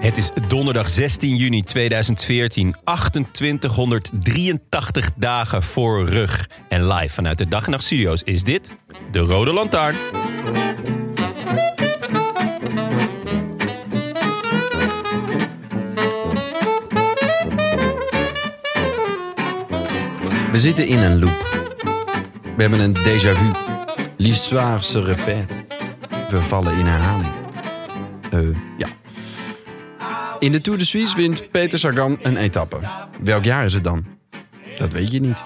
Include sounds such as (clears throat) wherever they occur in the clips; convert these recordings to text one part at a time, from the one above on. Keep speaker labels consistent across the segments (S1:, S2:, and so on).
S1: Het is donderdag 16 juni 2014, 2883 dagen voor rug. En live vanuit de Dag en Nacht Studio's is dit de Rode Lantaarn.
S2: We zitten in een loop. We hebben een déjà vu. L'histoire se répète. We vallen in herhaling. Eh, ja. In de Tour de Suisse wint Peter Sagan een etappe. Welk jaar is het dan? Dat weet je niet.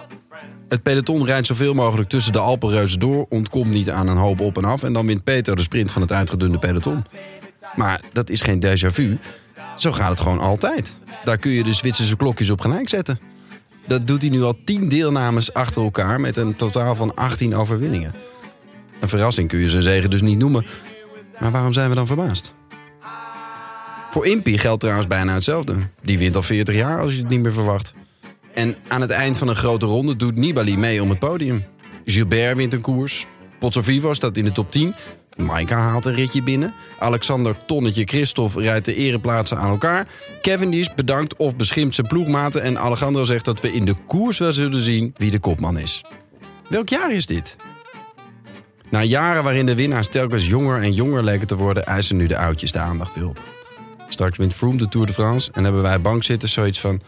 S2: Het peloton rijdt zoveel mogelijk tussen de Alpenreuzen door, ontkomt niet aan een hoop op en af en dan wint Peter de sprint van het uitgedunde peloton. Maar dat is geen déjà vu. Zo gaat het gewoon altijd. Daar kun je de Zwitserse klokjes op gelijk zetten. Dat doet hij nu al 10 deelnames achter elkaar met een totaal van 18 overwinningen. Een verrassing kun je zijn zegen dus niet noemen. Maar waarom zijn we dan verbaasd? Voor Impy geldt trouwens bijna hetzelfde. Die wint al 40 jaar als je het niet meer verwacht. En aan het eind van een grote ronde doet Nibali mee om het podium. Gilbert wint een koers. Pozzovivo staat in de top 10. Maika haalt een ritje binnen. Alexander Tonnetje Christophe rijdt de ereplaatsen aan elkaar. Cavendish bedankt of beschimpt zijn ploegmaten. En Alejandro zegt dat we in de koers wel zullen zien wie de kopman is. Welk jaar is dit? Na jaren waarin de winnaars telkens jonger en jonger leken te worden, eisen nu de oudjes de aandacht weer op. Straks wint Froome de Tour de France en hebben wij bankzitters zoiets van...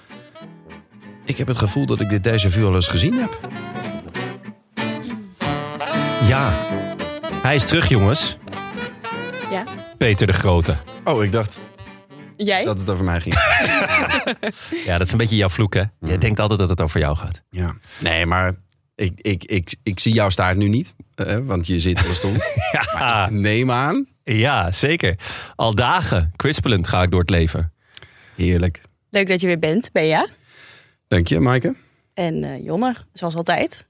S2: Ik heb het gevoel dat ik dit déjà vu al eens gezien heb.
S1: Ja, hij is terug jongens.
S3: Ja.
S1: Peter de Grote.
S2: Oh, ik dacht
S3: Jij?
S2: dat het over mij ging.
S1: Ja, dat is een beetje jouw vloek hè. Jij denkt altijd dat het over jou gaat.
S2: (laughs) Ja. Nee, maar ik, ik, ik, ik zie jouw staart nu niet. eh, want je zit (laughs) al stom.
S1: Ja,
S2: Neem aan.
S1: ja zeker. Al dagen, kwispelend ga ik door het leven.
S2: Heerlijk.
S3: Leuk dat je weer bent, Bea.
S2: Dank je, Maaike.
S3: En eh, Jonne, zoals altijd.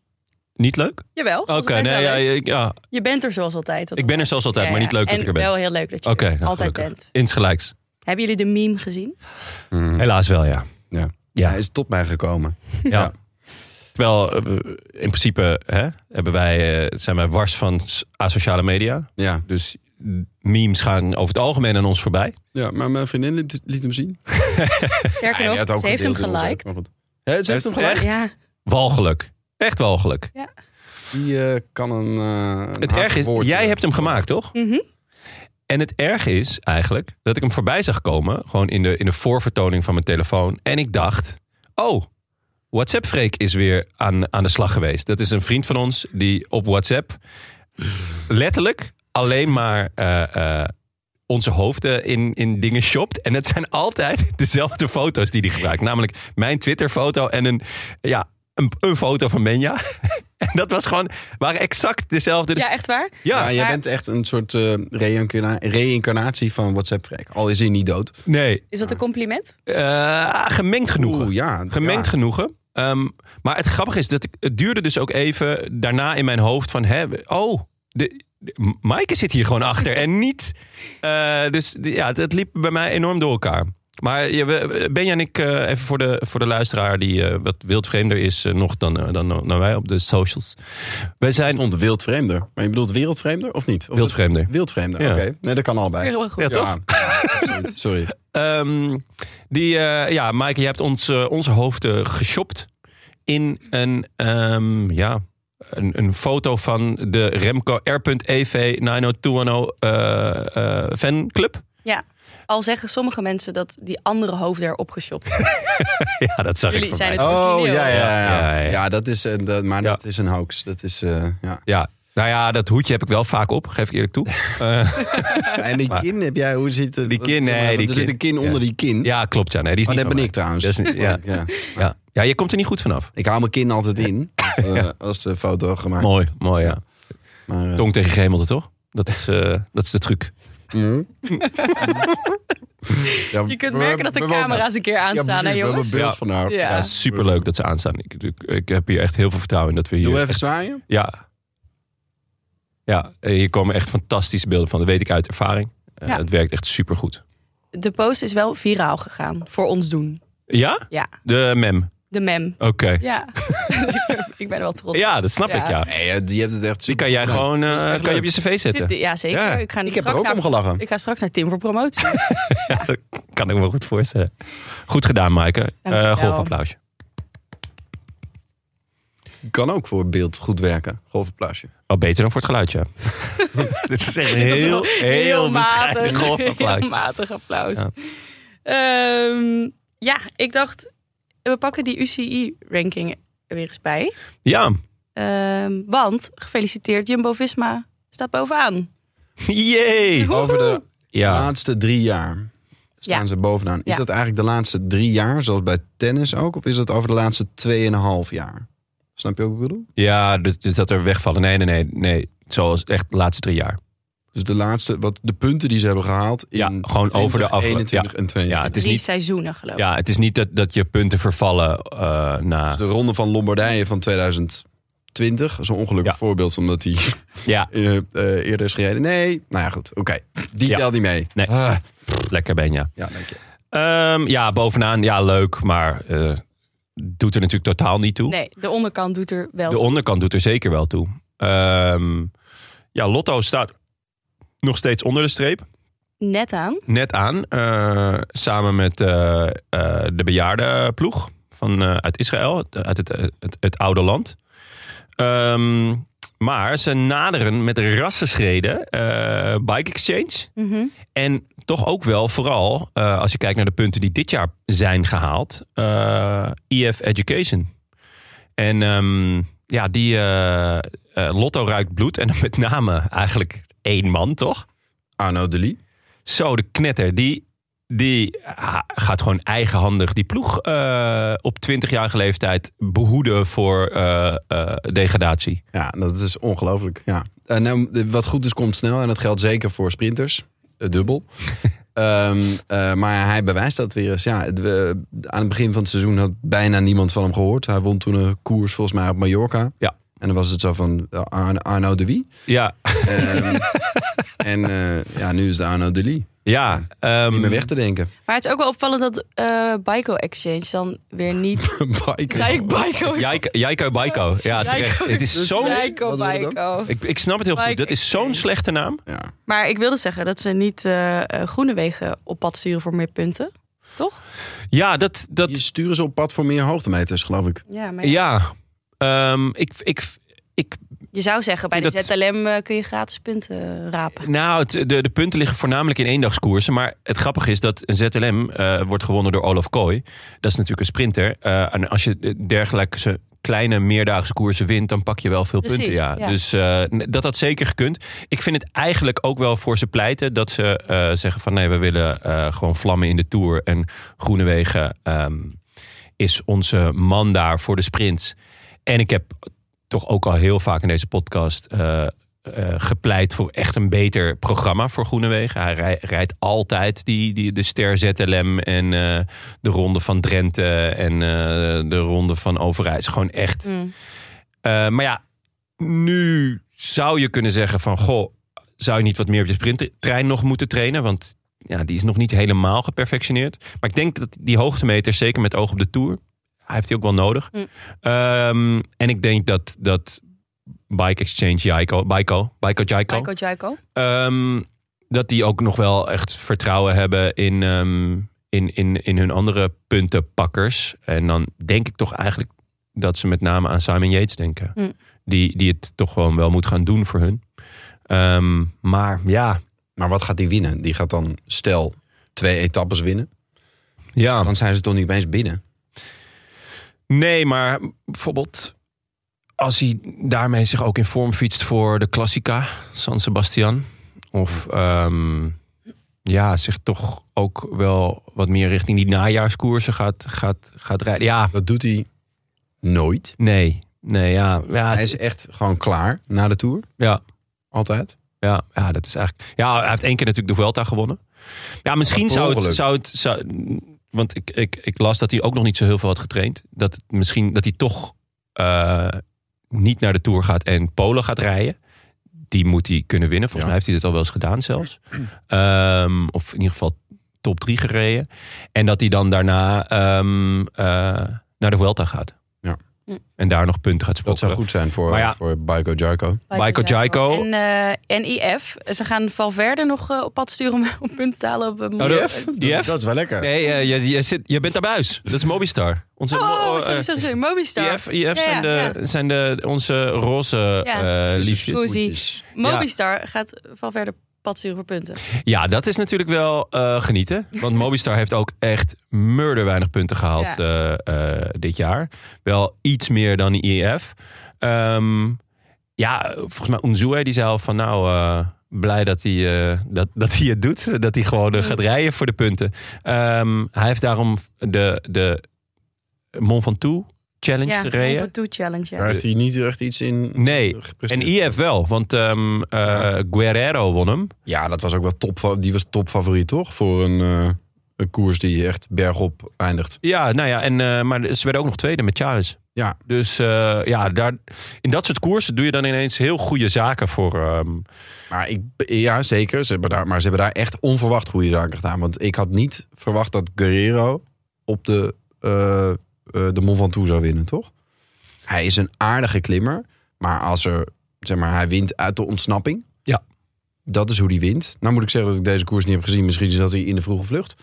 S1: Niet leuk?
S3: Jawel.
S1: Oké,
S3: zoals altijd
S1: nee,
S3: wel,
S1: ja,
S3: hè?
S1: ik- ja,
S3: Je bent er zoals altijd. dat
S1: ik
S3: is
S1: ben er zoals altijd,
S3: Ja,
S1: maar niet
S3: ja.
S1: leuk dat
S3: en
S1: ik er ben.
S3: wel heel leuk dat je
S1: Oké,
S3: er
S1: nou,
S3: altijd
S1: gelukkig.
S3: bent. Mm.
S1: Insgelijks.
S3: Hebben jullie de meme
S1: (laughs)
S3: gezien?
S1: Helaas wel, ja.
S2: Ja.
S1: Ja.
S2: Hij is tot mij gekomen.
S1: Ja.
S2: Ja.
S1: Terwijl eh, we- in principe hè, hebben wij, eh, zijn wij wars van s- asociale media.
S2: Ja.
S1: Dus memes gaan over het algemeen aan ons voorbij.
S2: ja, maar mijn vriendin liet, liet hem zien.
S3: Sterker
S2: Hij
S3: nog,
S2: had ook
S3: ze heeft hem
S2: gedeeld in onze app,
S3: geliked.
S2: maar goed. Hè, Ze heeft hem geliked?
S1: Echt?
S3: Ja,
S1: Walgelijk. Echt walgelijk.
S2: Die eh, kan een, eh, een
S1: Het
S2: hard
S1: erg is,
S2: woordje-
S1: jij hebt hem gemaakt, toch?
S3: Mhm.
S1: En het erg is eigenlijk dat ik hem voorbij zag komen. Gewoon in de, in de voorvertoning van mijn telefoon. En ik dacht, oh, WhatsApp-Freek is weer aan, aan de slag geweest. Dat is een vriend van ons die op WhatsApp letterlijk alleen maar eh, eh, onze hoofden in, in dingen shopt. En het zijn altijd (laughs) dezelfde foto's die hij gebruikt. Namelijk mijn Twitter-foto en een, ja, een, een foto van Menja. (laughs) En dat was gewoon, waren exact dezelfde.
S3: ja echt waar?
S2: Ja,
S1: ja,
S2: jij
S3: maar-
S2: bent echt een soort eh, reïncarna- reïncarnatie van WhatsApp-Freek. Al is hij niet dood.
S1: nee.
S3: Is dat een compliment?
S1: Eh, gemengd genoegen.
S2: Oeh, ja.
S1: Gemengd
S2: ja.
S1: genoegen. Ehm, maar het grappige is dat ik, het duurde dus ook even daarna in mijn hoofd van... Hè, oh, de, de, Maaike zit hier gewoon achter en niet... eh, dus de- ja, dat liep bij mij enorm door elkaar. Maar je- we- Benja en ik, eh, even voor de, voor de luisteraar die eh, wat wildvreemder is eh, nog dan, eh, dan, dan wij op de socials. Wij zijn
S2: stond wildvreemder. Maar je bedoelt wereldvreemder of niet? Of
S1: wildvreemder.
S2: Wildvreemder,
S1: Ja.
S2: oké. Nee, dat kan allebei.
S3: Heel goed.
S1: Ja, toch?
S2: absoluut.
S1: (laughs)
S2: Sorry.
S1: Ehm, die, eh, ja, Maaike, je hebt ons, eh, onze hoofden geshopt in een, ehm, ja, een, een foto van de Remco R.EV 90210 eh eh fanclub.
S3: Ja. Al zeggen sommige mensen dat die andere hoofden erop
S1: (laughs)
S3: geshopt.
S1: (laughs) Ja, dat zag ik
S3: Jullie zijn
S1: voorbij.
S3: het
S2: Oh,
S3: origineel.
S2: ja, ja, ja.
S1: Ja,
S2: ja,
S1: ja.
S2: dat is, een, dat, maar
S1: Ja.
S2: dat is een hoax. Dat is, eh,
S1: (laughs)
S2: ja.
S1: Ja, nou ja, dat hoedje heb ik wel vaak op, geef ik eerlijk toe. (laughs) Eh,
S2: En die kin heb jij, hoe zit het?
S1: Die kin,
S2: wat-
S1: nee,
S2: want
S1: die
S2: er
S1: kin.
S2: zit een kin onder die kin.
S1: ja, klopt. Ja, nee, die is
S2: Oh,
S1: niet
S2: dat
S1: van
S2: ben
S1: mij.
S2: ik trouwens.
S1: Dat is niet- (laughs) ja.
S2: (laughs) ja.
S1: Ja. ja, je komt er niet goed vanaf.
S2: Ik hou mijn kin altijd in als, eh, als de foto gemaakt
S1: Mooi, mooi ja.
S2: Maar, eh,
S1: Tong tegen gemelte, toch? Dat is, eh, dat is de truc. (laughs)
S2: mm. Ja,
S3: Je kunt
S2: we-
S3: merken dat de
S2: we wonen-
S3: camera's een keer
S2: Ja,
S3: aanstaan,
S2: precies,
S3: hè
S2: we hebben
S3: jongens?
S2: een beeld
S1: Ja.
S2: van haar.
S3: Ja.
S1: Ja, superleuk dat ze aanstaan. Ik, ik, ik heb hier echt heel veel vertrouwen in dat we hier...
S2: Doe even zwaaien.
S1: Ja. Ja, eh, hier komen echt fantastische beelden van. Dat weet ik uit ervaring. Eh,
S3: Ja.
S1: Het werkt echt supergoed.
S3: De post is wel viraal gegaan. Voor ons doen.
S1: Ja?
S3: Ja.
S1: De mem.
S3: De mem.
S1: Oké. (laughs)
S3: Ja. (laughs) ik ben er wel trots op.
S1: Ja, dat snap
S3: Ja.
S1: ik, ja.
S2: Nee, eh, die hebt het echt
S1: Dus Die kan jij
S2: supergedaan.
S1: gewoon eh,
S2: is echt
S1: kan je op
S2: leuk.
S1: je cv zetten.
S3: Dit- Ja, zeker.
S1: Ja.
S3: Ik, ga
S2: Ik heb er
S3: straks
S2: ook om
S3: naar,
S2: gelachen.
S3: ik ga straks naar Tim voor promotie.
S1: Kan ik me wel goed voorstellen. Goed gedaan, Maaike.
S3: Dankjewel.
S1: Eh golfapplausje.
S2: Kan ook voor beeld goed werken. Golfapplausje.
S1: Wel Oh, beter dan voor het geluidje. (laughs) Dit is echt een
S3: Dit was
S1: heel,
S3: een
S1: heel, bescheiden golfapplausje.
S3: Heel matig applaus.
S1: Ja.
S3: Ehm, Ja. ik dacht, we pakken die UCI-ranking er weer eens bij.
S1: Ja.
S3: Ehm, want, gefeliciteerd, Jumbo-Visma staat bovenaan.
S1: Jee.
S2: Over de
S1: Ja.
S2: laatste drie jaar staan
S3: Ja.
S2: ze bovenaan. Is
S3: Ja.
S2: dat eigenlijk de laatste drie jaar, zoals bij tennis ook? Of is dat over de laatste tweeënhalf jaar? Snap je ook wat ik bedoel?
S1: Ja, dus dus dat er wegvallen. Nee, nee, nee. nee. Zoals echt de laatste drie jaar.
S2: Dus de laatste, wat de punten die ze hebben gehaald in
S1: Ja, gewoon over de afgelopen-
S2: 21 en 22.
S1: Ja, het is
S3: Drie
S1: niet
S3: seizoenen, geloof ik.
S1: Ja, het is niet dat, dat je punten vervallen eh, na.
S2: Dus de ronde van Lombardije van 2020, zo'n ongelukkig
S1: Ja.
S2: voorbeeld omdat die (laughs)
S1: Ja,
S2: eh, eh, eerder is gereden. Nee, nou ja goed, oké. Die
S1: Ja.
S2: telt niet mee.
S1: Nee.
S2: Ah,
S1: lekker ben je.
S2: ja, dank je.
S1: Ehm, ja, bovenaan, ja, leuk, maar eh, doet er natuurlijk totaal niet toe.
S3: Nee, de onderkant doet er wel.
S1: De onderkant doet er zeker wel toe. Ehm, ja, Lotto staat nog steeds onder de streep.
S3: net aan.
S1: Net aan, eh, samen met eh, eh, de bejaardenploeg van, eh, uit Israël, het- uit het, eh, het, het oude land. Ehm, maar ze naderen met rassenschreden eh Bike Exchange.
S3: Mhm.
S1: En toch ook wel, vooral eh, als je kijkt naar de punten die dit jaar zijn gehaald, eh EF Education. En ehm, ja, die eh, eh, Lotto ruikt bloed en dan met name eigenlijk één man, toch?
S2: Arno Delis.
S1: Zo, de knetter, die, die ah, gaat gewoon eigenhandig die ploeg eh, op 20-jarige leeftijd behoeden voor eh, eh, degradatie.
S2: Ja, dat is ongelooflijk. Ja. En nou, de- wat goed is, komt snel. En dat geldt zeker voor sprinters. Eh, Dubbel. Ehm, eh, maar hij bewijst dat weer eens. Ja, het, we- aan het begin van het seizoen had bijna niemand van hem gehoord. Hij won toen een koers volgens mij op Mallorca.
S1: Ja.
S2: En dan was het zo van eh, Ar- Arno de Wie.
S1: Ja,
S2: Ehm, en eh, ja, nu is de Arno de Lee.
S1: ja. ehm,
S2: Niet meer weg te denken.
S3: Maar het is ook wel opvallend dat eh Bico Exchange dan weer
S2: (laughs)
S3: niet...
S2: Bike.
S3: Zei ik Bico?
S1: Jaiko- Jaiko Baiko. Ja, terecht. Het is zo'n
S3: Bico,
S2: Wat wordt het dan?
S3: Bico.
S1: Ik, ik snap het heel goed.
S3: Like
S1: Dat is zo'n
S3: exchange.
S1: slechte naam.
S2: Ja.
S3: Maar ik wilde zeggen dat ze niet eh, eh, groene wegen op pad sturen voor meer punten. Toch?
S1: Ja, dat. dat
S2: Die sturen ze op pad voor meer hoogtemeters, geloof ik.
S3: Ja, maar
S1: ja. Ehm, ik, ik, ik,
S3: je zou zeggen, bij de
S1: Dat-
S3: ZLM eh, kun je gratis punten eh, rapen.
S1: nou, het, de, de punten liggen voornamelijk in eendagskoersen. Maar het grappige is dat een ZLM eh, wordt gewonnen door Olaf Kooi. Dat is natuurlijk een sprinter. Eh, en als je dergelijke ze- kleine meerdaagse koersen wint, dan pak je wel veel
S3: Precies,
S1: punten. Ja.
S3: ja.
S1: Dus eh, dat had zeker gekund. Ik vind het eigenlijk ook wel voor ze pleiten dat ze eh, zeggen van nee, we willen eh, gewoon vlammen in de Tour. En Groenewegen ehm, is onze man daar voor de sprints. En ik heb toch ook al heel vaak in deze podcast eh, eh, gepleit voor echt een beter programma voor Groenewegen. Hij rij- rijdt altijd die, die, de Ster ZLM en eh, de Ronde van Drenthe en eh, de Ronde van Overijs. Gewoon echt.
S3: Mm.
S1: Eh, maar ja, nu zou je kunnen zeggen van... Goh, zou je niet wat meer op je sprinttrein nog moeten trainen? Want ja, die is nog niet helemaal geperfectioneerd. Maar ik denk dat die hoogtemeter, zeker met oog op de Tour, hij heeft die ook wel nodig.
S3: Mm.
S1: Ehm, en ik denk dat, dat Bike Exchange Jaico, Biko, Biko Jaico,
S3: Michael Jaiko.
S1: ehm, dat die ook nog wel echt vertrouwen hebben in, ehm, in, in, in hun andere puntenpakkers. En dan denk ik toch eigenlijk dat ze met name aan Simon Yates denken.
S3: Mm.
S1: Die, die het toch gewoon wel moet gaan doen voor hun. Ehm, maar ja,
S2: Maar wat gaat die winnen? Die gaat dan, stel, twee etappes winnen. Nou,
S1: ja.
S2: Dan zijn ze toch niet eens binnen.
S1: Nee, maar bijvoorbeeld als hij daarmee zich ook in vorm fietst voor de Classica, San Sebastian. Of ehm, ja, zich toch ook wel wat meer richting die najaarskoersen gaat, gaat, gaat rijden. Ja,
S2: Dat doet hij nooit.
S1: nee. Nee, ja. ja
S2: Hij is
S1: het-
S2: echt gewoon klaar na de Tour.
S1: Ja,
S2: Altijd.
S1: ja, ja, dat is eigenlijk... Ja, hij heeft één keer natuurlijk de Vuelta gewonnen. Ja, misschien
S2: Dat was per
S1: zou het,
S2: ongeluk.
S1: zou het... Zou Want ik, ik, ik las dat hij ook nog niet zo heel veel had getraind. Dat het misschien dat hij toch eh, niet naar de Tour gaat en Polen gaat rijden. Die moet hij kunnen winnen. Volgens
S2: Ja.
S1: mij heeft hij dit al wel eens gedaan zelfs. Ehm, of in ieder geval top 3 gereden. En dat hij dan daarna ehm, eh, naar de Vuelta gaat.
S2: Ja.
S3: Hm.
S1: En daar nog punten gaat
S2: Dat
S1: sprokkelen.
S2: zou goed zijn voor,
S1: Maar ja. Nou,
S2: voor Baiko Jarko.
S1: Michael Jaiko.
S3: En eh, NIF. Ze gaan Valverde nog eh, op pad sturen om, (laughs) om punten te halen op eh,
S1: Oh,
S3: Monza.
S1: dat-
S2: Dat,
S1: Jeff?
S2: is- dat is wel lekker.
S1: Nee, eh, je, je, zit, je bent daar buis. Dat is Mobistar. Onze
S3: Oh,
S1: eh, E
S3: sorry, sorry, sorry. Mobistar.
S1: IF, IF zijn,
S3: Ja, ja,
S1: de, zijn de, onze roze
S3: Ja.
S1: eh,
S2: Dus
S1: liefjes.
S3: Roze.
S2: voetjes.
S3: Mobistar gaat Valverde pad sturen voor punten.
S1: Ja, dat is natuurlijk wel eh, genieten. Want Mobistar heeft ook echt murder weinig punten gehaald eh, eh, dit jaar. Wel iets meer dan de IF. Ehm, ja, volgens mij Unzue die zei al van nou... eh, Blij dat hij, eh, dat, dat hij het doet. Dat hij gewoon eh, gaat rijden voor de punten. Ehm, hij heeft daarom de, de Mont Ventoux Challenge
S3: Ja,
S1: gereden.
S3: Over toe challenge.
S2: Daar
S3: Ja.
S2: heeft hij niet echt iets in
S1: Nee, en
S2: gepresteerd.
S1: IF wel, want ehm, eh, Guerrero won hem.
S2: Ja, dat was ook wel top. Die was topfavoriet, toch? Voor een, eh, een koers die echt bergop eindigt.
S1: Ja, nou ja, en, eh, maar ze werden ook nog tweede met Charles.
S2: Ja.
S1: Dus eh, ja, daar, in dat soort koersen doe je dan ineens heel goede zaken voor. ehm,
S2: Maar ik, ja, zeker. Ze hebben daar, maar ze hebben daar echt onverwacht goede zaken gedaan. Want ik had niet verwacht dat Guerrero op de, eh eh, de Mont Ventoux zou winnen, toch? Hij is een aardige klimmer. Maar als er, zeg maar, hij wint uit de ontsnapping.
S1: Ja.
S2: Dat is hoe hij wint. Nou moet ik zeggen dat ik deze koers niet heb gezien. Misschien zat hij in de vroege vlucht.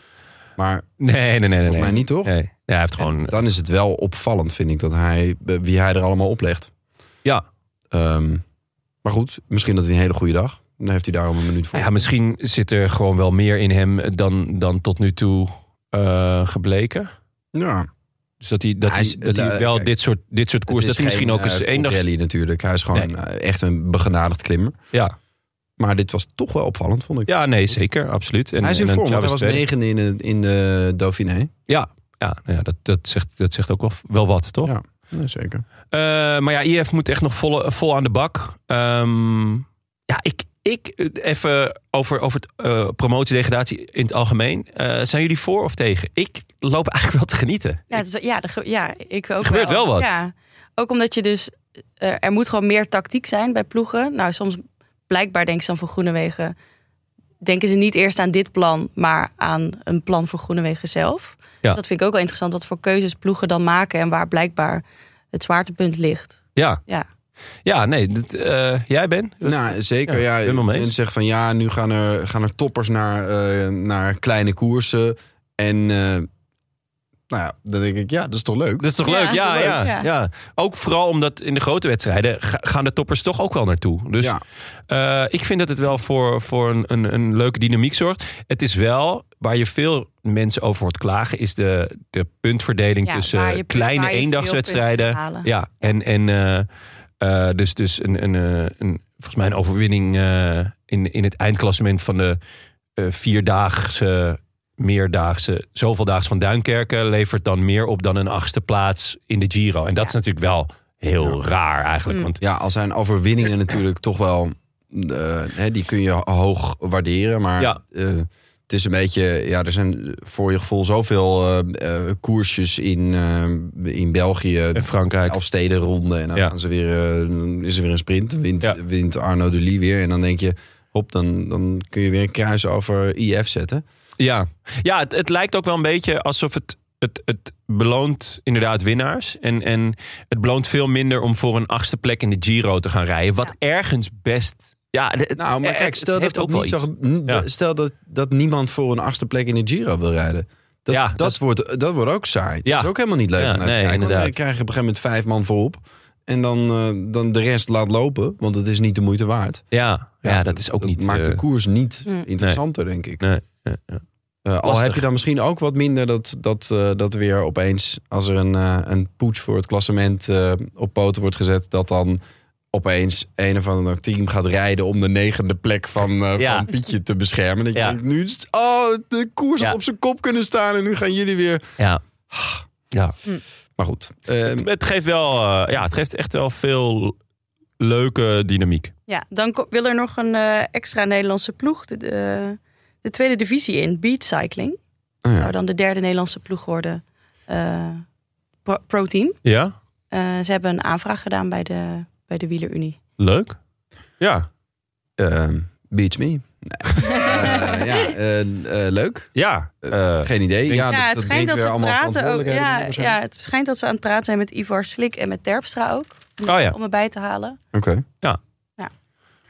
S2: Maar
S1: nee, nee, nee, nee.
S2: volgens mij
S1: nee.
S2: niet, toch?
S1: Nee. Nee, hij heeft gewoon.
S2: En dan is het wel opvallend, vind ik, dat hij, eh, wie hij er allemaal oplegt.
S1: Ja.
S2: Ehm, maar goed, misschien dat hij een hele goede dag. Dan heeft hij daarom een minuut voor.
S1: Ja, misschien zit er gewoon wel meer in hem dan, dan tot nu toe eh, gebleken.
S2: Ja,
S1: Dus dat hij, dat
S2: Hij
S1: hij,
S2: is-
S1: dat hij
S2: eh,
S1: wel
S2: kijk,
S1: dit soort, dit soort koers. Dat hij misschien ook eens
S2: eh,
S1: één dag.
S2: rally natuurlijk. Hij is gewoon
S1: Nee.
S2: eh, echt een begenadigd klimmer.
S1: Ja.
S2: Maar dit was toch wel opvallend, vond ik.
S1: ja, nee, zeker, absoluut. En,
S2: hij is in
S1: en dan
S2: vorm, want hij
S1: Chavez
S2: was
S1: tweede.
S2: negende in, de- in de Dauphiné.
S1: Ja, nou ja dat, dat, zegt, dat zegt ook wel, wel wat, toch?
S2: Ja. Ja, zeker.
S1: Eh, maar ja, IF moet echt nog vol, vol aan de bak. Ehm, ja, ik, ik eh, even over, over het, eh, promotiedegradatie in het algemeen. Eh, zijn jullie voor of tegen? Ik loop eigenlijk wel te genieten.
S3: Ja, het is- ja, er ge- ja, ik ook
S1: Er gebeurt wel wat.
S3: Ja. Ook omdat je dus... eh, er moet gewoon meer tactiek zijn bij ploegen. Nou, soms blijkbaar denken ze dan voor Groenewegen... denken ze niet eerst aan dit plan... maar aan een plan voor Groenewegen zelf.
S1: Ja.
S3: Dat vind ik ook wel interessant. Wat voor keuzes ploegen dan maken... en waar blijkbaar het zwaartepunt ligt.
S1: Ja,
S3: dus- Ja.
S1: ja nee. dat, eh, jij Ben?
S2: Nou, zeker.
S1: Ja,
S2: Ja,
S1: helemaal mee eens.
S2: mensen zeggen van ja, nu gaan er, gaan er toppers naar, eh, naar kleine koersen. En eh, nou ja, dan denk ik, ja, dat is toch leuk.
S1: Dat is toch
S3: Ja,
S1: leuk?
S3: dat is
S1: Ja,
S3: wel leuk,
S1: ja, ja.
S3: ja.
S1: Ook vooral omdat in de grote wedstrijden ga- gaan de toppers toch ook wel naartoe. Dus
S2: Ja.
S1: Eh, ik vind dat het wel voor, voor een, een, een leuke dynamiek zorgt. Het is wel waar je veel mensen over hoort klagen, is de, de puntverdeling
S3: Ja, waar
S1: tussen
S3: je-
S1: dus, eh, kleine
S3: waar je veel
S1: eendagswedstrijden.
S3: punten kunt halen.
S1: Ja, en, en eh, eh, dus, dus een, een, eh, een, volgens mij een overwinning eh, in, in het eindklassement van de eh, vierdaagse, meerdaagse, zoveeldaags van Duinkerken levert dan meer op dan een achtste plaats in de Giro. En dat is natuurlijk wel heel raar eigenlijk.
S3: Mm.
S1: Want
S2: Ja, al zijn
S1: (clears throat)
S2: overwinningen natuurlijk toch wel... eh, hè, die kun je hoog waarderen, maar
S1: Ja.
S2: eh, het is een beetje... Ja, er zijn voor je gevoel zoveel eh, eh, koersjes in, eh, in België.
S1: in Frankrijk.
S2: Elf stedenronde en dan
S1: Ja.
S2: gaan ze weer, eh, is er weer een sprint. Wint,
S1: Ja.
S2: wint Arno Dully weer en dan denk je... Hop, dan, dan kun je weer een kruis over IF zetten.
S1: Ja, ja het, het lijkt ook wel een beetje alsof het, het, het beloont inderdaad winnaars. En, en het beloont veel minder om voor een achtste plek in de Giro te gaan rijden. Wat ergens best... Ja, het-
S2: Nou, maar
S1: het-
S2: kijk,
S1: Eh, het
S2: stel dat,
S1: heeft
S2: dat, niet
S1: iets.
S2: zo, n-
S1: Ja.
S2: stel dat, dat niemand voor een achtste plek in de Giro wil rijden. Dat,
S1: Ja,
S2: dat,
S1: dat-
S2: wordt, dat wordt ook saai.
S1: Ja.
S2: Dat is ook helemaal niet leuk.
S1: Ja,
S2: om naar
S1: nee,
S2: te kijken, want
S1: inderdaad.
S2: Dan krijg je op een gegeven moment vijf man voorop. En dan, eh, dan de rest laat lopen, want het is niet de moeite waard.
S1: Ja, ja, dat is ook niet...
S2: maakt de
S1: eh,
S2: koers niet
S3: Mm.
S2: interessanter, denk ik.
S1: nee, ja, ja.
S2: Eh, al
S1: Lastig.
S2: heb je dan misschien ook wat minder dat, dat, eh, dat weer opeens, als er een, eh een poets voor het klassement eh, op poten wordt gezet, dat dan opeens een of ander team gaat rijden om de negende plek van, eh,
S1: Ja.
S2: van Pietje te beschermen. Dat je
S1: Ja.
S2: denkt, nu is het- oh, de koers had
S1: Ja.
S2: op zijn kop kunnen staan en nu gaan jullie weer.
S1: Ja. ja.
S2: Maar goed, eh,
S1: Het geeft wel, eh, ja, het geeft echt wel veel leuke dynamiek.
S3: Ja, dan ko- wil er nog een eh, extra Nederlandse ploeg de, de, de tweede divisie in, Beat Cycling.
S2: oh ja.
S3: Zou dan de derde Nederlandse ploeg worden, eh, pro, pro team.
S1: Ja,
S3: Eh, ze hebben een aanvraag gedaan bij de, bij de Wielerunie.
S1: leuk. Ja,
S2: Eh, beats me. Nee. (laughs) Eh, ja, eh, eh, leuk.
S1: ja. eh,
S2: Geen idee. Ja,
S3: Ja,
S2: dat,
S3: het schijnt
S2: brengt
S3: dat
S2: weer
S3: ze
S2: allemaal
S3: praten ook.
S2: verantwoordelijkheden
S3: Ja,
S2: met elkaar.
S3: ja, het schijnt dat ze aan het praten zijn met Ivar Slik en met Terpstra ook. Om,
S1: Oh ja.
S3: om erbij te halen.
S2: Oké.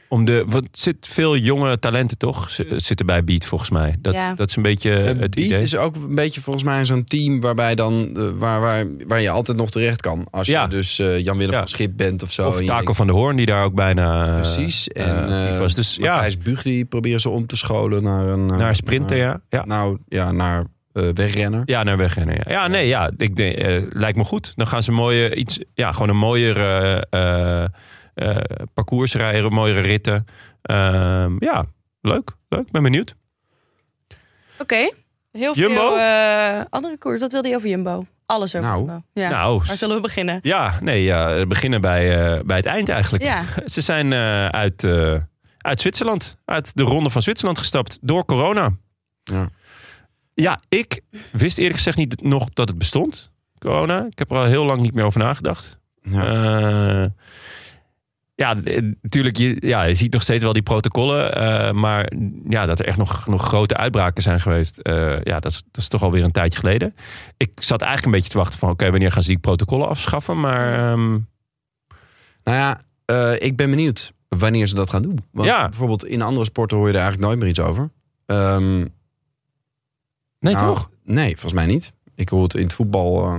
S1: om de, want er zit veel jonge talenten toch? Z- Zitten bij Beat volgens mij. Dat,
S3: Ja.
S1: dat is een beetje
S2: Eh,
S1: het
S2: Beat
S1: idee.
S2: is ook een beetje volgens mij zo'n team waarbij dan, eh, waar, waar, waar je altijd nog terecht kan. Als
S1: Ja.
S2: je dus eh, Jan-Willem
S1: Ja.
S2: van Schip bent of zo.
S1: of
S2: en je
S1: Taco
S2: denkt,
S1: van de Hoorn die daar ook bijna... eh,
S2: Precies. En
S1: eh,
S2: eh
S1: die was dus, ja,
S2: Matthijs Buug die proberen ze om te scholen naar een... eh,
S1: naar sprinter,
S2: naar-
S1: ja. ja.
S2: Nou, ja, naar eh, wegrenner.
S1: Ja, naar wegrennen. Ja, ja nee, ja. Ik, denk, eh, lijkt me goed. Dan gaan ze een mooie, iets, ja, gewoon een mooier eh, eh, eh, parcours rijden, mooiere ritten. Ehm, ja, leuk. Leuk. Ben benieuwd.
S3: Oké, heel
S1: Jumbo?
S3: veel eh, andere koers. Wat wilde je over Jumbo? Alles over
S2: Nou,
S3: Jumbo. Ja.
S1: Nou,
S3: Waar zullen we beginnen?
S1: ja, nee, ja, we beginnen bij, eh, bij het eind eigenlijk.
S3: Ja,
S1: Ze zijn eh, uit, eh, uit Zwitserland, uit de ronde van Zwitserland gestapt door corona.
S2: Ja.
S1: Ja, ik wist eerlijk gezegd niet nog dat het bestond. Corona. Ik heb er al heel lang niet meer over nagedacht.
S2: Ja.
S1: Eh, ja, d- natuurlijk, je, ja, je ziet nog steeds wel die protocollen. eh, maar ja, dat er echt nog, nog grote uitbraken zijn geweest. eh, ja, dat is, dat is toch alweer een tijdje geleden. Ik zat eigenlijk een beetje te wachten van... oké, wanneer gaan ze die protocollen afschaffen? Maar ehm,
S2: Nou ja, eh, ik ben benieuwd wanneer ze dat gaan doen. Want
S1: Ja.
S2: bijvoorbeeld in andere sporten hoor je er eigenlijk nooit meer iets over. Ehm,
S1: nee,
S2: Nou,
S1: toch?
S2: Nee, volgens mij niet. Ik hoor het in het voetbal eh,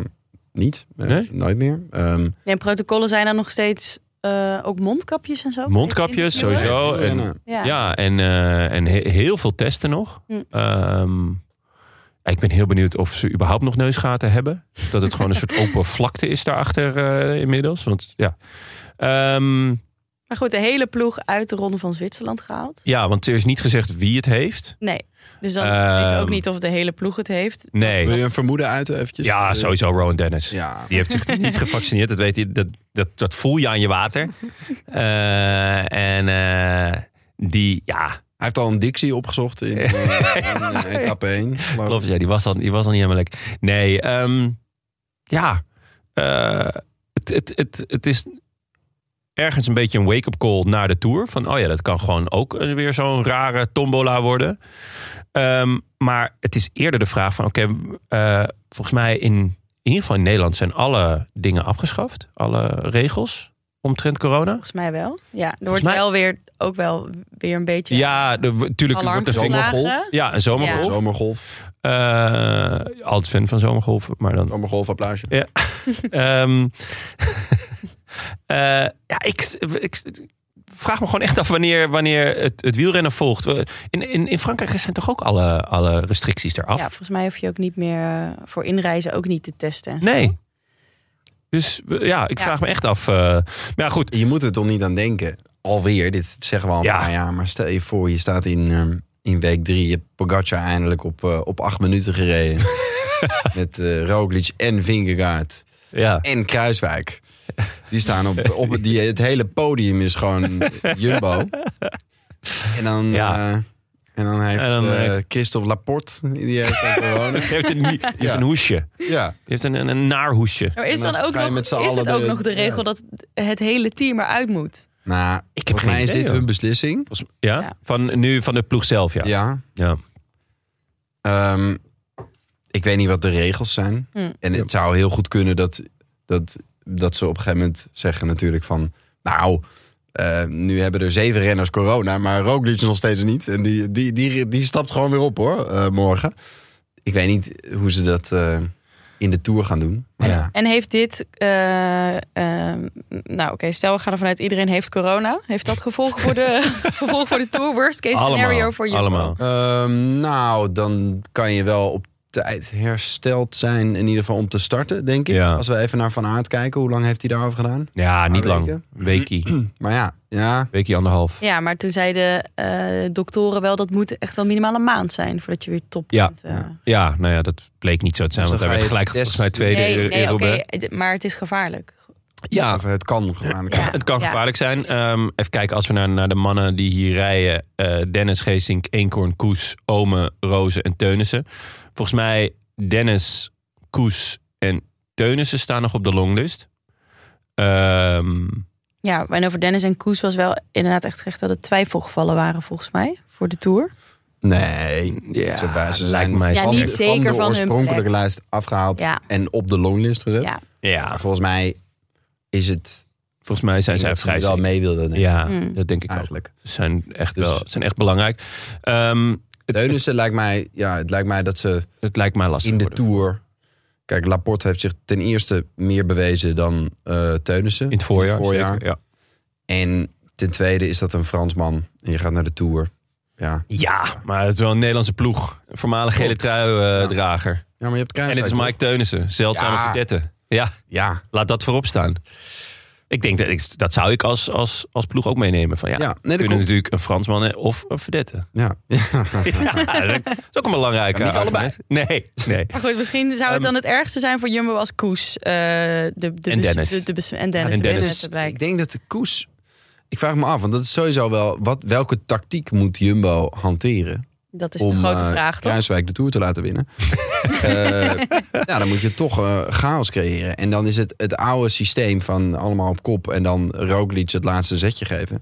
S2: niet. Eh,
S1: Nee?
S2: Nooit meer. Ehm,
S3: nee, en protocollen zijn er nog steeds eh, ook mondkapjes en zo.
S1: Mondkapjes,
S3: Interviewen.
S1: sowieso. Zo, en-
S2: wielrennen.
S3: Ja.
S1: Ja, en, eh, en he- heel veel testen nog.
S3: Hm.
S1: Ehm, ik ben heel benieuwd of ze überhaupt nog neusgaten hebben. Dat het gewoon een
S3: (laughs)
S1: soort open vlakte is daarachter eh, inmiddels. Want ja... Ehm,
S3: Maar goed, de hele ploeg uit de Ronde van Zwitserland gehaald.
S1: Ja, want er is niet gezegd wie het heeft.
S3: Nee, dus dan
S1: Ehm.
S3: weten we ook niet of de hele ploeg het heeft.
S2: Wil
S1: Nee.
S2: je een vermoeden uiten eventjes?
S1: Ja,
S2: Eh,
S1: sowieso Rowan Dennis.
S2: Ja.
S1: Die heeft zich niet gevaccineerd. Dat, weet je, dat, dat, dat voel je aan je
S3: (laughs)
S1: water. Eh, en eh, die, ja,
S2: Hij heeft al een Dixie
S1: (laughs)
S2: opgezocht in, eh, in, eh, etappe 1.
S1: Klopt, ja, die was dan, die was dan niet helemaal lekker. Nee, ehm, ja. eh, het, het, het, het is ergens een beetje een wake-up call naar de Tour. Van, oh ja, dat kan gewoon ook een- weer zo'n rare tombola worden. Ehm, maar het is eerder de vraag van, oké, eh, volgens mij in, in ieder geval in Nederland zijn alle dingen afgeschaft. Alle regels omtrent corona.
S3: Volgens mij wel. Ja, er wordt
S1: Volgens mij-
S3: wel weer, ook wel weer een beetje
S1: Ja, er wo- tuurlijk er
S3: alarm
S1: wordt een vinger...
S3: geslagen.
S1: Ja, een zomergolf.
S2: Zomergolf.
S1: Eh, altijd fan van zomergolven, maar dan
S2: Zomergolf applausje.
S1: Ehm, (laughs) eh, ja, ik, ik vraag me gewoon echt af wanneer, wanneer het, het wielrennen volgt. We- In, in, in Frankrijk zijn toch ook alle, alle restricties eraf?
S3: Ja, volgens mij hoef je ook niet meer eh, voor inreizen ook niet te testen.
S1: nee. Dus we- ja, ik
S3: Hm? Ja.
S1: vraag me echt af. eh, maar ja, goed.
S2: Je moet er toch niet aan denken. Alweer, dit zeggen we al een
S1: Ja.
S2: paar jaar. Maar stel je voor, je staat in, ehm, in week 3. Je hebt Pogacar eindelijk op, eh, op acht minuten
S1: (laughs)
S2: gereden. Met eh Roglic en Vingegaard
S3: (laughs)
S1: Ja.
S2: en Kruiswijk. Die staan op, op het- die, het hele podium is gewoon Jumbo. En dan,
S1: Ja.
S2: eh, en dan heeft
S1: En dan,
S2: eh,
S1: eh,
S2: Christophe Laporte, die heeft ook corona.
S1: Die heeft een, nie- die heeft
S2: Ja.
S1: een hoesje. Die
S2: Ja,
S1: heeft een, een, een naar hoesje.
S3: Maar is
S2: En dan
S3: dan ook
S2: ga je
S3: nog,
S2: met z'n
S3: is
S2: allen
S3: het ook
S2: de-
S3: nog de regel
S2: ja.
S3: dat het hele team eruit moet?
S2: Nou,
S1: Ik heb
S2: volgens mij
S1: geen
S2: is
S1: idee,
S2: dit
S1: hoor.
S2: hun beslissing.
S1: Volgens- Ja?
S3: Ja.
S1: Van, nu van de ploeg zelf, ja.
S2: Ja.
S1: Ja.
S2: Ehm, ik weet niet wat de regels zijn.
S3: Hm.
S2: En het zou heel goed kunnen dat, dat, dat ze op een gegeven moment zeggen natuurlijk van... Nou, eh, nu hebben er zeven renners corona, maar Roglic nog steeds niet. En die, die, die, die stapt gewoon weer op hoor, eh, morgen. Ik weet niet hoe ze dat eh, in de Tour gaan doen. Maar
S1: Ja.
S2: ja.
S3: En heeft dit, eh, ehm, nou oké, stel we gaan ervan uit iedereen heeft corona. Heeft dat gevolgen voor
S1: (laughs)
S3: de, gevolgen voor de tour? Worst case scenario
S1: Allemaal.
S3: voor je.
S1: Allemaal.
S2: Ehm, nou, dan kan je wel op tijd hersteld zijn, in ieder geval om te starten, denk ik.
S1: Ja.
S2: Als we even naar Van Aert kijken, hoe lang heeft hij daarover gedaan?
S1: Ja, niet
S2: Paar
S1: lang.
S2: weken. (clears throat)
S1: Weekie.
S2: Maar ja, ja.
S1: Weekie anderhalf.
S3: Ja, maar toen zeiden eh, doktoren wel dat moet echt wel minimaal een maand zijn voordat je weer top
S1: Ja.
S3: bent. eh.
S1: Ja, nou ja, dat bleek niet zo te zijn.
S2: Dus
S1: want hij
S2: dan
S1: werd
S2: ga
S1: gelijk
S2: je des-
S1: volgens mij tweede
S3: nee,
S1: eh, in- in
S3: nee, oké,
S1: Roubaix.
S3: d- maar het is gevaarlijk.
S1: Ja,
S2: Of het kan gevaarlijk zijn.
S1: het kan
S3: Ja,
S1: gevaarlijk zijn.
S3: precies.
S1: Ehm, even kijken, als we naar, naar de mannen die hier rijden. eh, Dennis Geesink, Eenkorn, Koes, Ome, Rozen en Teunissen. Volgens mij Dennis, Koes en Teunissen staan nog op de longlist. Ehm,
S3: Ja, en over Dennis en Koes was wel inderdaad echt gezegd dat het twijfelgevallen waren volgens mij voor de tour.
S2: Nee.
S1: ja,
S2: Ze- wij- ze
S1: lijkt
S2: zijn
S1: mij
S3: Ja,
S2: van-
S1: sterk.
S3: niet zeker
S2: de
S3: van hun
S2: oorspronkelijke
S3: plek.
S2: lijst afgehaald
S3: Ja.
S2: en op de longlist gezet.
S3: Ja.
S1: Ja,
S2: Maar volgens mij is het
S1: volgens mij zijn zij
S2: dat ze
S1: vrij
S2: er wel
S1: zeker.
S2: mee wilden. denk ik,
S1: Ja,
S3: Mm.
S1: dat denk ik ook.
S2: Eigenlijk.
S1: Ze zijn echt,
S2: Dus-
S1: wel, ze zijn echt belangrijk. Ehm, het, het,
S2: Teunissen lijkt mij, ja, het lijkt mij dat ze
S1: het lijkt mij lastig
S2: in de
S1: worden.
S2: Tour... Kijk, Laporte heeft zich ten eerste meer bewezen dan eh Teunissen.
S1: In het voorjaar.
S2: voorjaar.
S1: zeker, ja.
S2: En ten tweede is dat een Fransman. En je gaat naar de Tour. Ja,
S1: Ja, maar het is wel een Nederlandse ploeg. Een voormalig gele
S2: Klopt.
S1: trui
S2: Ja.
S1: eh drager.
S2: ja maar je
S1: En
S2: hebt Kruijswijk,
S1: het is
S2: toch?
S1: Mike Teunissen, zeldzame
S2: Ja.
S1: verdette. Ja,
S2: Ja,
S1: laat dat voorop staan. Ik denk dat ik, dat zou ik als, als, als ploeg ook meenemen. Van, ja,
S2: ja. nee, dat
S1: kunnen
S2: klopt.
S1: natuurlijk een Fransman hè, of een verdette.
S2: (laughs) Ja.
S1: (laughs) Ja, dat is- dat is ook een belangrijk
S2: niet
S1: eh, argument. Nee,
S2: (laughs)
S1: nee.
S3: Maar goed, misschien zou het dan het ergste zijn voor Jumbo als Koes. eh, de, de
S1: Ehm, En
S3: bes-
S1: Dennis.
S3: De, de bes- en Dennis.
S1: En
S3: de
S1: Dennis.
S3: besmette blijkt.
S2: Ik denk dat de koers. Ik vraag me af, want dat is sowieso wel. Wat, welke tactiek moet Jumbo hanteren?
S3: Dat is
S2: om
S3: de grote
S2: eh,
S3: vraag, toch?
S2: Kruiswijk de Tour te laten
S3: (laughs)
S2: winnen? Eh, ja, dan moet je toch eh, chaos creëren. En dan is het het oude systeem van allemaal op kop en dan Roglic het laatste zetje geven.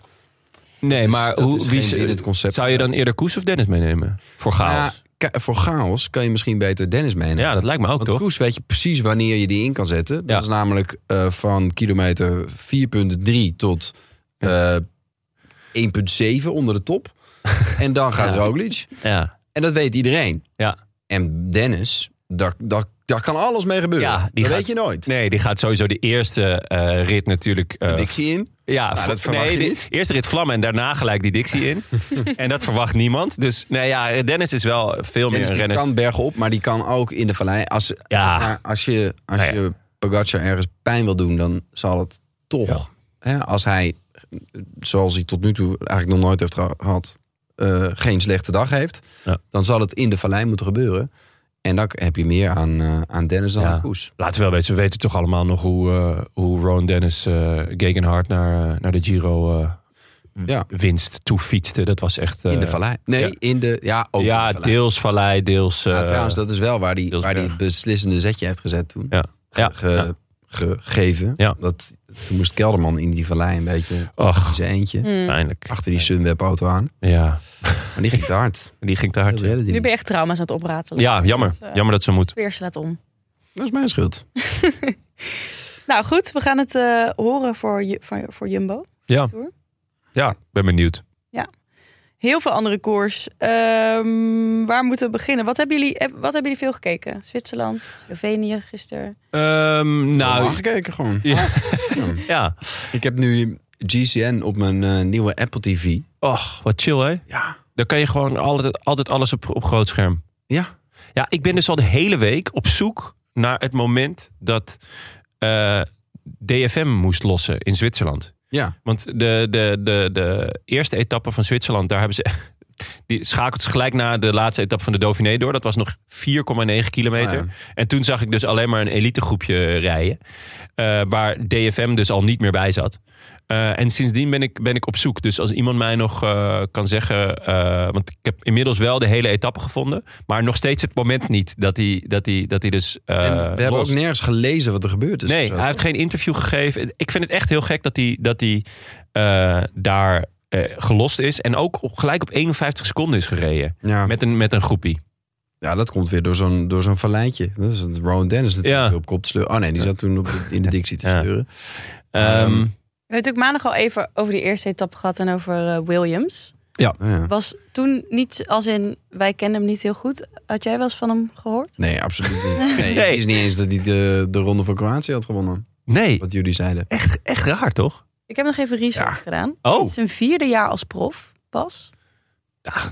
S1: Nee,
S2: Dus
S1: maar
S2: dat
S1: hoe,
S2: is
S1: wie
S2: geen
S1: zou-
S2: winnend concept.
S1: zou je dan eerder Koes of Dennis meenemen? Voor chaos.
S2: Ja, ka- voor chaos kan je misschien beter Dennis meenemen.
S1: Ja, dat lijkt me ook,
S2: Want
S1: toch?
S2: Koes weet je precies wanneer je die in kan zetten. Dat
S1: Ja.
S2: is namelijk eh, van kilometer 4.3 tot eh, 1.7 onder de
S1: (laughs)
S2: top. en dan gaat
S1: Ja.
S2: Roglic.
S1: Ja.
S2: En dat weet iedereen.
S1: Ja.
S2: En Dennis, daar, daar, daar kan alles mee gebeuren.
S1: Ja, die
S2: dat
S1: gaat-
S2: weet je nooit.
S1: Nee, die gaat sowieso de eerste eh, rit natuurlijk eh,
S2: Dixie in.
S1: Ja,
S2: Nou,
S1: vo-
S2: dat verwacht
S1: nee,
S2: je
S1: de-
S2: niet.
S1: Eerst rit vlammen en daarna gelijk die Dixie
S2: (laughs)
S1: in. en dat verwacht niemand. Dus nou ja, Dennis is wel veel meer
S2: Dennis
S1: een
S2: die
S1: renner.
S2: kan bergen op, maar die kan ook in de vallei. Als,
S1: Ja.
S2: maar als je, als
S1: Nou ja.
S2: je Pogacar ergens pijn wil doen, dan zal het toch. Hè, als hij, zoals hij tot nu toe eigenlijk nog nooit heeft geha- gehad, eh, geen slechte dag heeft,
S1: Ja.
S2: dan zal het in de vallei moeten gebeuren. En dan heb je meer aan, eh, aan Dennis dan
S1: Ja.
S2: aan Koes.
S1: Laten we wel weten, we weten toch allemaal nog hoe, eh hoe Ron Dennis eh Gegenhard naar, eh, naar de Giro eh,
S2: Ja.
S1: winst toe fietste. Dat was echt... eh,
S2: In de vallei. Nee,
S1: ja.
S2: in de. Ja, ook in
S1: Ja,
S2: de vallei.
S1: deels Vallei, deels... eh,
S2: Ja, Ah, trouwens, dat is wel waar die,
S1: Deels
S2: waar die
S1: Berg.
S2: het beslissende zetje heeft gezet toen.
S1: Ja.
S2: Ge-
S1: Ja,
S2: ge-
S1: ja.
S2: Gegeven.
S1: Ja.
S2: Dat, toen moest Kelderman in die vallei een beetje in
S1: Och,
S2: zijn eentje.
S3: Hmm.
S1: pijnlijk.
S2: Achter die Sunweb-auto aan.
S1: Ja,
S2: Maar die ging te hard.
S1: die ging te hard.
S2: (laughs) Dat redde die
S3: Nu
S2: niet.
S3: ben je echt trauma's aan het opratelen.
S1: Ja, jammer.
S3: Dat, eh,
S1: Jammer dat ze moet.
S3: Weer slaat om.
S2: Dat is mijn schuld.
S3: Nou goed, we gaan het eh, horen voor, Ju- voor, voor Jumbo.
S1: Ja.
S3: Tour.
S1: Ja, ben benieuwd.
S3: Heel veel andere koers. Ehm, waar moeten we beginnen? Wat hebben jullie, eh, wat hebben jullie veel gekeken? Zwitserland, Slovenië gisteren.
S1: Ehm,
S2: Nou,
S1: nou,
S2: gekeken gewoon.
S1: (laughs) ja,
S2: Ja.
S1: ja.
S2: Ik heb nu GCN op mijn eh, nieuwe Apple TV.
S1: Och, wat chill hè?
S2: Ja.
S1: Dan kan je gewoon altijd, altijd alles op, op groot scherm.
S2: Ja.
S1: Ja, ik ben dus al de hele week op zoek naar het moment dat eh, DFM moest lossen in Zwitserland.
S2: Ja.
S1: Want de, de, de, de eerste etappe van Zwitserland, daar hebben ze (laughs) die schakelt ze gelijk na de laatste etappe van de Dauphiné door. Dat was nog 4,9 kilometer.
S2: Ah, ja.
S1: En toen zag ik dus alleen maar een elitegroepje rijden. eh, waar DFM dus al niet meer bij zat. Eh, en sindsdien ben ik, ben ik op zoek. Dus als iemand mij nog eh, kan zeggen. eh, want ik heb inmiddels wel de hele etappe gevonden. Maar nog steeds het moment niet dat hij, dat hij, dat hij dus. eh,
S2: En we hebben ook
S1: lost.
S2: nergens gelezen wat er gebeurd is. of
S1: Nee,
S2: zo.
S1: hij heeft geen interview gegeven. Ik vind het echt heel gek dat hij, dat hij eh, daar eh, gelost is. En ook op- gelijk op 51 seconden is gereden.
S2: ja.
S1: Met een, met een groepie.
S2: ja, dat komt weer door zo'n, door zo'n valleitje. Dat is het Rowan Dennis natuurlijk
S1: Ja.
S2: op kop te sleuren. Oh nee, die zat toen op de- in de dictie te
S1: Ja.
S2: sleuren.
S1: Ehm,
S2: Ehm,
S3: We hebben het ook maandag al even over die eerste etappe gehad en over eh, Williams.
S2: Ah, ja.
S3: Was toen niet, als in, wij kenden hem niet heel goed. Had jij wel eens van hem gehoord?
S2: (laughs) Nee, absoluut niet. Nee,
S1: Nee.
S2: Het is niet eens dat hij de, de ronde van Kroatië had gewonnen.
S1: nee,
S2: Wat jullie zeiden.
S1: echt, echt raar toch?
S3: Ik heb nog even research
S2: Ja.
S3: gedaan.
S1: Oh.
S3: Het is zijn vierde jaar als prof,
S1: (laughs)
S3: pas.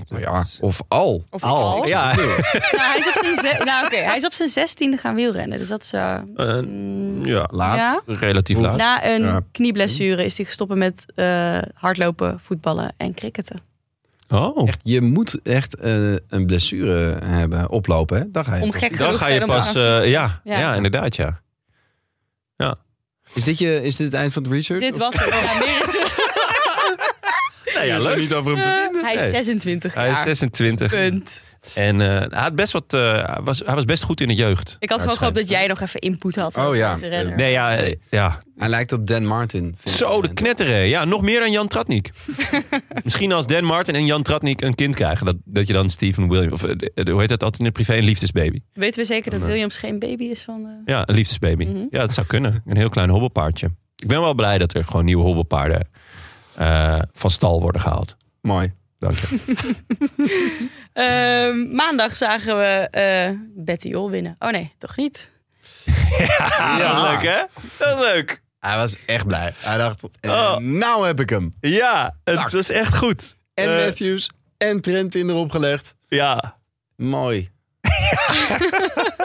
S2: Nou ja, of al.
S3: Of
S1: Al, ja.
S3: Nou, hij, is op zijn ze- nou, oké, hij is op zijn zestiende gaan wielrennen. Dus dat is... eh,
S1: Eh,
S3: mm,
S1: ja,
S2: Laat.
S3: ja.
S1: relatief
S2: Oeh.
S1: laat.
S3: Na een
S2: Ja.
S3: knieblessure is hij gestopt met eh, hardlopen, voetballen en cricketen.
S1: Oh,
S2: Echt, je moet echt eh, een blessure hebben oplopen. Hè? Dan ga je
S3: Om
S2: pas-
S3: gek
S1: dan
S3: genoeg
S1: ga
S3: zijn
S1: je
S3: om te
S1: pas... eh,
S3: aanfietsen.
S1: ja, ja.
S3: Ja.
S1: inderdaad ja.
S2: Is dit, je, is dit het eind van het research?
S3: Dit was het. Ja, meer is er-
S1: Nou
S2: ja, leuk. niet over
S1: Eh.
S2: hem te vinden.
S3: Hij
S1: (laughs) Nee.
S3: is 26
S1: Hij is
S3: jaar.
S1: 26.
S3: Punt.
S1: En eh, hij, had best wat, eh, hij was, hij was best goed in de jeugd.
S3: Ik had
S1: Ja,
S3: gewoon
S1: het
S3: gehoopt dat jij nog even input had.
S2: Oh
S3: over
S2: ja.
S3: deze renner.
S1: Nee, ja, eh, ja,
S2: Hij lijkt op Dan Martin. vind ik.
S1: Zo, de
S2: Ja.
S1: knetteren. Ja, nog meer dan Jan Tratnik. Misschien als Dan Martin en Jan Tratnik een kind krijgen. Dat, dat je dan Steven Williams... Of eh, de- hoe heet dat altijd in het privé? Een liefdesbaby.
S3: Weten we zeker dat Williams geen baby is van... eh,
S1: Ja, een liefdesbaby.
S3: Mhm.
S1: Ja, dat zou kunnen. Een heel klein hobbelpaardje. Ik ben wel blij dat er gewoon nieuwe hobbelpaarden eh, van stal worden gehaald.
S2: Mooi.
S1: Dank je.
S3: Ehm, maandag zagen we eh, Betty Ol winnen. Oh nee, toch niet.
S1: Ah,
S2: Ja.
S1: hè? Dat is leuk.
S2: Hij was echt blij. Hij dacht, eh,
S1: Oh.
S2: nou heb ik hem.
S1: Ja,
S2: Dank.
S1: het was echt goed.
S2: En
S1: Eh.
S2: Matthews en Trentin erop gelegd.
S1: Ja. (laughs)
S2: Mooi.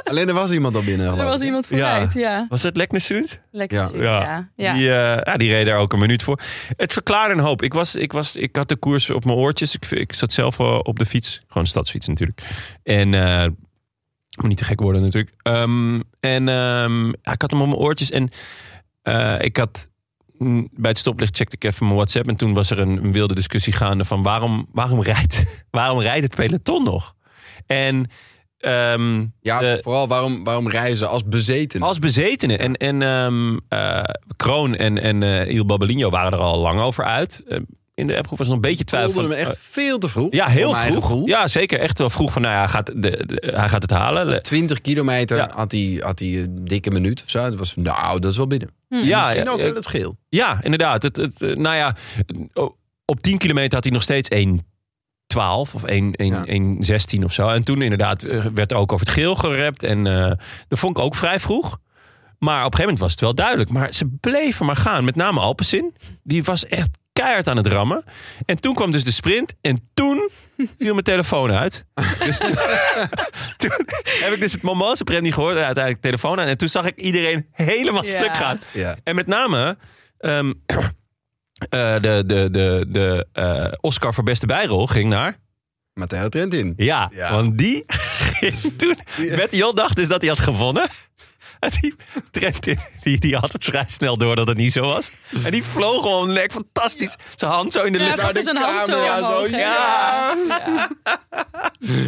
S2: Alleen er was iemand al binnen.
S3: Er
S2: geloof
S3: was
S2: ik.
S3: iemand
S1: Ja.
S3: vooruit, ja.
S1: Was het Leknesund?
S3: Lekker
S2: Ja.
S3: ja. ja. ja.
S1: Die, eh, ja, die reed daar ook een minuut voor. Het verklaarde een hoop. Ik, was, ik, was, ik had de koers op mijn oortjes. Ik, ik zat zelf eh, op de fiets. Gewoon stadsfiets natuurlijk. En eh, moet niet te gek worden natuurlijk. Ehm, en ehm, ja, ik had hem op mijn oortjes. En eh, ik had mm, bij het stoplicht checkte ik even mijn WhatsApp. En toen was er een, een wilde discussie gaande van waarom, waarom, rijdt, (laughs) waarom rijdt het peloton nog? En... ehm,
S2: Ja,
S1: de-
S2: vooral waarom, waarom reizen als bezeten?
S1: als bezetenen. En, en ehm, eh, Kroon en, en eh, Il Babelino waren er al lang over uit. Eh, in de appgroep was nog een beetje
S2: Ik
S1: twijfel.
S2: voelde
S1: van,
S2: hem echt
S1: eh,
S2: veel te vroeg.
S1: ja,
S2: voor
S1: heel
S2: mijn eigen
S1: vroeg.
S2: gevoel.
S1: Ja, zeker. Echt wel vroeg van, nou ja, hij gaat, de, de- hij gaat het halen. Le-
S2: 20 kilometer
S1: Ja.
S2: had hij, had hij een dikke minuut of zo. Het was, nou, dat is wel binnen.
S1: Ja,
S2: Misschien
S1: ja,
S2: ook
S1: eh,
S2: wel het geel.
S1: ja, inderdaad. Het, het, eh, nou ja, eh, op 10 kilometer had hij nog steeds 1 12 of 1, 1,
S2: Ja.
S1: 1 16 of zo. En toen inderdaad eh, werd er ook over het geel gerept. En eh, dat vond ik ook vrij vroeg. Maar op een gegeven moment was het wel duidelijk. Maar ze bleven maar gaan. Met name Alpecin. Die was echt keihard aan het rammen. En toen kwam dus de sprint. En toen viel mijn telefoon uit. Dus toen, (laughs) toen heb ik dus het Momoze prem niet gehoord. En uiteindelijk de telefoon aan. En toen zag ik iedereen helemaal
S3: Ja.
S1: stuk gaan.
S2: Ja.
S1: En met name ehm, eh, de, de, de, de eh, Oscar voor beste bijrol ging naar...
S2: Matteo Trentin.
S1: Ja,
S2: Ja.
S1: want die
S2: (laughs)
S1: ging toen... Betty Jol dacht dus dat hij had gewonnen. En die, Trent, die, die had het vrij snel door dat het niet zo was. En die vloog gewoon lek fantastisch. Zijn hand zo in de
S3: Ja,
S1: lucht.
S3: dat is een hand zo
S2: camera
S3: omhoog,
S2: zo,
S3: hè?
S2: ja.
S3: Ja.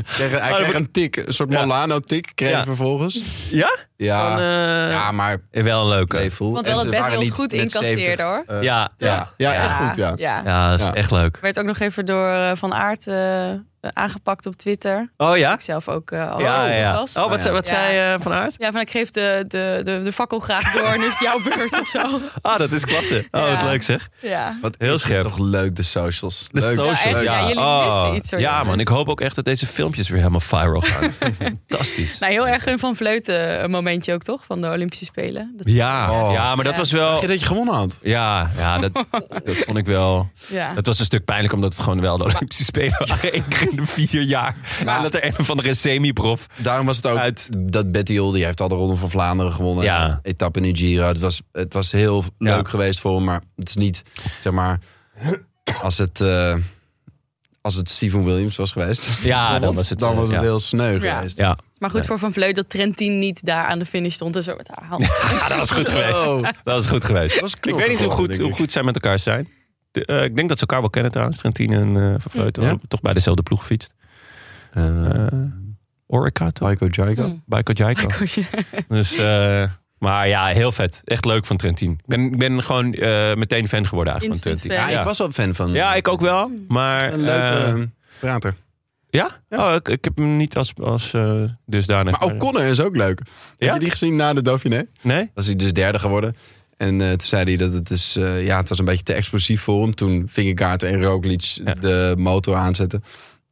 S2: Kreeg, hij
S1: Oh, dat
S2: kreeg
S1: wordt-
S2: een tik, een soort
S1: Ja.
S2: Molano-tik kreeg hij
S1: Ja.
S2: vervolgens.
S1: Ja?
S2: Ja,
S1: Van, eh,
S2: ja maar
S1: Wel een leuke.
S2: playful.
S3: Want
S2: En
S3: wel
S2: ze
S3: het best
S2: waren
S3: wel
S2: niet
S3: goed
S2: met 70.
S3: incasseerde hoor.
S2: Eh,
S1: ja, ja.
S2: Ja, ja, echt goed, ja.
S1: Ja, dat is
S2: Ja.
S1: echt leuk.
S3: Werd ook nog even door eh, Van Aard eh, aangepakt op Twitter.
S1: Oh ja?
S3: Ik zelf ook eh, al
S1: Ja, ja.
S3: was.
S1: Oh, wat,
S2: Ja.
S1: zei- wat
S3: Ja.
S1: zei eh Van Aert?
S3: Ja, van ik geef de, de, de, de fakkel graag door, dus jouw beurt of zo.
S1: Ah, dat is klasse. Oh,
S3: Ja.
S1: wat leuk zeg.
S3: Ja.
S2: Wat
S1: Heel
S2: is het
S1: scherp.
S2: toch leuk, de socials.
S1: De
S2: Leuk.
S1: socials,
S3: Ja, echt, ja, jullie missen iets, hoor,
S1: Ah. Ja,
S3: jongens.
S1: man, ik hoop ook echt dat deze filmpjes weer helemaal viral
S3: (laughs)
S1: gaan. Fantastisch.
S3: Nou, heel erg een Van Vleuten eh, momentje ook, toch? Van de Olympische Spelen. Dat-
S1: Ja,
S2: Oh.
S1: ja, maar dat
S3: Ja.
S1: was
S2: Dacht
S1: wel.
S2: je dat je gewonnen had?
S1: Ja, ja
S3: (laughs)
S1: dat, dat vond ik wel.
S3: ja.
S1: Het was een stuk pijnlijk omdat het gewoon wel de Olympische Spelen (laughs) waren. Eén keer in de vier jaar.
S2: Maar-
S1: en dat er een of andere semi-prof.
S2: Daarom was het ook
S1: Uit.
S2: dat Betty Hill, die heeft al de Ronde van Vlaanderen gewonnen.
S1: Ja.
S2: Etappe in de Giro. Het was, het was heel
S1: Ja.
S2: leuk geweest voor hem, maar het is niet, zeg maar, als het... eh, Als het Steven Williams was geweest,
S1: Ja, dan (laughs) was het,
S2: dan
S1: eh,
S2: was het
S1: ja.
S2: heel sneu
S3: Ja.
S2: geweest.
S1: Ja.
S3: Maar goed voor Van Vleut dat Trentin niet daar aan de finish stond en zo met haar hand. (laughs)
S1: Ja, Ah, dat was goed geweest.
S2: Oh.
S1: Dat is goed geweest.
S2: was
S1: ik
S2: knul
S1: weet niet hoe
S2: geworden,
S1: goed,
S2: denk
S1: hoe
S2: ik.
S1: goed zij met elkaar zijn. De, eh, ik denk dat ze elkaar wel kennen trouwens. Trentin en eh, Van Vleuten
S2: Ja.
S1: hebben toch bij dezelfde ploeg gefietst.
S2: Eh,
S1: Eh Orica toch?
S2: Michael Jaiko.
S3: Hmm.
S1: Bij Kojiko.
S3: Koosje.
S1: Dus, eh, maar ja, heel vet. Echt leuk van Trentin. Ik ben, ik ben gewoon eh, meteen fan geworden eigenlijk
S3: Instant
S1: van Trentin.
S2: Ja,
S3: fan.
S1: Ja,
S2: ik was al fan van.
S1: Ja, ik ook wel. Maar
S2: Een leuke
S1: eh,
S2: eh, prater.
S1: ja? Oh, ik, ik heb hem niet als, als eh, dusdanig.
S2: Maar O'Connor is ook leuk.
S1: Ja?
S2: Heb je die gezien na de Dauphiné?
S1: Nee?
S2: Was hij dus derde geworden. En eh, toen zei hij dat het, is, eh, ja, het was een beetje te explosief voor hem. Toen Vingegaard en Roglic de motor aanzetten.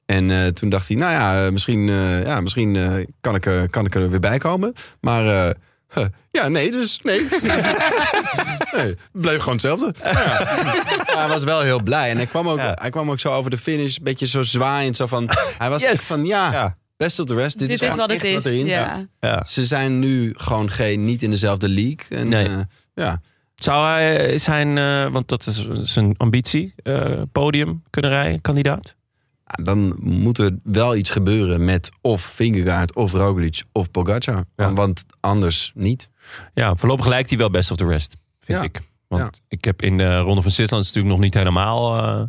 S2: En eh, toen dacht hij, nou ja, eh, misschien, eh, ja, misschien eh, kan, ik, er- kan ik er weer bij komen. Maar eh, huh, ja, nee, dus nee. (laughs) nee het bleef gewoon hetzelfde. Maar ja. Maar hij was wel heel blij. En hij kwam ook,
S1: Ja.
S2: hij kwam ook zo over de finish, een beetje zo zwaaiend. Zo van, hij was
S1: Yes.
S2: echt van, ja,
S1: Ja.
S2: best of the rest. Dit,
S3: Dit
S2: is,
S3: is
S2: gewoon
S3: wat het
S2: echt
S3: is.
S2: wat erin zat.
S3: ja.
S1: ja.
S2: Ze zijn nu gewoon geen, niet in dezelfde league. En,
S1: Nee.
S2: eh, ja.
S1: Zou hij zijn, eh, want dat is zijn ambitie, eh, podium kunnen rijden, kandidaat?
S2: Ja, Dan moet er wel iets gebeuren met of Vingegaard, of Roglic, of Pogacar.
S1: Ja.
S2: Want anders niet.
S1: Ja, voorlopig lijkt hij wel best of the rest, vind
S2: Ja.
S1: ik. Want ik heb in de Ronde van Zwitserland is het natuurlijk nog niet helemaal eh,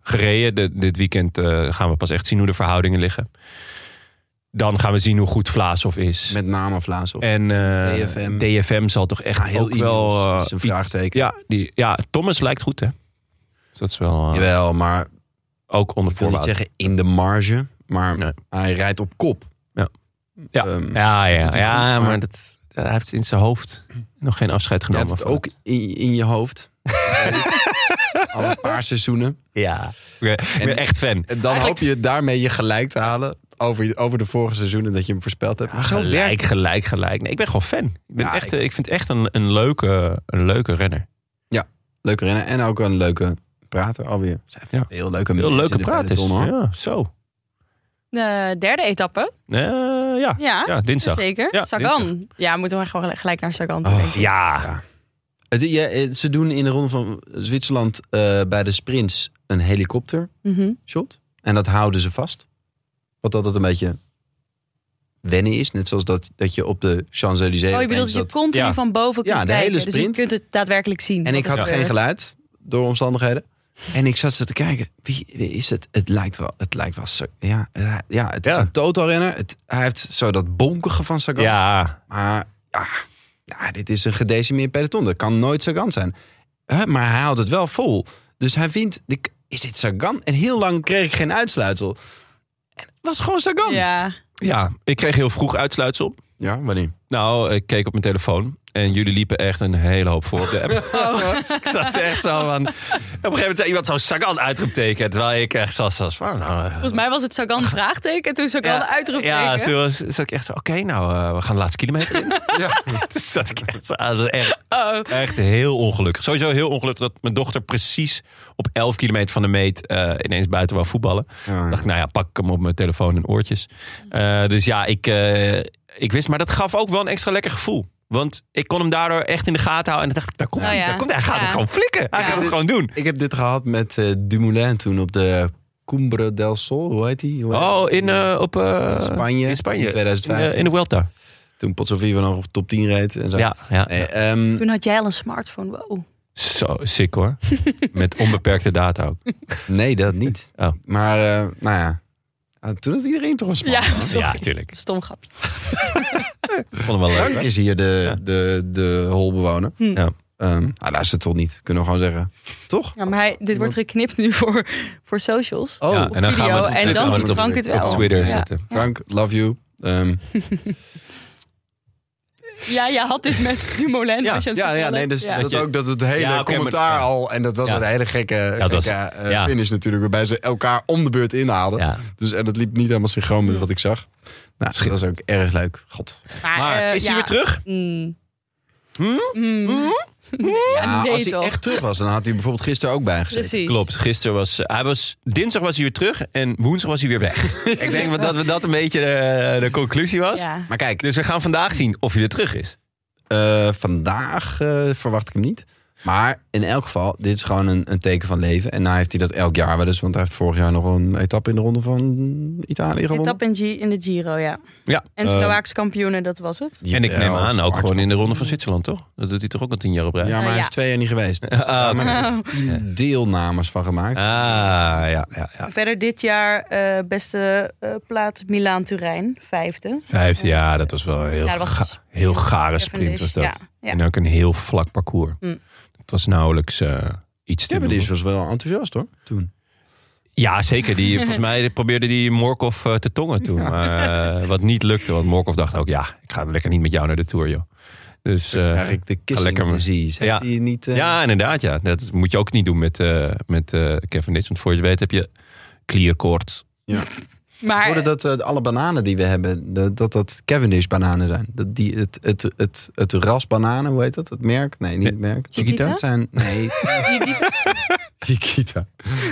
S1: gereden. De- dit weekend eh, gaan we pas echt zien hoe de verhoudingen liggen. Dan gaan we zien hoe goed Vlaashoff is.
S2: Met name Vlaas. Of,
S1: en eh,
S2: DFM.
S1: DFM zal toch echt
S2: Ja, Ah, heel
S1: ook wel...
S2: Ineos
S1: eh,
S2: is een
S1: iets-
S2: vraagteken.
S1: Ja, die, ja, Thomas lijkt goed, hè? Dus dat is wel eh,
S2: Jawel, maar
S1: ook onder
S2: ik wil niet
S1: voorwaarde.
S2: zeggen in de marge. Maar
S1: Nee.
S2: hij rijdt op kop.
S1: Ja. Ja.
S2: Ehm,
S1: Ja, ja,
S2: doet hij
S1: ja
S2: goed,
S1: maar,
S2: maar-
S1: dat, hij heeft in zijn hoofd nog geen afscheid
S2: je
S1: genomen.
S2: hebt het
S1: van
S2: ook in, in je
S1: (laughs)
S2: hoofd. Al een paar seizoenen.
S1: Ja. Ik ben, ik ben echt fan.
S2: En dan hoop je daarmee je gelijk te halen over, je- over de vorige seizoenen dat je hem voorspeld hebt. Maar zo werkt
S1: Gelijk, gelijk, gelijk. Nee, ik ben gewoon fan. Ik, ben
S2: Ja,
S1: echt,
S2: ik-
S1: eh, ik... vind echt een, een, leuke, een leuke renner.
S2: Leuke rennen en ook een leuke prater alweer.
S1: Ja.
S2: Heel leuke
S1: Veel
S2: mensen
S1: leuke
S2: in de
S1: praat is.
S2: peloton, hoor.
S1: Ja, zo.
S3: De derde etappe.
S1: Eh, ja.
S3: Ja,
S1: ja, dinsdag.
S3: Zeker.
S1: Ja,
S3: Sagan. Ja, moeten we gewoon gelijk naar Sagan toe
S2: Oh.
S3: denken.
S1: Ja.
S2: Het, ja, eh, ze doen in de Ronde van Zwitserland eh, bij de sprints een helikoptershot.
S3: Mhm.
S2: En dat houden ze vast. Wat altijd een beetje wennen is. Net zoals dat, dat je op de Champs-Élysées...
S3: Oh, je bedoelt
S2: opeens
S3: dat je
S2: dat-
S3: continu
S1: Ja.
S3: van boven
S2: Ja,
S3: kunt
S2: de hele
S3: kijken. Dus je
S2: sprint.
S3: kunt het daadwerkelijk zien.
S2: En
S3: wat
S2: ik
S3: er
S2: had
S3: gebeurt.
S2: geen geluid door omstandigheden. En ik zat zo te kijken, wie, wie is het? Het lijkt wel, het lijkt wel, Sa- ja, eh, ja het is
S1: Ja.
S2: een totalrenner. Het, hij heeft zo dat bonkige van Sagan.
S1: Ja.
S2: Maar ja, ja, dit is een gedecimeerd peloton. Dat kan nooit Sagan zijn. Hè, maar hij houdt het wel vol. Dus hij vindt, de k- is dit Sagan? En heel lang kreeg ik geen uitsluitsel. En het was gewoon Sagan.
S3: Ja,
S1: ja, ik kreeg heel vroeg uitsluitsel.
S2: Ja, wanneer?
S1: Nou, ik keek op mijn telefoon. En jullie liepen echt een hele hoop voor op de app.
S3: (laughs)
S1: (laughs) Dus ik zat echt zo van... Op een gegeven moment zei iemand zo Sagan uitroepteken. Terwijl ik echt zo was van... Nou, eh,
S3: volgens mij was
S2: (laughs)
S3: het Sagan vraagteken en toen Sagan
S1: Ja,
S3: uitroepteken.
S1: Ja, toen was, zat ik echt zo, oké, nou, eh, we gaan de laatste kilometer in. ja. (laughs) Toen zat ik echt zo aan, dat was echt,
S3: Oh.
S1: echt heel ongelukkig. Sowieso heel ongelukkig dat mijn dochter precies op 11 kilometer van de meet eh, ineens buiten wou voetballen.
S2: Ja.
S1: dacht ik, nou ja, pak ik hem op mijn telefoon en oortjes. Eh, dus ja, ik, eh, ik wist, maar dat gaf ook wel een extra lekker gevoel. Want ik kon hem daardoor echt in de gaten houden. En dan dacht ik, daar komt
S3: Nou
S1: hij.
S3: ja.
S1: Daar komt hij. Hij gaat
S3: Ja.
S1: het gewoon flikken. Hij
S3: Ja.
S1: gaat het gewoon doen.
S2: Ik heb dit gehad met eh, Dumoulin toen op de Cumbre del Sol. Hoe heet die? Hoe heet
S1: Oh,
S2: die?
S1: in, eh, op, eh,
S2: Spanje,
S1: In Spanje.
S2: in 2015.
S1: In, eh, in de Welta.
S2: Toen Potsovivo nog op top 10 reed. En zo.
S1: Ja, ja.
S2: Nee, ehm,
S3: Toen had jij al een smartphone. Wow.
S1: Zo sick
S3: (laughs)
S1: hoor. Met onbeperkte data ook.
S2: nee, dat niet.
S1: Oh.
S2: Maar eh, nou ja, Ah, toen had iedereen toch een smaak.
S3: Ja, (laughs) sorry.
S1: Ja, natuurlijk.
S3: Stom grapje.
S1: Vond hem wel leuk.
S2: Frank is hier de,
S1: Ja.
S2: de, de holbewoner.
S3: Hm.
S1: Ja.
S2: Ehm, ah, daar is het toch niet, kunnen we gewoon zeggen. Toch?
S3: Ja, maar hij, dit wordt geknipt nu voor, voor socials.
S2: Oh,
S1: Ja, en dan gaan we
S3: video.
S1: het op
S3: en
S1: Twitter
S3: dan
S2: ook
S3: ziet
S2: nog
S3: Frank het
S2: even
S3: wel.
S1: Op Twitter
S3: ja.
S1: zetten.
S2: Frank, love you.
S3: (laughs)
S2: Ehm,
S3: Ja, jij had dit
S1: (laughs)
S3: met Dumoulin.
S1: Ja.
S3: was je aan het
S2: ja, ja,
S3: vertellen.
S2: nee, dus
S3: Ja.
S2: dat
S1: je-
S2: ook dat het hele
S1: Ja, oké, maar-
S2: commentaar
S1: ja.
S2: al... En dat was
S1: Ja.
S2: een hele gekke,
S1: dat was-
S2: gekke, eh,
S1: ja.
S2: finish natuurlijk, waarbij ze elkaar om de beurt inhaalden.
S1: Ja.
S2: Dus, en dat liep niet helemaal synchroon met wat ik zag. Nou, dat was ook erg leuk. God.
S1: Maar
S3: eh,
S1: is hij
S3: ja.
S1: weer terug? Hm?
S3: Mm. Mm. Ja,
S2: Nou,
S3: nee,
S2: als hij
S3: toch? Dus-
S2: echt terug was, dan had hij bijvoorbeeld gisteren ook bij gezeten.
S3: Precies.
S1: Klopt. Gisteren was eh, hij was dinsdag was hij weer terug en woensdag was hij weer weg. Ik denk dat dat, dat een beetje eh, de, de conclusie was.
S3: Ja.
S2: Maar kijk,
S1: Dus we gaan vandaag zien of hij weer terug is.
S2: eh, vandaag eh, verwacht ik hem niet. Maar in elk geval, dit is gewoon een, een teken van leven. En nou heeft hij dat elk jaar wel eens. Want hij heeft vorig jaar nog een etappe in de ronde van Italië gewonnen.
S3: Etap in, G- in de Giro, ja.
S1: Ja. Eh,
S3: En Slovaaks kampioenen, dat was het.
S2: Die-
S1: en ik neem
S2: ja,
S1: aan ook
S2: hard.
S1: gewoon in de Ronde van Zwitserland, toch? Dat doet hij toch ook al tien jaar op rij?
S2: Ja, maar hij
S3: Ja.
S2: is twee jaar niet geweest.
S1: (laughs)
S2: Dus
S1: Ah,
S2: daar
S1: oké.
S2: hebben we tien deelnames van gemaakt.
S1: Ah, ja, ja, ja.
S3: Verder dit jaar eh, beste eh, plaats Milaan-Turijn, vijfde.
S1: Vijfde, ja, dat was wel een heel,
S3: Ja, dat was
S1: ga-
S3: een sprint.
S1: heel gare
S3: Even
S1: sprint
S3: dus,
S1: was dat.
S3: Ja, ja.
S1: En ook een heel vlak parcours.
S3: Mm.
S1: Het was nauwelijks eh, iets te
S2: Stibbe
S1: doen.
S2: is was wel enthousiast hoor, toen.
S1: Ja, zeker.
S3: (laughs)
S1: Die, volgens mij probeerde die Morkov eh, te tongen toen. Maar, eh, wat niet lukte, want Morkov dacht ook... ja, ik ga lekker niet met jou naar de Tour, joh. Dus, eh,
S2: Eigenlijk de kissing
S1: lekker-
S2: disease. Heeft
S1: Ja.
S2: hij niet... eh,
S1: ja, inderdaad, ja. Dat moet je ook niet doen met, eh met eh Kevin Ditch. Want voor je het weet heb je klierkoorts.
S2: Ik
S3: Maar
S2: hoorde dat eh, alle bananen die we hebben, de- dat dat Cavendish bananen zijn. Dat die, het, het, het, het ras bananen, hoe heet dat? Het merk? Nee, niet het merk.
S3: Chiquita?
S2: Dat zijn,
S1: (laughs)
S2: nee. Higita.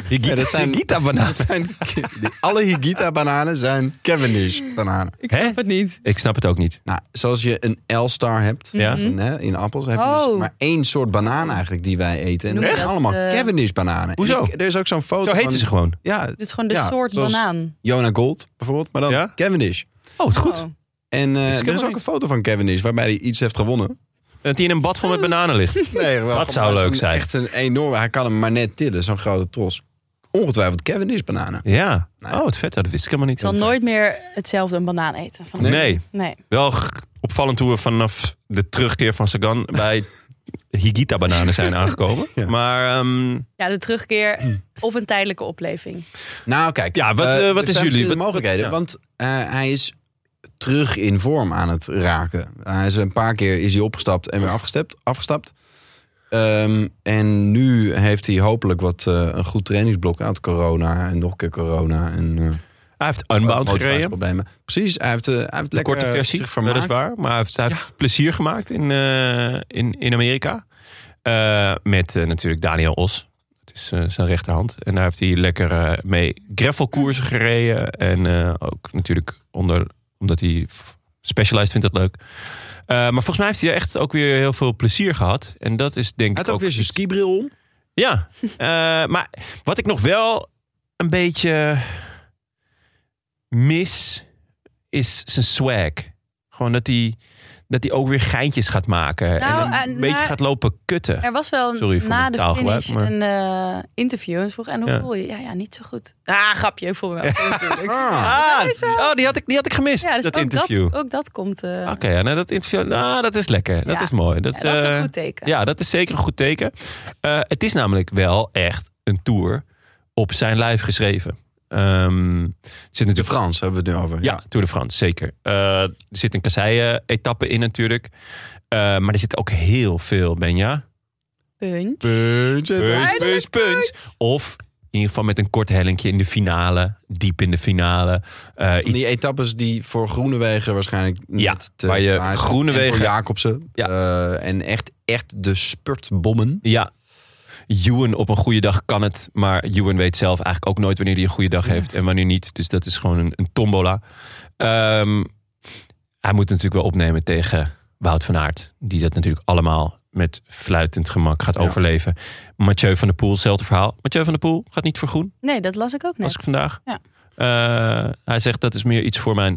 S2: Ja, dat zijn-
S1: Gita-banaan.
S2: (laughs) Dat zijn, die- alle Higita bananen zijn Cavendish bananen.
S3: ik snap
S1: Hè?
S3: het niet.
S1: Ik snap het ook niet.
S2: Nou, zoals je een L-star hebt
S1: Ja.
S2: in, hè, in appels, heb je dus
S3: Oh.
S2: maar één soort banaan eigenlijk die wij eten. En
S3: Noem
S2: dat
S3: je
S2: zijn
S3: dat,
S2: allemaal
S3: eh,
S2: Cavendish bananen.
S1: Hoezo?
S2: Ik- er is ook zo'n foto
S1: Zo heten
S2: van-
S1: ze gewoon.
S2: Ja,
S3: Dit is gewoon de
S2: Ja,
S3: soort
S2: zoals-
S3: banaan.
S2: Jonah Gold bijvoorbeeld, maar dan
S1: Ja?
S2: Cavendish.
S1: Oh, het is goed.
S3: Oh.
S2: En eh,
S1: Is
S2: er is
S1: Cavendish.
S2: ook een foto van Cavendish waarbij hij iets heeft
S1: (laughs)
S2: gewonnen.
S1: Dat hij in een bad vol met bananen ligt. (laughs)
S2: Nee, wel
S1: Dat zou
S2: gewoon
S1: leuk
S2: zo'n-
S1: zijn.
S2: Echt een enorme. Hij kan hem maar net tillen, zo'n grote tros. Ongetwijfeld Cavendish bananen.
S1: Ja. Oh, wat vet. Dat wist ik helemaal niet.
S3: Ik zal nooit meer hetzelfde een banaan eten. Van
S1: Nee.
S3: nee.
S1: Wel g- opvallend hoe we vanaf de terugkeer van Sagan bij Higita-bananen zijn (laughs) aangekomen. Maar ehm,
S3: Ja, de
S1: Hm.
S3: terugkeer of een tijdelijke opleving.
S2: Nou, kijk.
S1: Ja, wat,
S2: eh,
S1: eh, wat
S2: er
S1: is
S2: zijn
S1: jullie?
S2: verschillende
S1: Wat- wat-
S2: mogelijkheden.
S1: ja.
S2: Want eh, hij is terug in vorm aan het raken. Hij is een paar keer is hij opgestapt en weer afgestapt. afgestapt. Ehm, en nu heeft hij hopelijk wat eh, een goed trainingsblok uit corona en nog een keer corona en eh,
S1: hij heeft Unbound gereden.
S2: motivatieproblemen. Precies, hij heeft, eh, hij heeft
S1: De
S2: lekker
S1: korte
S2: eh,
S1: versie,
S2: zich vermaakt.
S1: weliswaar. Maar hij heeft, hij heeft plezier gemaakt in, eh, in, in Amerika. Eh, met eh, natuurlijk Daniel Os. Het is eh, zijn rechterhand. En daar heeft hij lekker eh, mee gravelkoersen gereden. En eh, ook natuurlijk onder, omdat hij f- Specialized vindt dat leuk. Eh, maar volgens mij heeft hij echt ook weer heel veel plezier gehad. En dat is denk
S2: Hij
S1: ik
S2: had ook weer zijn skibril om.
S1: Ja, eh, maar wat ik nog wel een beetje mis, is zijn swag. Gewoon dat hij, dat hij ook weer geintjes gaat maken. en
S3: Nou,
S1: een
S3: eh,
S1: beetje
S3: maar-
S1: gaat lopen kutten.
S3: Er was wel een-
S1: Sorry voor
S3: na
S1: mijn
S3: de
S1: taalgebruik,
S3: finish
S1: maar-
S3: een eh, interview. En ze vroeg, en hoe
S1: Ja.
S3: voel je? Ja, ja, niet zo goed. Ah, grapje, ik voel me wel goed
S1: (laughs)
S3: natuurlijk.
S2: Ah.
S1: Ah,
S3: is wel-
S1: oh, die had ik, die had ik gemist,
S3: Ja, dus
S1: dat
S3: ook,
S1: interview.
S3: Dat, ook dat komt... eh,
S1: Oké, ja, nou, dat interview, nou, dat is lekker. Dat
S3: Ja.
S1: is mooi. Dat,
S3: ja, dat is
S1: eh,
S3: een goed teken.
S1: Ja, dat is zeker een goed teken. Eh, het is namelijk wel echt een tour op zijn lijf geschreven. Ehm, er zit
S2: De
S1: natuurlijk
S2: Frans hebben we het nu over.
S1: Ja, Tour de France, zeker. Eh, er zit een kasseien-etappe in natuurlijk. Eh, maar er zit ook heel veel, Benja.
S3: Puntje.
S1: Punch, punch, punch. Of in ieder geval met een kort hellinkje in de finale. Diep in de finale. Eh,
S2: Van
S1: iets,
S2: Die etappes die voor Groenewegen waarschijnlijk
S1: Ja,
S2: net te
S1: waar je
S2: klaar zijn.
S1: Groenewegen-
S2: En voor Jacobsen. Eh, en echt, echt de spurtbommen.
S1: ja. Ewan op een goede dag kan het. Maar Ewan weet zelf eigenlijk ook nooit wanneer hij een goede dag heeft. En wanneer niet. Dus dat is gewoon een, een tombola. Ehm, hij moet natuurlijk wel opnemen tegen Wout van Aert. Die dat natuurlijk allemaal met fluitend gemak gaat
S2: Ja.
S1: overleven. Mathieu van der Poel, hetzelfde verhaal. Mathieu van der Poel gaat niet voor groen,
S3: Nee, dat las ik ook
S1: als
S3: net.
S1: ik vandaag.
S3: Ja.
S1: Eh, hij zegt dat is meer iets voor mijn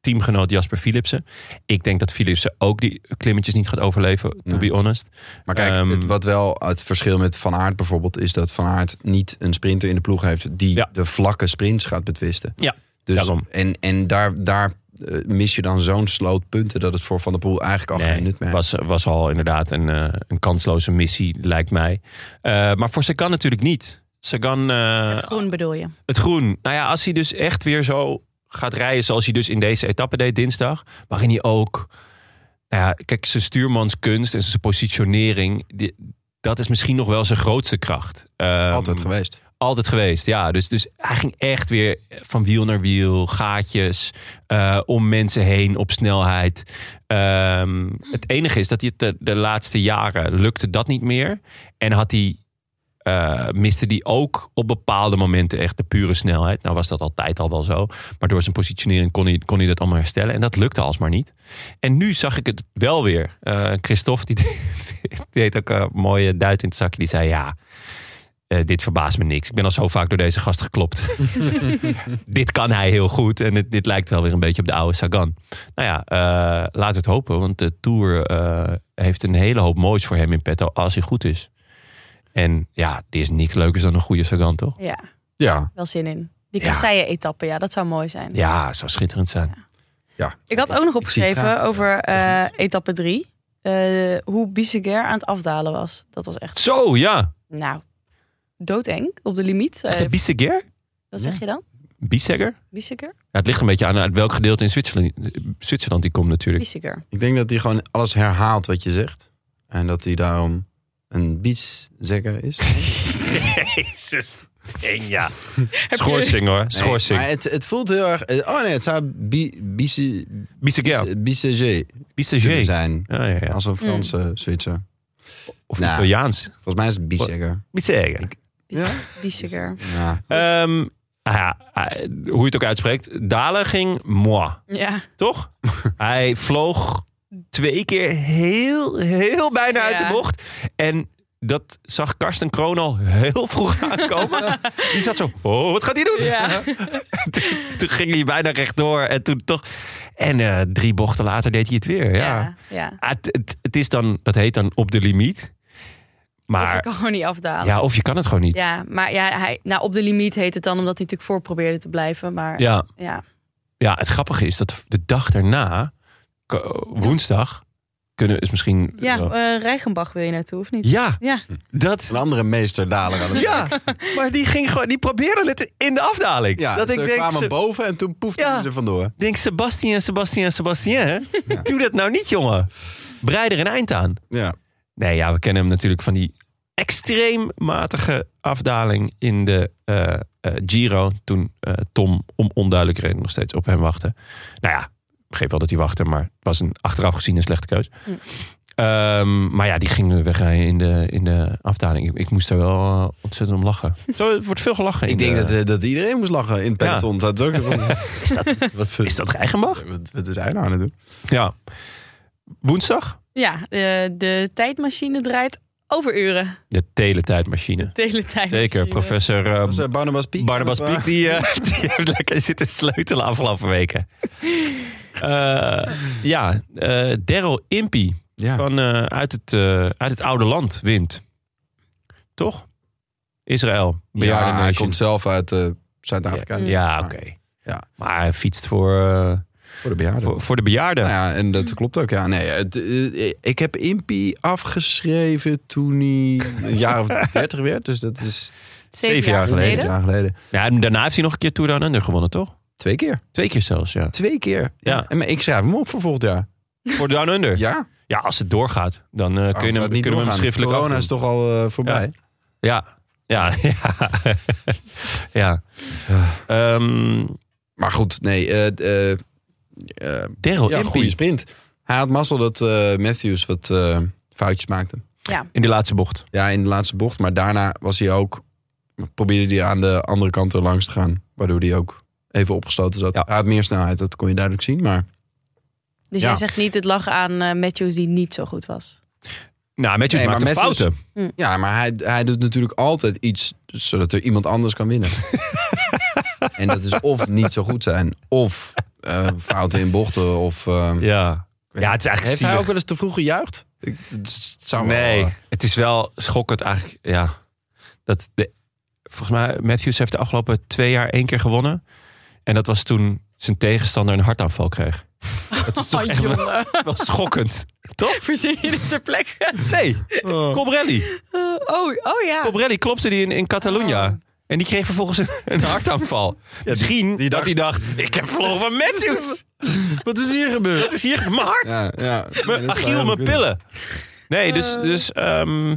S1: teamgenoot Jasper Philipsen. Ik denk dat Philipsen ook die klimmetjes niet gaat overleven, to
S2: Nee.
S1: be honest.
S2: Maar kijk,
S1: Ehm.
S2: het, wat wel het verschil met Van Aert bijvoorbeeld... is dat Van Aert niet een sprinter in de ploeg heeft... die
S1: Ja.
S2: de vlakke sprints gaat betwisten.
S1: Ja,
S2: dus,
S1: daarom.
S2: En, en daar, daar eh, mis je dan zo'n sloot punten... dat het voor Van der Poel eigenlijk al geen nut meer heeft.
S1: was, was al inderdaad een, eh, een kansloze missie, lijkt mij. Eh, maar voor Sagan natuurlijk niet. Sagan, eh,
S3: Het groen bedoel je.
S1: Het groen. Nou ja, als hij dus echt weer zo gaat rijden zoals hij dus in deze etappe deed dinsdag. Waarin hij ook... Nou ja, kijk, zijn stuurmanskunst en zijn positionering... Die, dat is misschien nog wel zijn grootste kracht. Ehm,
S2: Altijd geweest.
S1: Altijd geweest, ja. Dus, dus hij ging echt weer van wiel naar wiel, gaatjes, eh, om mensen heen op snelheid. Ehm, het enige is dat hij het de, de laatste jaren lukte dat niet meer. En had hij, eh, miste hij ook op bepaalde momenten echt de pure snelheid. Nou was dat altijd al wel zo. Maar door zijn positionering kon hij, kon hij dat allemaal herstellen. En dat lukte alsmaar niet. En nu zag ik het wel weer. Eh Christophe, die, (laughs) deed ook een mooie duit in het zakje. Die zei, ja, eh, dit verbaast me niks. Ik ben al zo vaak door deze gast geklopt. dit kan hij heel goed. En dit, dit lijkt wel weer een beetje op de oude Sagan. Nou ja, eh, laten we het hopen. Want de Tour eh, heeft een hele hoop moois voor hem in petto. Als hij goed is. En ja, er is niks leukers dan een goede Sagan, toch?
S3: Ja,
S2: Ja,
S3: wel zin in. Die
S1: Ja.
S3: kasseien-etappe, ja, dat zou mooi zijn.
S1: Ja, het zou schitterend zijn.
S3: Ik had ook nog
S2: zie het
S3: opgeschreven
S2: graag.
S3: over eh, etappe 3. hoe Bieseguer aan het afdalen was. Dat was echt,
S1: Zo, ja.
S3: nou, doodeng op de limiet. Eh,
S1: Bieseguer?
S3: wat zeg je dan?
S1: Bieseguer?
S3: Bieseguer?
S1: Ja, het ligt een beetje aan uit welk gedeelte in Zwitserland, Zwitserland die komt natuurlijk.
S3: Bieseguer.
S2: ik denk dat hij gewoon alles herhaalt wat je zegt. En dat hij daarom een
S1: (laughs)
S2: beachzekker is.
S1: Jezus. (laughs) ja. Schorsing hoor,
S2: Nee,
S1: schorsing.
S2: maar het, het voelt heel erg... eh, Oh nee, het zou bi- bice-
S1: Bieseguer,
S2: bice- biceger kunnen
S1: Bieseger.
S2: zijn.
S1: Ja, ja, ja.
S2: Als een Franse Zwitser.
S1: Of
S2: Nou.
S1: Italiaans.
S2: Volgens mij is het bicekker.
S1: Bieseger.
S3: Bieseguer.
S2: Ja.
S1: Ehm, ah ja, ah, hoe je het ook uitspreekt. Dalen ging moi,
S3: Ja.
S2: (laughs)
S1: toch? Hij vloog twee keer heel, heel bijna uit de
S3: Ja.
S1: bocht. En dat zag Karsten Kroon al heel
S3: (laughs)
S1: vroeg aankomen. Die zat zo, oh, wat gaat hij doen?
S3: ja.
S1: toen, toen ging hij bijna rechtdoor en toen toch. En eh, drie bochten later deed hij het weer. Ja.
S3: Ja. ja.
S1: Ah, het, het, het is dan, dat heet dan op de limiet.
S3: Of ik
S1: Maar
S3: kan gewoon niet afdalen. Ja.
S1: ja, of je kan het gewoon niet. Ja,
S3: maar ja, hij, nou, op de limiet heet het dan, omdat hij natuurlijk voor probeerde te blijven. Maar ja,
S1: ja,
S3: ja,
S1: het grappige is dat de dag daarna, ko- woensdag, kunnen is misschien. eh,
S3: eh, Reichenbach wil je naartoe, of niet?
S1: ja,
S3: Ja,
S1: dat.
S2: Een andere meester daler aan het
S1: Ja, maar die, ging gewoon, die probeerde het in de afdaling.
S2: Ja,
S1: dat
S2: ze
S1: ik denk,
S2: kwamen
S1: ze,
S2: boven en toen poefde
S1: Ja.
S2: hij er vandoor.
S1: denk Sebastien, Sebastien, Sebastien. Doe dat nou niet, jongen. Breid er een eind aan.
S2: Ja.
S1: Nee, ja, we kennen hem natuurlijk van die extreem matige afdaling in de eh, eh, Giro. Toen eh, Tom om onduidelijke reden nog steeds op hem wachtte. Nou ja, ik begreep wel dat hij wachtte, maar het was een, achteraf gezien een slechte keus.
S3: Hm.
S1: Ehm, maar ja, die ging wegrijden in de, in de afdaling. Ik, ik moest daar wel eh, ontzettend om lachen. (laughs) Zo, er wordt veel gelachen. in
S2: Ik denk
S1: de-
S2: dat, eh, dat iedereen moest lachen in het
S1: Ja.
S2: peloton.
S1: (laughs)
S2: Dat is ook van,
S1: is, dat,
S2: wat,
S1: is dat Reichenbach?
S2: Wat, wat is hij nou aan het doen?
S1: Ja. Woensdag?
S3: ja eh, de tijdmachine draait over uren.
S1: De teletijdmachine.
S3: (laughs) De hele tijdmachine.
S1: Zeker, professor eh,
S2: Was eh, Barnabas Piek?
S1: Barnabas
S2: Of, eh,
S1: Piek, die, eh, (laughs) die heeft lekker zitten sleutelen afgelopen weken. Eh, ja, eh Daryl Impy
S2: Ja.
S1: van, eh, uit, het, eh, uit het oude land wint. Toch? Israël. Bejaarden
S2: ja, hij
S1: Nation.
S2: komt zelf uit eh, Zuid-Afrika.
S1: Ja, oké.
S2: Ja.
S1: Maar hij fietst voor, eh,
S2: Voor de bejaarden.
S1: voor, voor de bejaarden.
S2: Nou ja, en dat klopt ook. Ja, nee, het, eh, ik heb Impie afgeschreven toen hij een
S1: (laughs)
S2: jaar of dertig werd. Dus dat is
S1: Zeven jaar
S2: een
S1: geleden?
S2: jaar geleden.
S1: Ja, en daarna heeft hij nog een keer Tour Down Under gewonnen, toch?
S2: Twee keer.
S1: Twee keer zelfs, ja.
S2: Twee keer.
S1: Ja.
S2: En, maar ik schrijf hem op voor volgend jaar.
S1: Voor Down Under. Ja,
S2: Ja.
S1: als het doorgaat, dan eh,
S2: Waarom
S1: kun je
S2: zou
S1: hem,
S2: het niet
S1: kunnen we hem
S2: doorgaan?
S1: schriftelijk
S2: Corona
S1: afdoen.
S2: is toch al eh, voorbij.
S1: Ja, ja, (laughs) ja. ja. Ehm,
S2: Maar goed, nee. eh, eh, eh,
S1: Daryl
S2: ja,
S1: Impey
S2: goede sprint. Hij had mazzel dat eh, Matthews wat eh, foutjes maakte.
S1: in de laatste bocht.
S2: Ja, in de laatste bocht. Maar daarna was hij ook... Probeerde hij aan de andere kant er langs te gaan. Waardoor hij ook even opgesloten zat.
S1: Ja.
S2: Hij had meer snelheid, dat kon je duidelijk zien. Maar
S3: Dus
S2: Ja.
S3: jij zegt niet het lachen aan eh, Matthews die niet zo goed was.
S1: Nou, Matthews
S2: Nee, maar
S1: maakte
S2: Matthews-
S1: fouten.
S2: ja, maar hij, hij doet natuurlijk altijd iets... zodat er iemand anders kan (laughs) winnen. en dat is of niet zo goed zijn... of eh, fouten in bochten. Of, eh,
S1: Ja. ja, het is eigenlijk
S2: heeft hij ook
S1: zielig.
S2: wel eens te vroeg gejuicht? Ik, het zou wel,
S1: Nee,
S2: eh,
S1: het is wel schokkend eigenlijk. Ja, dat de, volgens mij, Matthews heeft de afgelopen twee jaar één keer gewonnen. En dat was toen zijn tegenstander een hartaanval (laughs) kreeg. Dat is toch echt wel, wel (laughs) schokkend. Toch?
S3: Verzin je dit ter plekke?
S1: Nee, Cobrelli.
S3: Eh, oh, oh ja.
S1: Cobrelli klopte die in, in Catalonia. En die kreeg vervolgens een, een hartaanval. Misschien dat hij dacht, ik heb verloren van Matthews.
S2: Wat is hier gebeurd?
S1: Dat is hier mijn hart.
S2: Ja, ja.
S1: Mijn Achiel, mijn pillen. Nee, dus, dus ehm,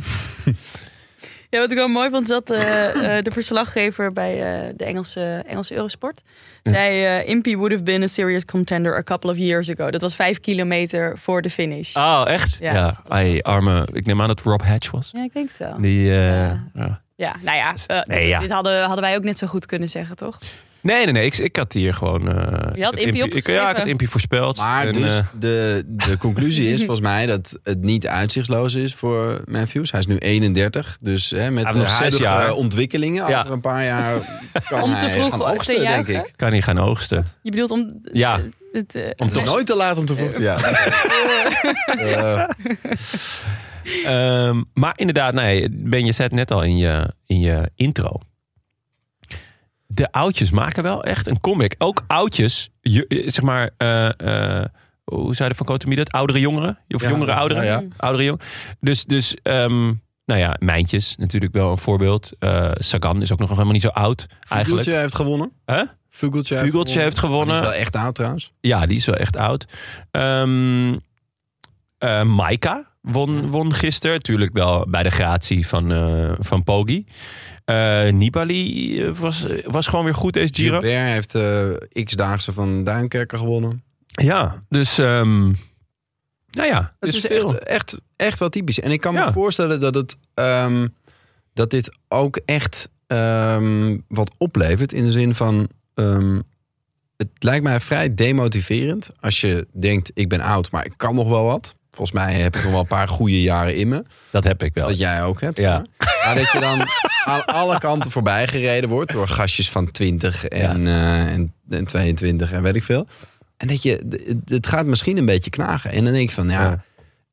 S3: Ja, wat ik wel mooi vond, zat eh, eh, de verslaggever bij eh, de Engelse, Engelse Eurosport. Zij, eh, Impy would have been a serious contender a couple of years ago. Dat was vijf kilometer voor de finish.
S1: oh, echt? Ja,
S3: Ja, dat was-
S1: ai, arme, ik neem aan dat Rob Hatch was.
S3: Ja, ik denk het wel.
S1: Die, eh,
S3: Ja.
S1: ja.
S3: Ja, nou ja, eh,
S1: Nee, ja.
S3: dit hadden, hadden wij ook net zo goed kunnen zeggen, toch?
S1: Nee, nee, nee. Ik, ik had hier gewoon... eh, ik
S3: had
S1: het ik, Ja,
S3: Impie
S1: ik had
S3: opgeschreven.
S1: Impie voorspeld.
S2: Maar
S1: En,
S2: dus
S1: eh,
S2: de,
S1: (laughs)
S2: de conclusie is volgens mij dat het niet uitzichtloos is voor Matthews. Hij is nu 31, dus hè, met
S1: heeft nog
S2: de
S1: zes
S2: huidige
S1: jaar.
S2: ontwikkelingen
S1: Ja.
S2: over een paar
S1: (laughs)
S2: jaar kan
S3: Om te
S2: hij
S3: vroeg
S2: gaan
S3: te
S2: oogsten, denk
S3: juichen?
S2: ik.
S1: kan niet gaan oogsten.
S3: Je bedoelt om...
S1: Ja.
S3: Het, eh,
S1: Om
S2: Het is
S1: te
S2: nog nooit te laat om te vroeg
S1: (laughs)
S2: te juichen. Eh,
S1: Ehm, maar inderdaad, nee, Ben, je zei het net al in je, in je intro. De oudjes maken wel echt een comic. Ook oudjes, je- eh, zeg maar, eh, eh, hoe zei de Van Kotemie dat? Oudere jongeren? Of
S2: Ja,
S1: jongere
S2: ja,
S1: ouderen?
S2: ja.
S1: Oudere jongeren. Dus, dus ehm, nou ja, Mijntjes natuurlijk wel een voorbeeld. Eh, Sagan is ook nog helemaal niet zo oud eigenlijk.
S2: Vugeltje heeft gewonnen.
S1: Huh?
S2: Vugeltje,
S1: Vugeltje heeft gewonnen.
S2: Maar die is wel echt oud trouwens.
S1: Ja, die is wel echt oud. Ehm eh, Maika won, won gisteren. Natuurlijk wel bij de gratie van, eh van Poggi. Eh, Nibali eh, was, was gewoon weer goed deze Giro.
S2: Gilbert heeft eh, x-daagse van Duinkerker gewonnen.
S1: Ja, dus... ehm, nou ja,
S2: Het
S1: dus
S2: is
S1: veel.
S2: echt, echt, echt wel typisch. En ik kan
S1: Ja.
S2: me voorstellen dat, het, ehm, dat dit ook echt ehm, wat oplevert. In de zin van, ehm, het lijkt mij vrij demotiverend. Als je denkt, ik ben oud, maar ik kan nog wel wat. Volgens mij heb ik nog wel een paar goede jaren in me.
S1: dat heb ik wel.
S2: Dat jij ook hebt.
S1: Ja.
S2: zeg Maar Maar dat je
S1: (laughs)
S2: dan aan alle kanten voorbij gereden wordt door gastjes van 20 en, eh, en, en 22 en weet ik veel. En dat je, d- het- het gaat misschien een beetje knagen. En dan denk ik van, ja,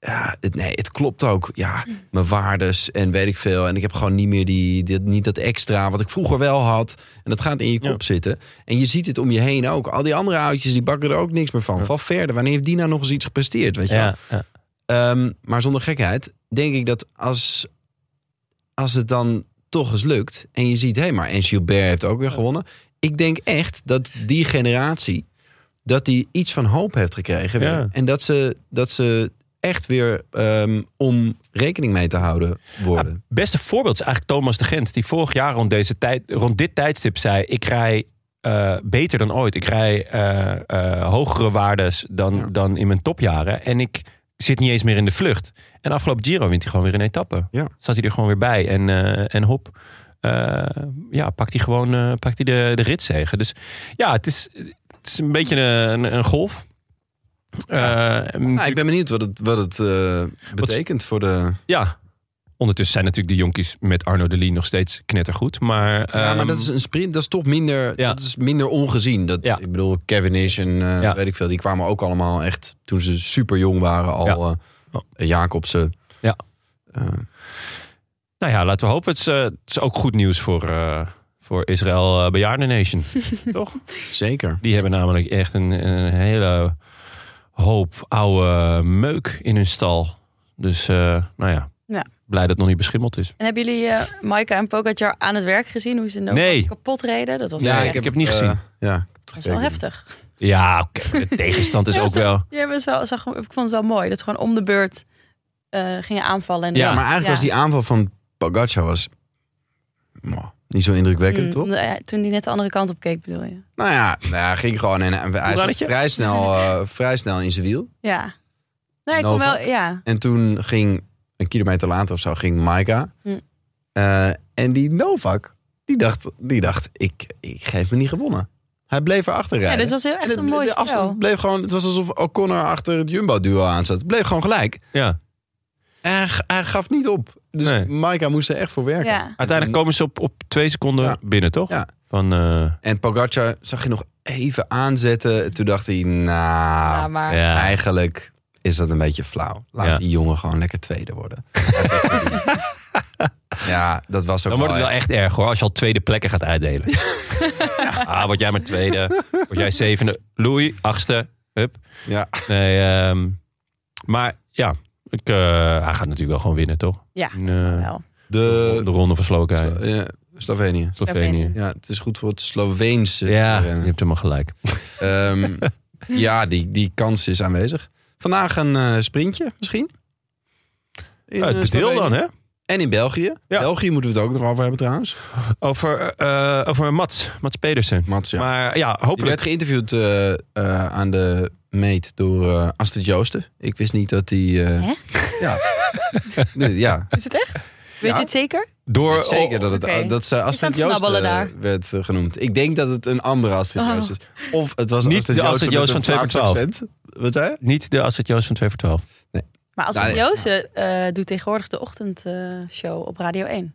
S2: ja. het, nee, het klopt ook. Ja, mijn waardes en weet ik veel. En ik heb gewoon niet meer die, dit- niet dat extra wat ik vroeger wel had. En dat gaat in je kop zitten. En je ziet het om je heen ook. Al die andere oudjes, die bakken er ook niks meer van. Van verder, wanneer heeft die nou nog eens iets gepresteerd? Weet je wel?
S1: ja, ja.
S2: Ehm, maar zonder gekheid, denk ik dat als, als het dan toch eens lukt... en je ziet, hé, maar en Gilbert heeft ook weer gewonnen. Ik denk echt dat die generatie, dat die iets van hoop heeft gekregen. weer.
S1: Ja.
S2: En dat ze, dat ze echt weer ehm, om rekening mee te houden worden.
S1: Het beste voorbeeld is eigenlijk Thomas de Gent. Die vorig jaar rond, deze tijd, rond dit tijdstip zei... ik rij eh, beter dan ooit. Ik rij eh, eh, hogere waardes dan, dan in mijn topjaren. En ik zit niet eens meer in de vlucht. En afgelopen Giro wint hij gewoon weer een etappe.
S2: Ja.
S1: Zat hij er gewoon weer bij. En, eh, en hop. Eh, ja, pakt hij gewoon eh, pakt hij de, de ritzegen. Dus ja, het is, het is een beetje een, een golf. Eh,
S2: Nou, ik ben benieuwd wat het, wat het eh, betekent voor de...
S1: ja. Ondertussen zijn natuurlijk de jonkies met Arno de Lee nog steeds knettergoed. Maar,
S2: ja, maar
S1: ehm,
S2: dat is een sprint, dat is toch minder,
S1: Ja.
S2: dat is minder ongezien. Dat,
S1: Ja.
S2: Ik bedoel, Cavendish en eh,
S1: Ja.
S2: weet ik veel, die kwamen ook allemaal echt toen ze super jong waren al.
S1: Ja. Oh.
S2: eh, Jacobsen.
S1: Ja.
S2: Eh,
S1: Nou ja, laten we hopen. Het is, eh, het is ook goed nieuws voor, eh, voor Israël eh, Bejaarden Nation.
S2: (laughs)
S1: Toch?
S2: zeker.
S1: Die hebben namelijk echt een, een hele hoop oude meuk in hun stal. Dus eh, nou ja,
S3: Ja.
S1: blij dat het nog niet beschimmeld is.
S3: En hebben jullie eh Maaike en Pogacar aan het werk gezien? Hoe ze nou
S1: Nee.
S3: kapot reden? Dat was
S1: Ja,
S3: wel
S1: ik
S3: echt-
S1: heb het niet
S2: eh,
S1: gezien.
S2: ja, ik heb het
S3: dat is wel
S2: gekeken.
S3: heftig.
S1: Ja, oké, maar de tegenstand
S2: (laughs)
S1: is
S3: Ja,
S1: ook
S3: ze-
S1: wel...
S3: Ja, maar het is wel, zag, ik vond het wel mooi. Dat ze gewoon om de beurt eh, gingen aanvallen. En
S1: Ja,
S2: Ja, maar eigenlijk was
S3: ja.
S2: die aanval van Pogacar was mwah, niet zo indrukwekkend,
S3: Mm,
S2: toch?
S3: omdat hij- Toen die net de andere kant op keek, bedoel je?
S2: Nou ja, nou ja, ging gewoon en en hij zat
S1: Ralletje?
S2: vrij snel, eh, vrij snel in zijn wiel.
S3: Ja. Nee, ik
S1: Nou,
S3: kon
S2: Nova.
S3: wel... Ja.
S2: En toen ging, een kilometer later of zo, ging Maika.
S3: Hm.
S2: Eh, en die Novak, die dacht, die dacht ik, ik geef me niet gewonnen. Hij bleef erachter rijden.
S3: ja, dit was heel,
S2: En
S3: echt
S2: het-
S3: een mooi
S2: de afstand
S3: spel.
S2: bleef gewoon, het was alsof O'Connor achter het Jumbo-duo aan zat. Het bleef gewoon gelijk.
S1: Ja.
S2: Hij, g- hij gaf niet op. Dus
S1: Nee.
S2: Maika moest er echt voor werken.
S3: Ja.
S1: Uiteindelijk komen ze op, op twee seconden
S2: Ja.
S1: binnen, toch?
S2: Ja.
S1: Van, eh,
S2: En Pogacar zag je nog even aanzetten. Toen dacht hij, nou,
S3: Ja, maar...
S1: ja.
S2: eigenlijk is dat een beetje flauw. Laat
S1: Ja.
S2: die jongen gewoon lekker tweede worden. (laughs) Hij heeft het verdiend. ja, dat was ook
S1: Dan wordt het
S2: wel
S1: wel echt erg hoor, als je al tweede plekken gaat uitdelen.
S3: (laughs)
S1: Ah, word jij maar tweede. Word jij zevende. Louis, achtste. Hup.
S2: echt... Ja.
S1: Nee, ehm, maar ja, ik, eh, hij gaat natuurlijk wel gewoon winnen, toch? Eh,
S3: Ja.
S1: In, eh,
S3: Wel.
S2: De,
S1: de ronde van Slowakije.
S2: Slo- ja, Slovenië.
S1: Slovenië.
S2: Ja, het is goed voor het Sloveense.
S1: Ja, je
S2: rennen.
S1: hebt helemaal gelijk.
S2: Ehm, ja, die, die kans is aanwezig. Vandaag een eh, sprintje misschien. In,
S1: Ja,
S2: eh,
S1: het deel
S2: Slovenië.
S1: dan, hè?
S2: En in België.
S1: Ja.
S2: België moeten we het ook nog over hebben trouwens.
S1: Over, eh, over Mats, Mats Pedersen.
S2: Mats, ja.
S1: Maar ja,
S2: Die
S1: hopelijk.
S2: werd geïnterviewd eh, eh, aan de meet door eh, Astrid Joosten. Ik wist niet dat die... eh,
S3: Hè?
S2: Ja. Nee, ja.
S3: Is het echt? Weet
S2: Ja.
S3: je het zeker?
S1: Door,
S2: Zeker dat, het,
S3: Oh, oké.
S2: dat ze Astrid
S3: Je kan
S2: Joost eh,
S3: snabbelen daar. Oh.
S2: werd eh, genoemd. Ik denk dat het een andere Astrid Joost is. Of het was
S1: Niet
S2: Astrid
S1: de
S2: Joost,
S1: Astrid Joost
S2: met
S1: van
S2: een
S1: 2 voor
S2: Vlaams
S1: 12.
S2: accent. Wat zei je?
S1: Niet de Astrid Joost van 2 voor 12.
S3: Maar als
S2: Nou,
S3: nou,
S2: ja.
S3: Joosten eh, doet tegenwoordig de ochtendshow op Radio 1.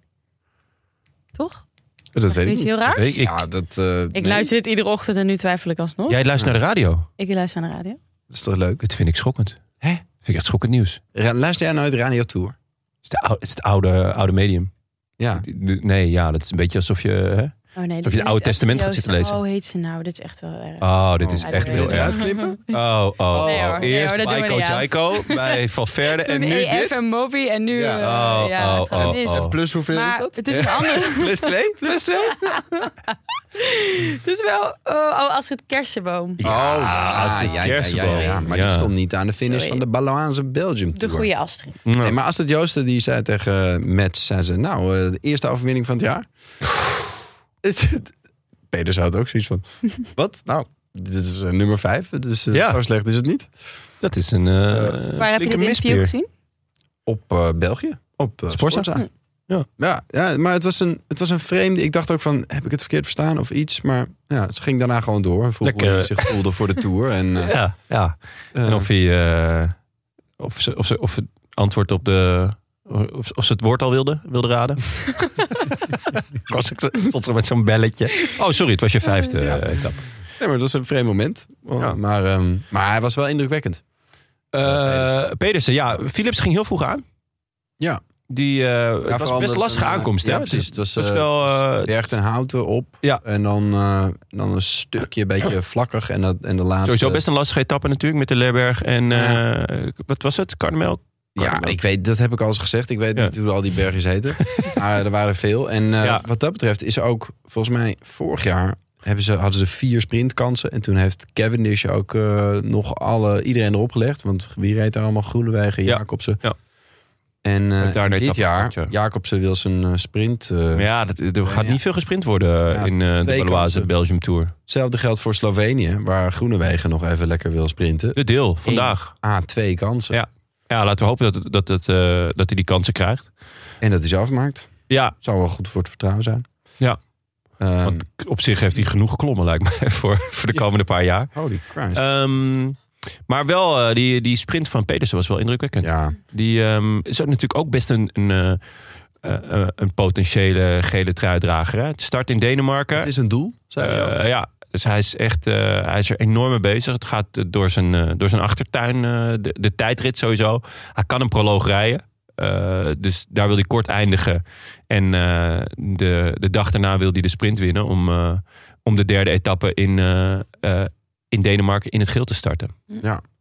S3: Toch?
S2: Dat
S3: Is iets heel raars?
S1: weet
S3: Ik,
S1: ik.
S2: Ja, dat, eh, nee.
S3: luister dit iedere ochtend en nu twijfel ik alsnog.
S1: Jij luistert naar de radio.
S3: Ik luister naar de radio.
S2: Dat is toch leuk?
S1: Dit vind ik schokkend. Hè? Vind ik echt schokkend nieuws. Het
S2: Ra- Luister jij nooit Radio Tour?
S1: is, de oude, het, is het oude, oude medium.
S2: Ja.
S1: Ah. Nee, ja, dat is een beetje alsof je... Hè?
S3: Oh nee, dit
S1: je het
S3: is
S1: Oude
S3: niet
S1: Testament gaat
S3: Joost.
S1: zitten lezen.
S3: Oh, heet ze nou? Dit is echt wel erg.
S1: Oh, dit is
S2: Oh,
S1: echt
S2: wil je
S1: heel
S2: dit
S3: (laughs)
S1: erg.
S2: eruit knippen?
S1: Oh, oh, oh.
S2: Nee
S3: hoor, nee
S1: Eerst
S3: hoor, dat doen we
S1: Baiko
S3: niet aan.
S1: Taiko
S3: (laughs)
S1: bij Valverde en
S3: Toen
S1: nu
S3: EF
S1: dit.
S3: en Moby en nu... eh,
S1: Oh,
S3: ja,
S1: oh,
S3: het gaat
S1: oh,
S3: mis.
S1: oh.
S2: Plus hoeveel is
S3: Maar
S2: dat?
S3: het is een andere...
S1: Plus twee?
S2: Oh,
S1: Plus twee?
S3: Het is wel... Oh, oh Astrid Kersenboom.
S1: Ja, als
S2: ja, ja, ja, ja,
S1: kerstboom.
S2: ja, maar
S1: Ja.
S2: die stond niet aan de finish
S3: Sorry.
S2: van de Baloaanse Belgium
S3: De
S2: Tour.
S3: goede Astrid.
S2: Nee, maar Astrid Joosten die zei tegen uh, Mets, zei ze, nou, eh, de eerste overwinning van het jaar. (laughs) Het- Peter zou het ook zoiets
S1: (laughs)
S2: van, wat? Nou, dit is eh, nummer vijf, dus eh,
S1: Ja.
S2: zo slecht is het niet.
S1: Dat is een. eh
S3: Waar heb je dit
S1: flinke
S3: interview
S1: mispeer.
S3: gezien?
S2: Op eh, België, op eh,
S1: Sporza?
S2: Sporza.
S1: Ja.
S2: Ja. Ja, maar het was, een, het was een vreemde, ik dacht ook van, heb ik het verkeerd verstaan of iets? Maar ja, ze ging daarna gewoon door en vroeg
S1: Lekker.
S2: hoe hij zich voelde
S1: (laughs)
S2: voor de Tour. En, eh,
S1: Ja, ja. En
S2: eh,
S1: of hij. eh, of, ze, of, ze, of het antwoord op de. Of, of ze het woord al wilde, wilde
S3: (laughs)
S1: raden. (laughs) Was ik tot zo met zo'n belletje. Oh, sorry, het was je vijfde
S2: Ja.
S1: eh, etappe.
S2: Nee, maar dat is een vreemd moment. Oh,
S1: Ja.
S2: Maar, ehm, maar hij was wel indrukwekkend.
S1: Eh, Pedersen, ja. Philips ging heel vroeg aan.
S2: Ja.
S1: Die, eh
S2: Ja,
S1: het was
S2: vooral
S1: best
S2: dat-
S1: lastige
S2: eh,
S1: aankomst, hè?
S2: Ja, precies. Het was,
S1: Dat is
S2: eh,
S1: wel. eh,
S2: Berg en houten op.
S1: Ja.
S2: En dan, eh, dan een stukje een beetje vlakkig. En, dat, en de laatste...
S1: Sowieso best een lastige etappe natuurlijk met de Leerberg en
S2: Ja.
S1: eh, wat was het? Carmel?
S2: Ja, ik weet, dat heb ik al eens gezegd. Ik weet
S1: Ja.
S2: niet hoe al die bergjes
S1: (laughs)
S2: heten. maar er waren veel. En eh,
S1: Ja.
S2: wat dat betreft is er ook, volgens mij, vorig jaar hebben ze, hadden ze vier sprintkansen. En toen heeft Cavendish ook eh, nog alle, iedereen erop gelegd. Want wie reed daar allemaal? Groenewegen,
S1: Ja.
S2: Jacobsen.
S1: Ja.
S2: En eh,
S1: Heeft daar een
S2: dit
S1: etappe
S2: jaar,
S1: gepakt, ja.
S2: Jacobsen wil zijn eh, sprint. eh,
S1: Maar ja, dat, er gaat
S2: ja.
S1: niet veel gesprint worden eh,
S2: Ja,
S1: in eh, de
S2: twee
S1: Baloise
S2: kansen.
S1: Belgium Tour.
S2: Hetzelfde geldt voor Slovenië, waar Groenewegen nog even lekker wil sprinten.
S1: De deel, vandaag.
S2: A, twee kansen.
S1: Ja. Ja, laten we hopen dat, dat, dat, eh, dat hij die kansen krijgt.
S2: En dat hij ze afmaakt.
S1: Ja,
S2: Zou wel goed voor het vertrouwen zijn.
S1: Ja.
S2: Ehm,
S1: want op zich heeft hij genoeg geklommen, lijkt me, (laughs) voor, voor de komende paar jaar.
S2: holy Christ.
S1: Ehm, maar wel, eh, die, die sprint van Pedersen was wel indrukwekkend.
S2: ja.
S1: Die ehm, is ook natuurlijk ook best een, een, eh, eh, eh, een potentiële gele truidrager. Hè? Het start in Denemarken.
S2: Het is een doel, zei hij ook.
S1: Eh, ja, dus hij is echt eh, hij is er enorm mee bezig. Het gaat eh, door zijn, eh, door zijn achtertuin, eh, de, de tijdrit sowieso. Hij kan een proloog rijden. Eh, dus daar wil hij kort eindigen. En eh, de, de dag daarna wil hij de sprint winnen om, eh, om de derde etappe in, eh, eh, in Denemarken in het geel te starten.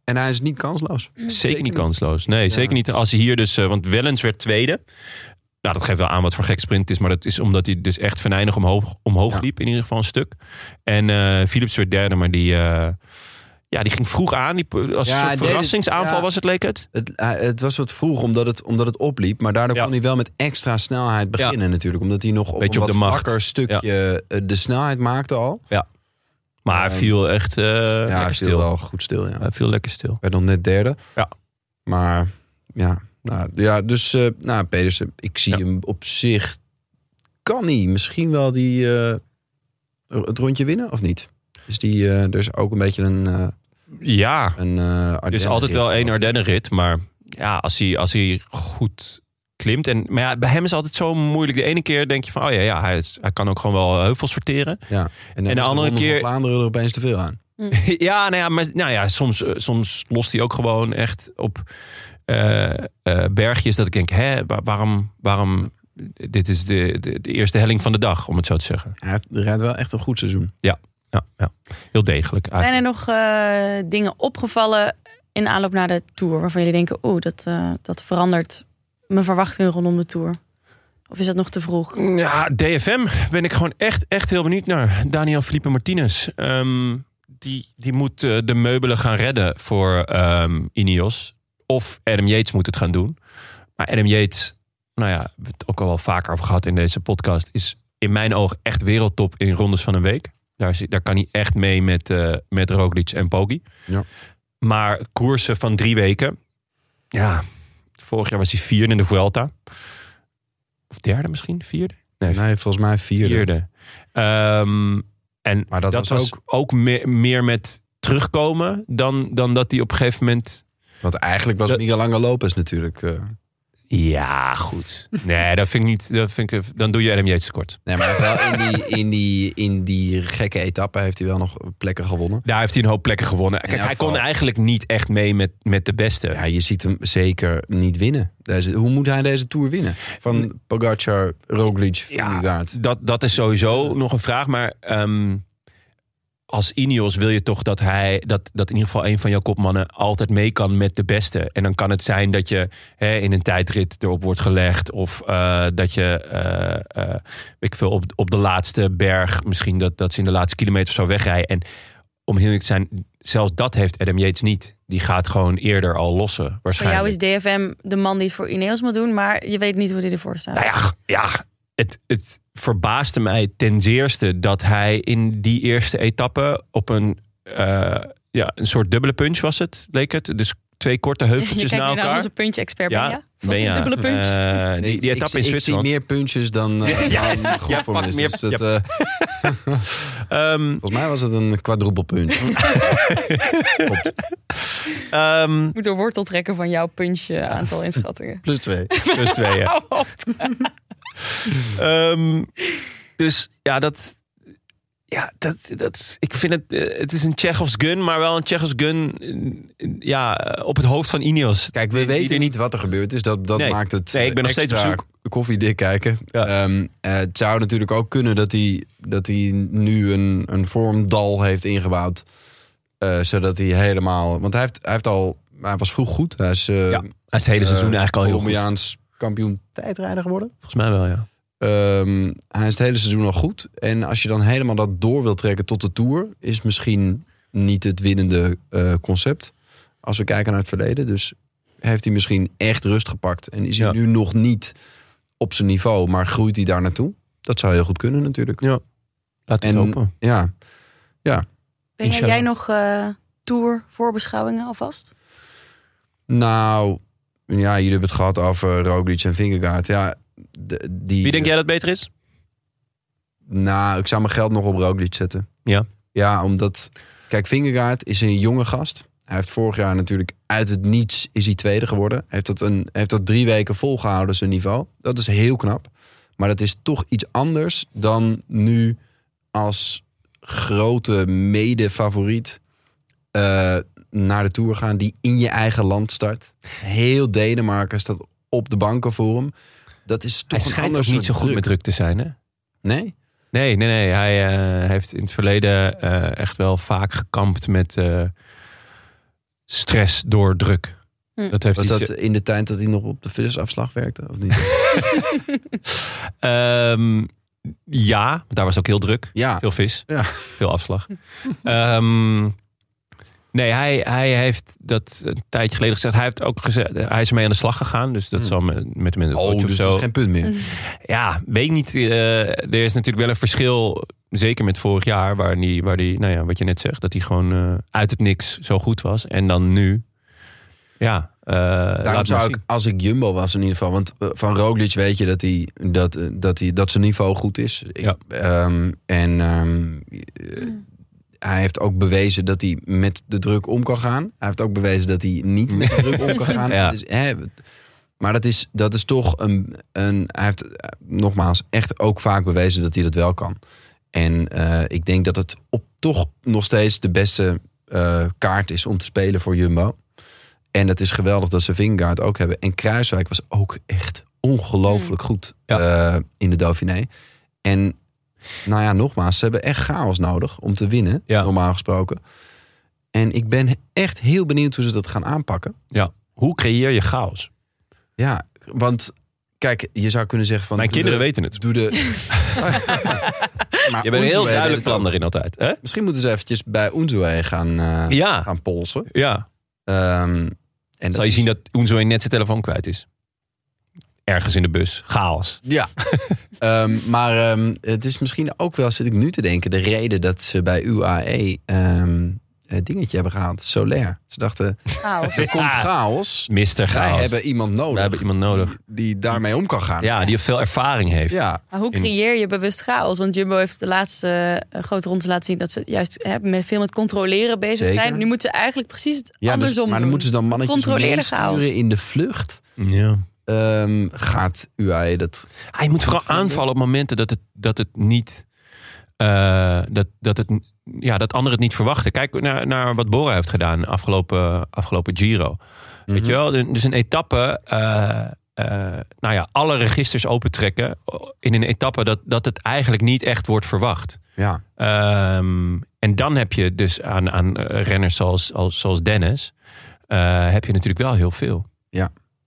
S2: En hij is niet kansloos.
S1: Zeker niet kansloos. Nee, zeker niet. Als hij hier dus, eh, want Wellens werd tweede. Nou, dat geeft wel aan wat voor gek sprint het is. Maar dat is omdat hij dus echt venijnig omhoog, omhoog
S2: Ja.
S1: liep. In ieder geval een stuk. En eh, Philips werd derde. Maar die, eh, ja, die ging vroeg aan. Die, als een
S2: Ja, hij
S1: soort
S2: deed het-
S1: verrassingsaanval
S2: ja.
S1: was het, leek het.
S2: Het, hij- het was wat vroeg omdat het, omdat het opliep. Maar daardoor
S1: Ja.
S2: kon hij wel met extra snelheid beginnen natuurlijk. Omdat hij nog op
S1: Beetje
S2: een
S1: op
S2: wat
S1: de macht.
S2: vlakker stukje eh, de snelheid maakte al.
S1: Maar hij
S2: Ja.
S1: viel echt eh,
S2: ja,
S1: lekker
S2: hij viel
S1: stil.
S2: wel goed stil. Ja.
S1: Hij viel lekker stil.
S2: werd dan net derde.
S1: Ja.
S2: Maar ja, nou, ja dus eh nou, Pedersen, ik zie
S1: Ja.
S2: hem op zich. Kan hij misschien wel die, eh, het rondje winnen of niet? Dus die, eh, er is ook een beetje een. eh
S1: Ja,
S2: een eh
S1: er is altijd wel één Ardennenrit. Maar ja, als hij, als hij goed klimt. En, maar ja, bij hem is altijd zo moeilijk. De ene keer denk je van, oh ja, ja hij, is- hij kan ook gewoon wel heuvels sorteren.
S2: Ja. En,
S1: de andere
S2: Ronde van
S1: keer-
S2: Vlaanderen er opeens te veel aan.
S1: (laughs) Ja, nou ja, maar, nou ja soms, eh, soms lost hij ook gewoon echt op eh, eh, bergjes. Dat ik denk, hè, wa- waarom, waarom, dit is de, de, de eerste helling van de dag, om het zo te zeggen.
S2: Hij rijdt wel echt een goed seizoen.
S1: Ja, ja. heel degelijk.
S3: Zijn er
S1: eigenlijk.
S3: nog eh, dingen opgevallen in aanloop naar de Tour... waarvan jullie denken, oeh, dat, eh, dat verandert mijn verwachtingen rondom de Tour? Of is dat nog te vroeg?
S1: Ja, DFM ben ik gewoon echt, echt heel benieuwd naar. Daniel Felipe Martinez. Ehm, die, die moet eh, de meubelen gaan redden voor ehm Ineos. Of Adam Yates moet het gaan doen. Maar Adam Yates, nou ja, we hebben het ook al wel vaker over gehad in deze podcast, is in mijn oog echt wereldtop in rondes van een week. Daar, zit- daar kan hij echt mee met, eh met Roglic en Poggi.
S2: Ja.
S1: Maar koersen van drie weken, ja, vorig jaar was hij vierde in de Vuelta. Of derde misschien? Vierde? Nee,
S2: Nee, volgens mij vierde.
S1: vierde. Ehm, en
S2: Maar
S1: dat,
S2: dat was
S1: was ook, ook meer, meer met terugkomen dan, dan dat hij op een gegeven moment...
S2: Want eigenlijk was
S1: Dat-
S2: Miguel Angel Lopez natuurlijk... eh,
S1: Ja, goed. Nee, dat vind ik niet. Dat vind ik, dan doe je Adam Yates tekort.
S2: nee, maar hij heeft wel in die, in, die, in die gekke etappe heeft hij wel nog plekken gewonnen.
S1: Daar heeft hij een hoop plekken gewonnen. Kijk,
S2: elk
S1: hij kon
S2: geval.
S1: eigenlijk niet echt mee met, met de beste.
S2: Ja, je ziet hem zeker niet winnen. Deze, hoe moet hij deze Tour winnen? Van Pogacar, Roglic,
S1: Ja,
S2: Vingegaard.
S1: dat, dat is sowieso nog een vraag. Maar ehm, als Ineos wil je toch dat hij... Dat, dat in ieder geval een van jouw kopmannen altijd mee kan met de beste. En dan kan het zijn dat je hè, in een tijdrit erop wordt gelegd. Of eh, dat je eh, eh, weet ik veel, op, op de laatste berg... misschien dat, dat ze in de laatste kilometer of zo wegrijden. En om heel eerlijk te zijn... Zelfs dat heeft Adam Yates niet. Die gaat gewoon eerder al lossen,
S3: Voor jou
S1: waarschijnlijk.
S3: is DFM de man die het voor Ineos moet doen, maar je weet niet hoe die ervoor staat.
S1: Nou ja, g- ja het, het verbaasde mij ten zeerste dat hij in die eerste etappe op een, eh, ja, een soort dubbele punch was het, leek het. Dus twee korte
S3: (laughs) (laughs) je kijkt
S1: heuveltjes
S3: nu
S1: na
S3: naar
S1: elkaar.
S3: onze puntje-expert, ben je?
S1: ben
S3: Was een
S1: je.
S3: dubbele punch.
S1: Eh,
S2: Nee,
S1: die, die
S2: ik-
S1: etappe in
S2: ik, zie-
S1: Zwitserland.
S2: Ik zie meer
S1: (laughs)
S2: puntjes dan, eh
S1: Ja,
S2: dan
S1: ja,
S2: goed voor
S1: pak
S2: me is.
S1: meer-
S2: Dus dat,
S1: ja.
S2: eh,
S1: Ehm,
S2: volgens mij was het een quadruple
S1: (laughs)
S2: punt.
S1: ehm,
S3: Ik moet door wortel trekken van jouw puntje aantal inschattingen. Oh,
S2: Plus twee.
S1: plus twee,
S3: (laughs)
S1: ja.
S3: Hou op.
S1: Ehm, dus ja, dat. Ja, dat, dat, ik vind het. eh, het is een Tsjechos gun, maar wel een Tsjechos gun. eh, ja, eh, op het hoofd van Ineos.
S2: Kijk, we
S1: Die- die
S2: weten
S1: er
S2: niet wat er gebeurd is. Dat, dat
S1: Nee.
S2: maakt het eh,
S1: Nee, ik ben nog
S2: extra
S1: steeds op
S2: koffiedik kijken.
S1: Ja.
S2: Ehm, eh, het zou natuurlijk ook kunnen dat hij, dat hij nu een, een vormdal heeft ingebouwd. eh, zodat hij helemaal... Want hij, heeft, hij, heeft al, hij was vroeg goed. Hij is eh,
S1: Ja, Hij is het hele seizoen
S2: eh,
S1: eigenlijk al heel goed.
S2: Colombiaans kampioen tijdrijder geworden.
S1: Volgens mij wel, ja.
S2: Ehm, hij is het hele seizoen al goed. En als je dan helemaal dat door wil trekken tot de Tour... is misschien niet het winnende eh, concept. Als we kijken naar het verleden. Dus heeft hij misschien echt rust gepakt. En is hij
S1: Ja.
S2: nu nog niet op zijn niveau. Maar groeit hij daar naartoe? Dat zou heel goed kunnen natuurlijk.
S1: Laten we het
S2: En-
S1: hopen.
S2: Ja,
S3: Ben jij,
S1: Inshallah.
S3: jij nog eh, tour voorbeschouwingen alvast?
S2: nou... Ja, jullie hebben het gehad over Roglic en Vingegaard. Ja, de- die,
S1: Wie denk jij dat beter is?
S2: Nou, ik zou mijn geld nog op Roglic zetten.
S1: Ja?
S2: Ja, omdat... Kijk, Vingegaard is een jonge gast. Hij heeft vorig jaar natuurlijk uit het niets is hij tweede geworden. Hij heeft dat, een, heeft dat drie weken volgehouden, zijn niveau. Dat is heel knap. Maar dat is toch iets anders dan nu als grote mede-favoriet eh, naar de Tour gaan... die in je eigen land start. Heel Denemarken staat op de banken voor hem. Dat is toch
S1: Hij
S2: een
S1: schijnt
S2: ander
S1: ook niet
S2: soort
S1: zo goed
S2: druk.
S1: met druk te zijn, hè?
S2: Nee?
S1: Nee, nee, nee. Hij eh, heeft in het verleden eh, echt wel vaak gekampt met eh, stress door druk.
S3: Hm.
S1: Dat heeft
S2: Was
S1: hij
S2: dat in de tijd dat hij nog op de vissersafslag werkte, of
S1: (laughs)
S2: niet?
S1: Ehm, ja, want daar was het ook heel druk.
S2: Ja,
S1: Veel vis.
S2: Ja.
S1: Veel afslag. Ehm, nee, hij, hij heeft dat een tijdje geleden gezegd. Hij, heeft ook gezegd, hij is ermee aan de slag gegaan. Dus dat
S2: Hmm.
S1: zal met, met hem in het
S2: oh,
S1: potje
S2: dus
S1: of
S2: dat
S1: zo.
S2: is geen punt meer.
S1: Ja, weet ik niet. Eh, er is natuurlijk wel een verschil. Zeker met vorig jaar, waar die, waar die nou ja, wat je net zegt, dat hij gewoon eh, uit het niks zo goed was. En dan nu. Ja, eh, laat
S2: Daarom
S1: maar
S2: zou ik,
S1: zien.
S2: als ik Jumbo was in ieder geval... Want eh, van Roglic weet je dat, hij, dat, eh, dat, hij, dat zijn niveau goed is. Ik-
S1: Ja.
S2: ehm, en ehm, eh, hij heeft ook bewezen dat hij met de druk om kan gaan. Hij heeft ook bewezen dat hij niet met de druk om kan
S1: (laughs)
S2: gaan.
S1: Ja.
S2: Dus, hè, maar dat is, dat is toch een, een... Hij heeft eh, nogmaals echt ook vaak bewezen dat hij dat wel kan. En eh, ik denk dat het op, toch nog steeds de beste eh, kaart is om te spelen voor Jumbo. En dat is geweldig dat ze Vingegaard ook hebben. En Kruiswijk was ook echt ongelooflijk
S1: Hmm.
S2: goed eh, in de Dauphiné. En nou ja, nogmaals, ze hebben echt chaos nodig om te winnen,
S1: Ja.
S2: normaal gesproken. En ik ben echt heel benieuwd hoe ze dat gaan aanpakken.
S1: Hoe creëer je chaos?
S2: Ja, want kijk, je zou kunnen zeggen van...
S1: Mijn
S2: doe
S1: kinderen
S2: de-
S1: weten het.
S2: Doe de...
S1: (laughs)
S2: (laughs) maar
S1: Je bent een heel
S2: Unzué deed
S1: duidelijk
S2: het ook.
S1: plan daarin altijd. Hè?
S2: Misschien moeten ze eventjes bij Unzué gaan, eh,
S1: Ja,
S2: gaan polsen.
S1: ja.
S2: Ehm, en
S1: Zal je
S2: is- dus-
S1: zien dat Oenzooi net zijn telefoon kwijt is? Ergens in de bus. Chaos. (laughs)
S2: Ja. Ehm, maar E, ehm, het is misschien ook wel, zit ik nu te denken, de reden dat ze bij UAE ehm, eh, dingetje hebben gehaald. Solaire. Ze dachten,
S3: Chaos.
S2: er komt chaos.
S1: Mr.
S2: Wij
S1: Chaos.
S2: hebben iemand nodig
S1: We hebben iemand nodig.
S2: die daarmee om kan gaan.
S1: Ja, die veel ervaring heeft.
S2: Ja.
S3: Maar hoe
S1: In-
S3: creëer je bewust chaos? Want Jumbo heeft de laatste eh, grote ronde laten zien dat ze juist hè, met veel met controleren bezig
S2: Zeker.
S3: zijn. Nu moeten ze eigenlijk precies het
S2: Ja, dus-
S3: andersom doen.
S2: maar dan moeten ze dan mannetjes
S3: Controleer de chaos.
S2: meesturen in de vlucht.
S1: ja.
S2: Ehm, gaat UAE dat...
S1: Hij moet vooral aanvallen op momenten dat het, dat het niet. eh, dat, dat, het, ja, dat anderen het niet verwachten. Kijk naar, naar wat Bora heeft gedaan afgelopen, afgelopen Giro. Weet je wel? Dus een etappe. eh, eh, nou ja, alle registers opentrekken. In een etappe dat, dat het eigenlijk niet echt wordt verwacht.
S2: Ja,
S1: Ehm, en dan heb je dus aan, aan eh, renners zoals, als, zoals Dennis. eh, heb je natuurlijk wel heel veel.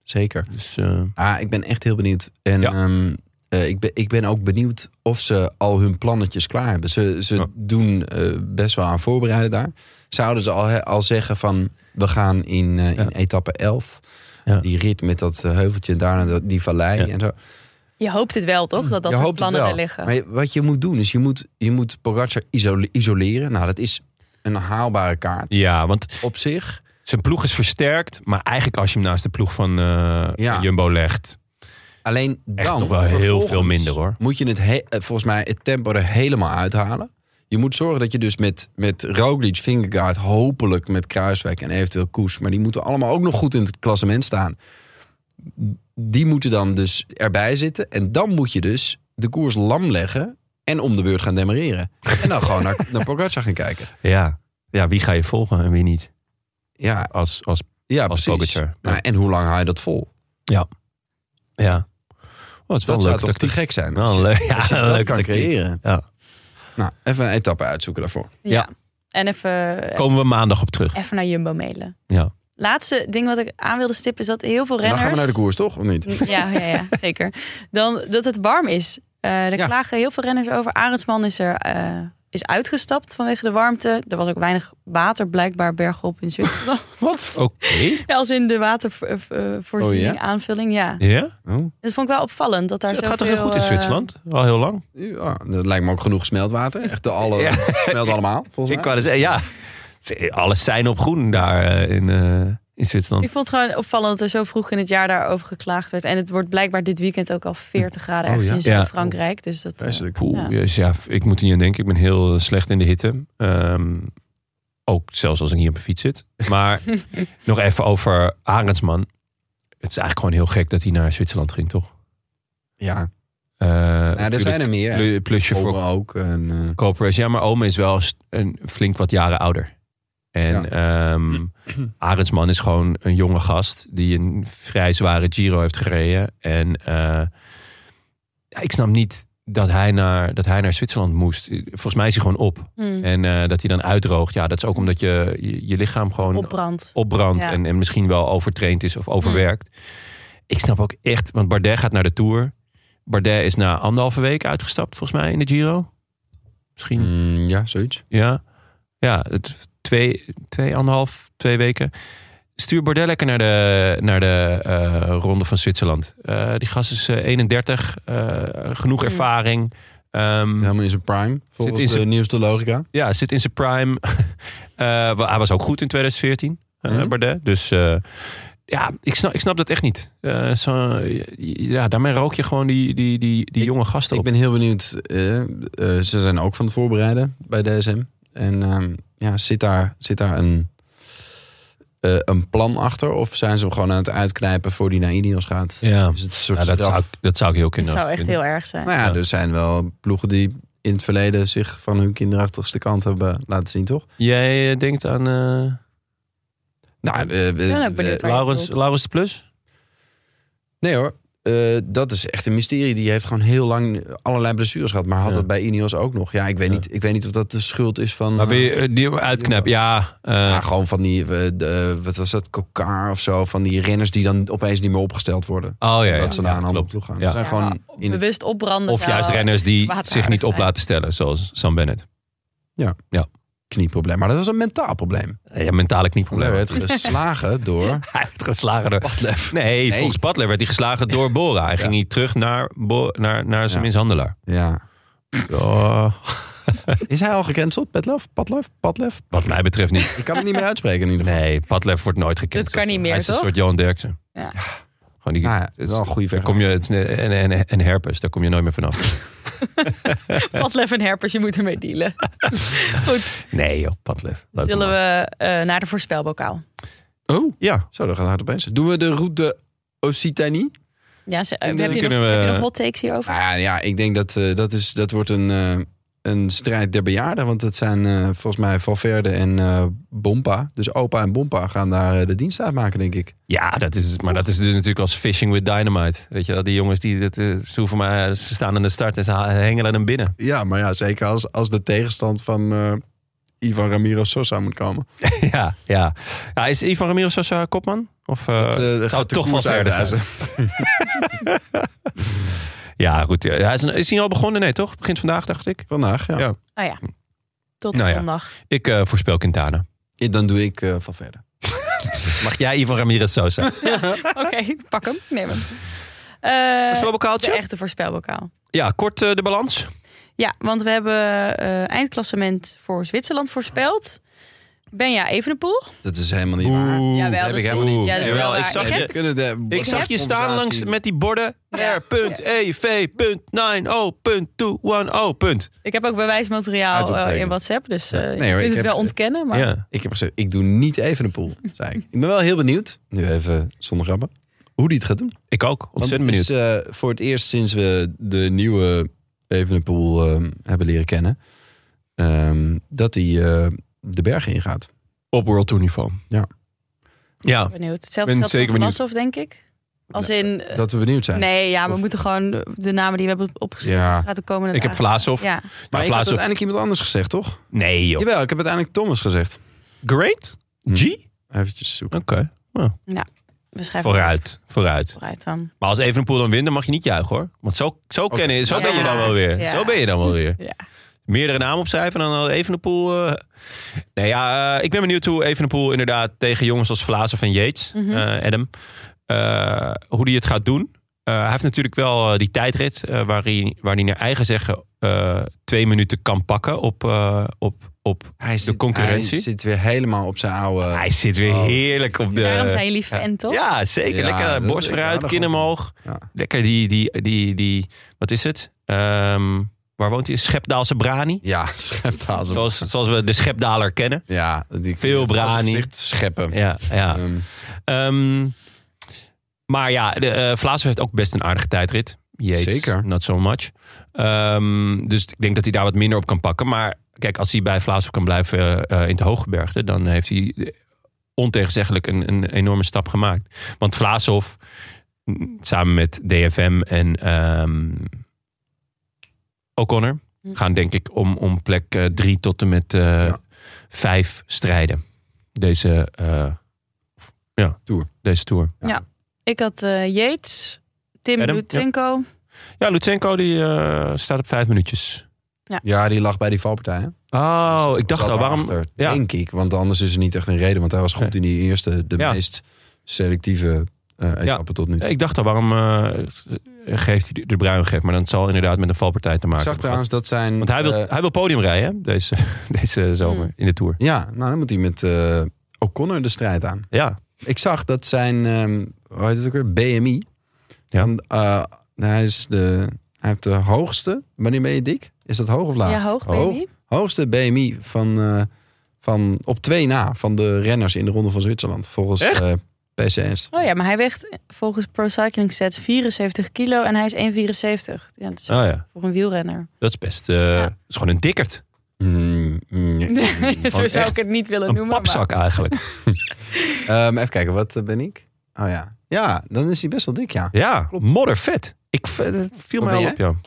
S2: zeker.
S1: Dus, eh,
S2: Ah, ik ben echt heel benieuwd. En
S1: Ja.
S2: ehm, eh, ik, ben, ik ben ook benieuwd of ze al hun plannetjes klaar hebben. Ze, ze
S1: Ja.
S2: doen eh, best wel aan voorbereiden daar. Zouden ze al, he- al zeggen van we gaan in, eh, in
S1: Ja.
S2: etappe 11.
S1: Ja.
S2: Die rit met dat eh, heuveltje en daarna dat- die vallei
S1: Ja.
S2: en zo.
S3: Je hoopt het wel, toch? Dat dat
S2: Mm. Je
S3: soort
S2: hoopt het
S3: plannen
S2: wel.
S3: er liggen.
S2: Maar je- wat je moet doen is je moet, je moet Pogacar isole- isoleren. Nou, dat is een haalbare kaart
S1: ja, want
S2: op zich.
S1: Zijn ploeg is versterkt, maar eigenlijk als je hem naast de ploeg van, eh,
S2: Ja.
S1: van Jumbo legt.
S2: Alleen dan
S1: Echt nog wel heel
S2: vervolgens
S1: veel minder, hoor.
S2: Moet je het he- eh, volgens mij het tempo er helemaal uithalen. Je moet zorgen dat je dus met, met Roglic, Vingegaard, hopelijk met Kruiswijk en eventueel Koes, maar die moeten allemaal ook nog goed in het klassement staan. Die moeten dan dus erbij zitten en dan moet je dus de koers lam leggen en om de beurt gaan demareren. En dan gewoon naar, naar Pogacar gaan kijken.
S1: Ja. ja, wie ga je volgen en wie niet?
S2: Ja,
S1: Als, als,
S2: ja
S1: als
S2: precies.
S1: Pogacar.
S2: Nou, en hoe lang haal je dat vol?
S1: ja. Oh, het is wel
S2: Dat
S1: een
S2: zou
S1: leuke
S2: toch te
S1: tactiek.
S2: gek zijn?
S1: Wel
S2: Als
S1: een
S2: je,
S1: leuk, ja,
S2: als je
S1: een
S2: dat
S1: leuke
S2: kan
S1: tactiek.
S2: creëren.
S1: Ja.
S2: Nou, even een etappe uitzoeken daarvoor.
S1: Ja.
S3: En even, eh,
S1: Komen we maandag op terug.
S3: even naar Jumbo mailen.
S1: Ja.
S3: Laatste ding wat ik aan wilde stippen is dat heel veel
S2: En
S3: renners... Mm,
S2: dan gaan we naar de koers, toch? Of niet?
S3: Ja, ja, ja zeker. Dan dat het warm is. Eh er
S2: Ja.
S3: klagen heel veel renners over. Arendsman is er eh, is uitgestapt vanwege de warmte. Er was ook weinig water blijkbaar bergop
S2: (laughs)
S3: in Zwitserland.
S1: Oké.
S3: Ja, als in de watervoorziening,
S2: Oh, ja?
S3: aanvulling, ja.
S1: Ja?
S2: Oh.
S3: Dat vond ik wel opvallend. Dat daar
S1: Het gaat toch heel
S3: zoveel,
S1: goed in
S3: eh,
S1: Zwitserland? Al heel lang.
S2: Ja, ah, dat lijkt me ook genoeg smeltwater. Echt de alle
S1: Ja.
S2: smelt
S1: (laughs)
S2: allemaal,
S1: Ik
S2: volgens mij.
S1: wou het zeggen, ja. Alles zijn op groen daar eh, in, eh, in Zwitserland.
S3: ik vond het gewoon opvallend dat er zo vroeg in het jaar daarover geklaagd werd. En het wordt blijkbaar dit weekend ook al 40 graden
S1: Oh
S3: ergens
S2: ja?
S3: in Zuid-Frankrijk. Dus dat, eh,
S2: Vreselijk.
S1: Poeh,
S3: Ja.
S1: jezus, ja. ik moet er niet aan denken. Ik ben heel eh, slecht in de hitte. Ehm, ook zelfs als ik hier op mijn fiets zit. Maar nog even over Arendsman. Het is eigenlijk gewoon heel gek dat hij naar Zwitserland ging, toch?
S2: Ja,
S1: Eh,
S2: nou, er
S1: natuurlijk
S2: zijn Oh, er meer. hè.
S1: plu- Plusje voor
S2: Omen ook. En, eh,
S1: Cooper. Ja, maar Ome is wel st- een flink wat jaren ouder. En ehm Arendsman is gewoon een jonge gast die een vrij zware Giro heeft gereden. En eh, ja, ik snap niet dat hij, naar, dat hij naar Zwitserland moest. Volgens mij is hij gewoon op.
S3: hmm,
S1: En eh, dat hij dan uitdoogt. Ja, dat is ook omdat je je, je lichaam gewoon
S3: opbrand.
S1: opbrandt.
S3: Ja.
S1: En, en misschien wel overtraind is of overwerkt. Ik snap ook echt, want Bardet gaat naar de Tour. Bardet is na anderhalve week uitgestapt, volgens mij, in de Giro. Misschien
S2: mm, ja, zoiets.
S1: ja, ja het, twee, twee, anderhalf, twee weken. Stuur Bordet lekker naar de, naar de eh, Ronde van Zwitserland. Eh, die gast is eh, 31, eh, genoeg ervaring. Ehm,
S2: Helemaal in zijn prime, volgens
S1: in zijn-
S2: de nieuwste logica.
S1: ja, zit in zijn prime. (laughs) Eh, wa- hij was ook goed in 2014, eh,
S2: Mhm.
S1: Bardet. Dus eh, ja, ik snap, ik snap dat echt niet. Eh, zo, ja, daarmee rook je gewoon die, die, die, die
S2: Ik-
S1: jonge gasten
S2: Ik
S1: op.
S2: ben heel benieuwd. eh, eh, ze zijn ook van het voorbereiden bij DSM. En ehm, ja, zit daar, zit daar een, eh, een plan achter? Of zijn ze hem gewoon aan het uitknijpen voor die naar Ineos gaat?
S1: ja,
S2: Is het een soort
S1: Ja, dat,
S2: straf?
S1: zou, ik- dat zou ik heel
S3: Dat
S1: kunnen.
S3: zou echt heel erg zijn.
S2: Nou ja,
S1: Ja.
S2: er zijn wel ploegen die in het verleden zich van hun kinderachtigste kant hebben laten zien, toch?
S1: Jij eh, denkt aan eh
S2: Nou, eh, eh,
S3: ben ook
S2: eh,
S3: benieuwd Waar je
S1: Laurens,
S3: bedoelt.
S1: Laurens de Plus?
S2: nee hoor, eh, dat is echt een mysterie. Die heeft gewoon heel lang allerlei blessures gehad, maar had
S1: Ja.
S2: dat bij Ineos ook nog. Ja, ik weet,
S1: Ja.
S2: niet, ik weet niet of dat de schuld is van...
S1: Maar ben
S2: eh,
S1: je eh, die uitknap? Ja. eh,
S2: ja, gewoon van die, eh, de, wat was dat, Kokaar of zo, van die renners die dan opeens niet meer opgesteld worden.
S1: oh ja, ja.
S2: dat ze naar
S1: Ja,
S2: een andere
S1: klopt.
S2: ploeg gaan.
S1: Ja.
S2: Dat zijn
S3: Ja,
S2: gewoon
S3: maar
S2: in het,
S3: bewust opbranden.
S1: Of
S3: zou-
S1: juist
S3: (laughs)
S1: renners die
S3: water
S1: zich niet op
S3: zijn.
S1: laten stellen, zoals Sam Bennett.
S2: knieprobleem. Maar dat was een mentaal probleem.
S1: Eh, Ja, mentale
S2: Hij
S1: knieprobleem.
S2: werd geslagen
S1: (laughs)
S2: door
S1: Hij werd geslagen door...
S2: Padlef.
S1: Nee,
S2: Nee.
S1: volgens Butler werd hij geslagen door Bora. Hij ging niet terug naar, Bo- naar, naar zijn
S2: Ja.
S1: mishandelaar.
S2: Ja.
S1: Oh.
S2: Is hij al gecanceld? Petlef? Patlef? Patlef?
S1: Wat mij betreft niet.
S2: Ik kan het niet meer uitspreken in ieder geval.
S1: Nee, Padlef wordt nooit gekend.
S3: Dat kan niet meer,
S1: Hij is een
S3: toch?
S1: soort Johan Derksen.
S3: Ja.
S1: Gewoon die,
S2: Nou ja,
S1: het is-
S2: wel een goede
S1: daar
S2: verhaal.
S1: kom je, het is ne- en, en, en herpes, daar kom je nooit meer vanaf.
S3: Padlef en herpers, je moet ermee dealen. Goed,
S1: Nee joh, Padlef. Leuk
S3: zullen
S1: man.
S3: we eh, naar de voorspelbokaal?
S2: Oh,
S1: Ja,
S2: zo, dat gaat hard opeens. Doen we de route Occitanie?
S3: Ja, ze,
S1: En
S3: heb,
S1: dan
S3: je nog,
S1: kunnen we-
S3: heb je nog hot takes hierover?
S2: Nou ja, ja, ik denk dat eh, dat, is, dat wordt een, eh, een strijd der bejaarden. Want dat zijn eh, volgens mij Valverde en eh, Bompa. Dus opa en Bompa gaan daar eh, de dienst uitmaken, denk ik.
S1: ja dat is, maar dat is dus natuurlijk als fishing with dynamite. Weet je wel, die jongens die dat, eh, ze, hoeven maar, ze staan aan de start en ze ha- hengelen hem binnen. (laughs)
S2: Ja, maar ja, zeker als, als de tegenstand van eh, Ivan Ramiro Sosa moet komen.
S1: ja, ja. ja, is Ivan Ramiro Sosa kopman? Of eh,
S2: Dat, eh,
S1: zou
S2: gaat de
S1: toch wel
S2: koers
S1: verder zijn?
S2: uitreizen.
S1: Ja, goed. Ja, hij is, is hij al begonnen? Nee, toch? Begint vandaag, dacht ik.
S2: Vandaag, ja.
S1: Ja.
S3: Nou ja, tot
S1: Nou ja. (laughs)
S3: zondag.
S1: Ik eh, voorspel Quintana.
S2: Ja, Dan doe ik eh, Valverde.
S1: Mag jij Ivan Ramirez Sosa?
S3: (laughs) Oké, pak hem, neem hem. Eh, de
S1: Voorspelbokaaltje?
S3: echte voorspelbokaal.
S1: Ja, kort eh, de balans.
S3: Ja, want we hebben eh, eindklassement voor Zwitserland voorspeld. Benja Evenepoel.
S2: Dat is helemaal niet waar.
S3: Jawel,
S2: heb
S3: dat
S2: ik
S3: is-
S2: helemaal niet.
S3: Ja, dat is
S1: Jawel,
S3: wel
S1: ik
S3: waar.
S1: zag
S3: Ik
S2: Nee,
S1: je-
S3: heb-
S2: we kunnen de
S1: Ik zag je staan langs
S2: conversatie-
S1: met die borden. E,
S3: Ja.
S1: R.E.V.90.210. Punt.
S3: Ik heb ook bewijsmateriaal eh,
S2: Uitoptekenen.
S3: in WhatsApp, dus eh,
S2: hoor,
S3: je
S2: ik
S3: kunt het
S2: heb
S3: wel
S2: ze.
S3: ontkennen. Maar
S1: Ja.
S2: Ik heb gezegd, ik doe niet even een pool, zei ik. Ik ben wel heel benieuwd, nu even zonder grappen, hoe die het gaat doen.
S1: Ik ook.
S2: Want het
S1: Ontzettend benieuwd.
S2: is eh, voor het eerst sinds we de nieuwe Evenepoel eh, hebben leren kennen, ehm, dat hij eh, de bergen ingaat.
S1: Op World Tour niveau.
S2: Ja.
S1: Ja.
S3: benieuwd. Hetzelfde
S1: Ben
S3: geldt voor
S1: zeker benieuwd.
S3: Vlasov, denk ik. Als in... eh,
S2: Dat we benieuwd zijn.
S3: nee, ja, we
S2: Of-
S3: moeten gewoon de- de namen die we hebben opgeschreven
S2: Ja.
S3: laten komen.
S1: Ik heb Vlaasov.
S3: Ja,
S2: Maar
S1: Maar
S2: ik heb
S1: Vlaasov...
S2: uiteindelijk iemand anders gezegd, toch?
S1: Nee joh. Hm.
S2: Jawel, ik heb uiteindelijk Thomas gezegd.
S1: Great? G?
S2: Even zoeken.
S1: Oké.
S3: we schrijven
S1: Vooruit. Vooruit.
S3: vooruit dan.
S1: Maar als Evenepoel dan wint, dan mag je niet juichen hoor. Want zo, zo,
S2: Oké.
S1: kennen, zo
S3: Ja.
S1: ben je dan wel weer.
S3: Ja.
S1: Zo ben je dan wel weer.
S3: Ja.
S1: Meerdere namen opschrijven en dan Evenepoel... eh Nee ja, eh, ik ben benieuwd hoe Evenepoel inderdaad tegen jongens als Vlaassen van Yates,
S3: Mhm.
S1: eh, Adam... eh, hoe die het gaat doen. Eh, hij heeft natuurlijk wel eh, die tijdrit eh, waar, hij, waar hij naar eigen zeggen... eh, twee minuten kan pakken op, eh, op, op...
S2: Hij zit,
S1: concurrentie?
S2: Hij zit weer helemaal op zijn oude...
S1: Hij zit weer
S2: Oh.
S1: heerlijk op de...
S3: Daarom zijn jullie fan, toch?
S1: Ja, zeker.
S2: Ja,
S1: Lekker eh,
S2: dat-
S1: borst
S2: ik hou
S1: vooruit,
S2: daar
S1: kin
S2: gewoon van.
S1: omhoog.
S2: Ja.
S1: Lekker die, die, die, die, wat is het? Ehm, waar woont hij? Schepdaalse Brani.
S2: Ja, (laughs) schept haast op.
S1: Zoals, zoals we de Schepdaler kennen.
S2: Ja, die
S1: Veel
S2: als
S1: brani.
S2: gezicht scheppen.
S1: Ja, ja.
S2: Ehm,
S1: Ehm, maar ja, de, eh Vlaas heeft ook best een aardige tijdrit. Jeets,
S2: Zeker.
S1: Not so much. Ehm, dus ik denk dat hij daar wat minder op kan pakken. Maar kijk, als hij bij Vlaas kan blijven eh, eh, in de Hooggebergte, dan heeft hij eh, ontegenzeggelijk een, een enorme stap gemaakt. Want Vlaashoff, mm, samen met DFM en ehm O'Connor,
S3: Hm.
S1: gaan denk ik om, om plek 3 tot en met 5
S2: Ja.
S1: strijden. Deze eh, deze tour.
S3: Ik had eh Yates, Tim
S1: Adam,
S3: Lutsenko.
S1: Ja, Lutsenko die eh, staat op vijf minuutjes.
S2: ja, die lag bij die valpartij. hè? Dus
S1: Oh, ik dacht
S2: Zat
S1: al, waarom?
S2: daarachter,
S1: ja.
S2: Denk ik, want anders is er niet echt een reden. Want hij was goed in die eerste, de
S1: Ja.
S2: meest selectieve eh etappe tot nu toe.
S1: Ik dacht al, waarom eh, geeft hij de- de bruin geeft? Maar dat zal inderdaad met een valpartij te
S2: Ik
S1: maken
S2: zag
S1: hebben gehad.
S2: trouwens dat zijn...
S1: Want hij wil,
S2: eh,
S1: hij wil podium rijden hè, deze, (laughs) deze zomer in de Tour.
S2: ja, nou dan moet hij met eh, O'Connor de strijd aan.
S1: Ja,
S2: Ik zag dat zijn, ehm hoe heet het ook weer, BMI.
S1: Ja.
S2: Want, eh, hij, is de, hij heeft de hoogste, wanneer ben je dik? Is dat hoog of laag?
S3: Ja, hoog,
S2: Hoog.
S3: baby.
S2: Hoogste BMI van, eh, van op twee na van de renners in de Ronde van Zwitserland. Volgens
S1: Echt?
S2: eh, PCS.
S3: Oh ja, maar hij weegt volgens Pro Cycling Stats 74 kilo en hij is 1,74. Ja, dat is
S1: oh, ja.
S3: voor een
S1: (laughs)
S3: wielrenner.
S1: dat is best. eh,
S3: Ja.
S1: dat is gewoon een dikkerd.
S2: Mm, mm, ja.
S3: (laughs) Zo zou
S1: echt
S3: ik het niet willen
S1: Een
S3: noemen.
S1: papzak
S2: (laughs)
S1: eigenlijk.
S2: Ehm, even kijken, wat eh, ben ik? Oh ja. Ja, dan is hij best wel dik, ja.
S1: Ja,
S2: Klopt.
S1: moddervet. Ik, v- dat viel
S2: Wat
S1: mij al
S2: ben
S1: op,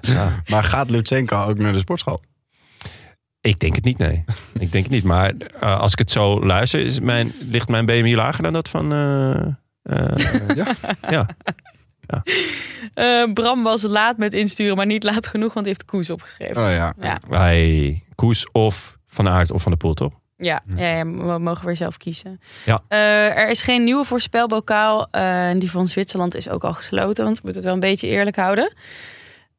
S1: ja.
S2: Maar gaat Lutsenko ook naar de sportschool?
S1: Ik denk het niet, nee. ik denk het niet. Maar eh, als ik het zo luister, is mijn, ligt mijn BMI lager dan dat van... eh, eh,
S2: (laughs)
S3: maar- Eh, Bram was laat met insturen, maar niet laat genoeg, want hij heeft koers opgeschreven.
S2: Oh ja.
S3: Ja.
S1: Bij Koes of Van Aert of Van de Poel, toch?
S3: Ja, ja, ja, we mogen weer zelf kiezen.
S1: Ja.
S3: Eh, er is geen nieuwe voorspelbokaal. eh, en die van Zwitserland is ook al gesloten, want we moeten het wel een beetje eerlijk houden.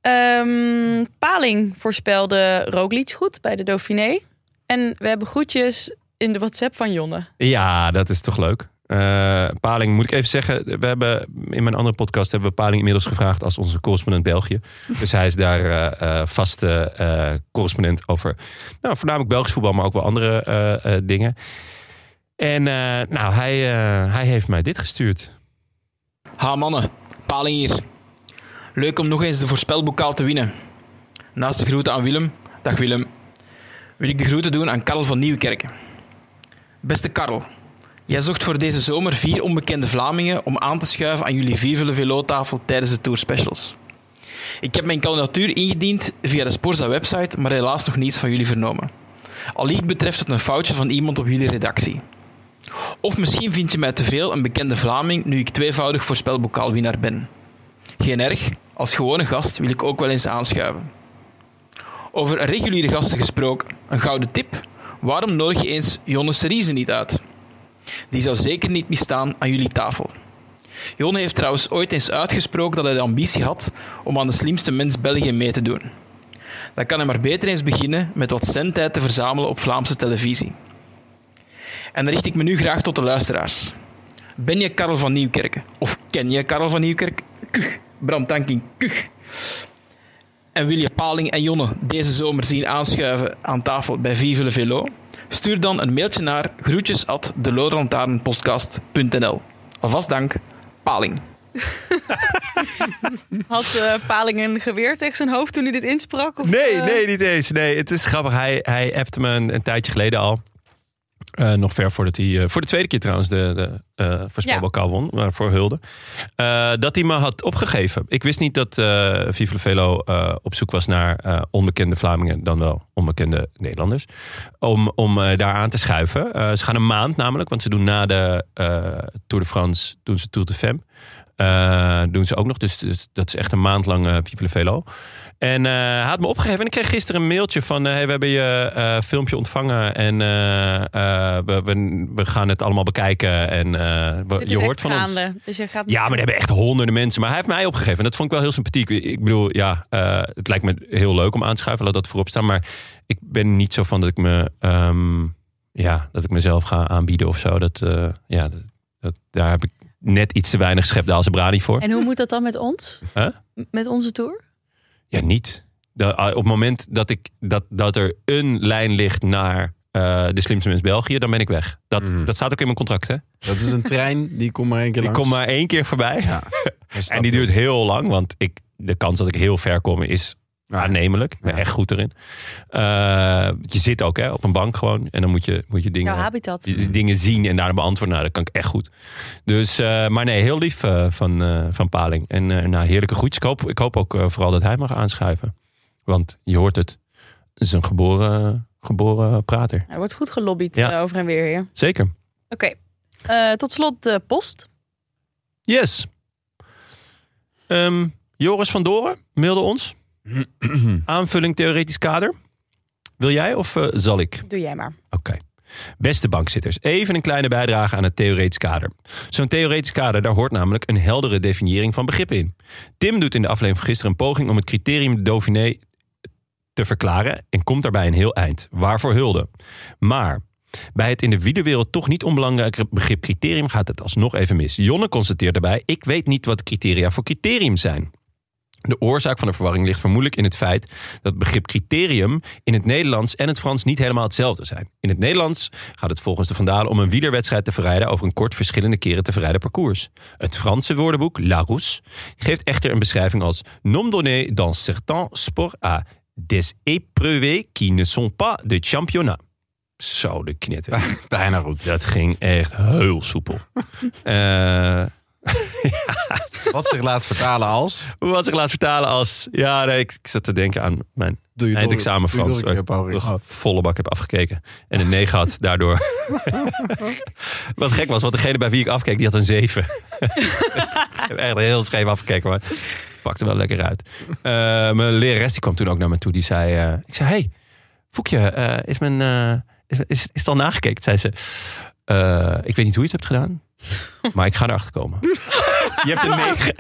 S3: Eh, Ehm, Paling voorspelde Roglic goed bij de Dauphiné. En we hebben groetjes in de WhatsApp van Jonne.
S1: Ja, dat is toch leuk. Eh, Paling, moet ik even zeggen, we hebben in mijn andere podcast hebben we Paling inmiddels gevraagd als onze correspondent België. Dus hij is daar eh, eh, vaste eh, correspondent over, nou, voornamelijk Belgisch voetbal, maar ook wel andere eh, eh, dingen. En eh, nou, hij, eh, hij heeft mij dit gestuurd.
S4: Ha mannen, Paling hier. Leuk om nog eens de voorspelbokaal te winnen. Naast de groeten aan Willem, dag Willem, wil ik de groeten doen aan Karel van Nieuwkerken. Beste Karel, jij zocht voor deze zomer vier onbekende Vlamingen om aan te schuiven aan jullie Vive le Velo tafel tijdens de Tour Specials. Ik heb mijn kandidatuur ingediend via de Sporza website, maar helaas nog niets van jullie vernomen. Al iets betreft het een foutje van iemand op jullie redactie. Of misschien vind je mij te veel een bekende Vlaming nu ik tweevoudig voorspelbokaalwinnaar ben. Geen erg, als gewone gast wil ik ook wel eens aanschuiven. Over reguliere gasten gesproken, een gouden tip. Waarom nodig je eens Jonne Serize niet uit? Die zou zeker niet misstaan aan jullie tafel. Jonne heeft trouwens ooit eens uitgesproken dat hij de ambitie had om aan de slimste mens België mee te doen. Dan kan hij maar beter eens beginnen met wat zendtijd te verzamelen op Vlaamse televisie. En dan richt ik me nu graag tot de luisteraars. Ben je Karel van Nieuwkerken? Of ken je Karel van Nieuwkerken? Kuch, brandtanking, kuch. En wil je Paling en Jonne deze zomer zien aanschuiven aan tafel bij Vive le Velo? Stuur dan een mailtje naar groetjes at delodelantaarnpodcast.nl. Alvast dank, Paling.
S3: Had eh, Paling een geweer tegen zijn hoofd toen hij dit insprak? Of,
S1: Nee,
S3: eh,
S1: nee, niet eens. Nee, het is grappig. Hij, hij appte me een, een tijdje geleden al. Eh, nog ver voordat hij, eh, voor de tweede keer trouwens, de, de eh voorspelbokaal won, maar voor Hulde. Eh, dat hij me had opgegeven. Ik wist niet dat eh Vive le Velo eh, op zoek was naar eh, onbekende Vlamingen, dan wel onbekende Nederlanders. Om, om eh, daar aan te schuiven. Eh, ze gaan een maand namelijk, want ze doen na de eh, Tour de France, doen ze Tour de Femme. Eh, doen ze ook nog, dus, dus dat is echt een maand lang eh Vive le Velo. En eh, hij had me opgegeven. En ik kreeg gisteren een mailtje van... eh, hey, we hebben je eh, filmpje ontvangen. En eh, eh, we, we, we gaan het allemaal bekijken. En eh, we-
S3: dit is
S1: je
S3: echt
S1: hoort van ons.
S3: gaande. Dus je gaat
S1: Ja, maar er hebben echt honderden mensen. Maar hij heeft mij opgegeven. En dat vond ik wel heel sympathiek. Ik bedoel, ja, eh, het lijkt me heel leuk om aan te schuiven. Laat dat voorop staan. Maar ik ben niet zo van dat ik me... ehm, ja, dat ik mezelf ga aanbieden of zo. Dat, eh, ja, dat, dat- daar heb ik net iets te weinig Schepdaalse brani voor.
S3: En hoe moet dat dan met ons?
S1: Huh?
S3: M- Met onze tour?
S1: Ja, niet. Da- ah, op het moment dat, ik, dat, dat er een lijn ligt naar eh, de slimste mens België, dan ben ik weg. Dat,
S2: Mm.
S1: dat staat ook in mijn contract, hè?
S2: Dat is een trein, die komt maar één keer
S1: Die
S2: langs.
S1: komt maar één keer voorbij.
S2: Ja. Hij stapt
S1: En die
S2: op.
S1: duurt heel lang, want ik, de kans dat ik heel ver kom is
S2: Ja.
S1: aannemelijk. Ik ben
S2: Ja.
S1: echt goed erin. Eh, je zit ook hè, op een bank gewoon en dan moet je, moet je dingen...
S3: Jouw habitat. Nou,
S1: die- die dingen zien en daarna beantwoorden. Nou, dat kan ik echt goed. Dus, eh, maar nee, heel lief eh, van, eh, van Paling. En eh, nou, heerlijke groetjes. Ik hoop, ik hoop ook eh, vooral dat hij mag aanschuiven. Want je hoort het. Het is een geboren, geboren prater.
S3: Er wordt goed gelobbyd
S1: Ja.
S3: eh, over en weer hier. Oké,
S1: Zeker.
S3: eh, tot slot de post.
S1: Yes. Ehm, Joris van Doren mailde ons. Aanvulling theoretisch kader. Wil jij of eh, zal ik?
S3: Doe jij maar.
S1: Oké. Beste bankzitters, even een kleine bijdrage aan het theoretisch kader. Zo'n theoretisch kader, daar hoort namelijk een heldere definiëring van begrippen in. Tim doet in de aflevering van gisteren een poging om het criterium Dauphiné te verklaren en komt daarbij een heel eind. Waarvoor hulde? Maar bij het in de wielerwereld toch niet onbelangrijke begrip criterium gaat het alsnog even mis. Jonne constateert daarbij, ik weet niet wat de criteria voor criterium zijn. De oorzaak van de verwarring ligt vermoedelijk in het feit dat het begrip criterium in het Nederlands en het Frans niet helemaal hetzelfde zijn. In het Nederlands gaat het volgens de Vandalen om een wielerwedstrijd te verrijden over een kort verschillende keren te verrijden parcours. Het Franse woordenboek Larousse geeft echter een beschrijving als nom donné dans certains sports à des épreuves qui ne sont pas de championnat. Zo de knetter.
S2: (laughs) Bijna goed.
S1: Dat ging echt heel soepel. Eh
S2: Wat zich laat vertalen als...
S1: wat ik laat vertalen als... Ja, nee, ik, ik zat te denken aan mijn
S2: Doe je door-
S1: eindexamen
S2: doe je
S1: Frans.
S2: door een keer,
S1: Waar ik
S2: Paul. Oh,
S1: toch volle bak heb afgekeken. En een
S2: (laughs)
S1: 9 had daardoor. wat gek was, want degene bij wie ik afkeek, die had een 7.
S2: (laughs)
S1: ik heb echt heel scheef afgekeken, maar het pakte wel lekker uit. Eh, mijn lerares die kwam toen ook naar me toe. Die zei, eh, ik zei, hey, Foekje, eh, is, mijn, eh, is, is, is het al nagekeken? Zei ze,
S2: (laughs)
S1: "Eh, ik weet niet hoe je het hebt gedaan, maar ik ga erachter komen. Je hebt een 9.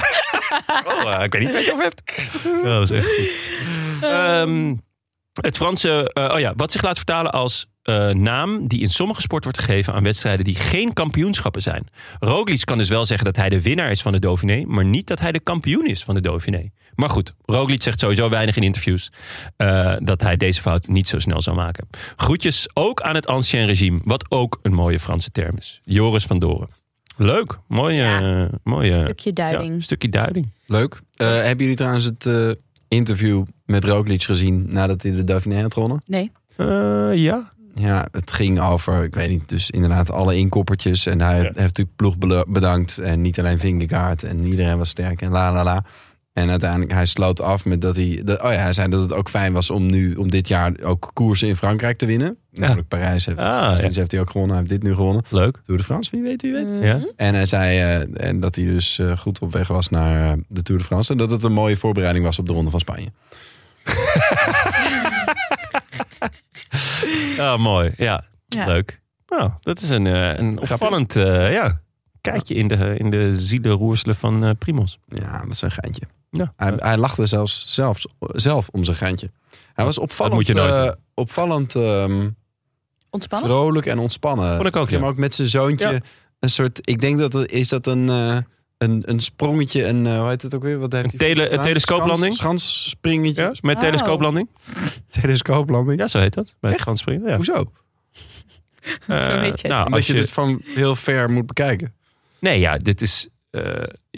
S1: Oh, eh, ik weet niet of je het over (laughs) hebt. dat was echt goed. Ehm, het Franse, eh, oh ja, wat zich laat vertalen als eh, naam die in sommige sporten wordt gegeven aan wedstrijden die geen kampioenschappen zijn. Roglic kan dus wel zeggen dat hij de winnaar is van de Dauphiné, maar niet dat hij de kampioen is van de Dauphiné. Maar goed, Roglic zegt sowieso weinig in interviews eh, dat hij deze fout niet zo snel zou maken. Groetjes ook aan het ancien regime, wat ook een mooie Franse term is. Joris van Doren. Leuk, mooie,
S5: Ja.
S1: mooie
S3: Stukje
S1: ja, een
S3: duiding.
S1: stukje duiding.
S2: Leuk. Eh, hebben jullie trouwens het eh, interview met Roglic gezien nadat hij de Dauphiné had gewonnen?
S3: Nee.
S1: ja.
S2: Eh, Ja, het ging over, ik weet niet, dus inderdaad alle inkoppertjes. En hij heeft natuurlijk ploeg belo- bedankt. En niet alleen Vingegaard en iedereen was sterk en la la la. En uiteindelijk, hij sloot af met dat hij... dat- oh ja, hij zei dat het ook fijn was om nu, om dit jaar ook koersen in Frankrijk te winnen. Namelijk Parijs. Heeft,
S1: Ah, ja. Mm.
S2: Parijs heeft hij ook gewonnen, hij heeft dit nu gewonnen.
S1: Leuk.
S2: Tour de France, wie weet, wie weet.
S1: Ja.
S2: En hij zei eh, en dat hij dus eh, goed op weg was naar eh, de Tour de France. En dat het een mooie voorbereiding was op de Ronde van Spanje.
S1: Ah, mooi. Ja.
S3: Ja.
S1: Leuk. Nou, dat is een, eh, een opvallend eh, ja, kijkje in de, in de zielenroerselen van eh Primos.
S2: Ja, dat is een geintje.
S1: Ja.
S2: Hij, hij lachte zelfs zelfs, zelf om zijn geintje. Hij was opvallend,
S1: moet je nooit
S2: eh,
S1: doen.
S2: opvallend ehm,
S3: Ontspannen?
S2: vrolijk en ontspannen.
S1: Vond ik Oh, ook,
S2: Zag je hem
S1: ja.
S2: ook met zijn zoontje.
S1: Ja.
S2: Een soort, ik denk dat het- is dat een, eh, een, een sprongetje, een, eh, hoe heet het ook weer? Wat heeft
S1: Een
S2: hij
S1: tele-
S2: gedaan?
S1: een telescooplanding?
S2: Schans, schansspringetje.
S1: Ja, met
S3: Oh.
S1: telescooplanding.
S2: Telescooplanding.
S1: Ja, zo heet dat. Bij het
S2: Echt?
S1: Ganspringen. Ja.
S2: Hoezo?
S5: Zo
S1: Eh,
S5: heet je.
S1: nou,
S2: Omdat
S1: als
S2: je,
S1: je,
S2: dit van heel ver moet bekijken.
S1: Nee, ja, dit is... eh,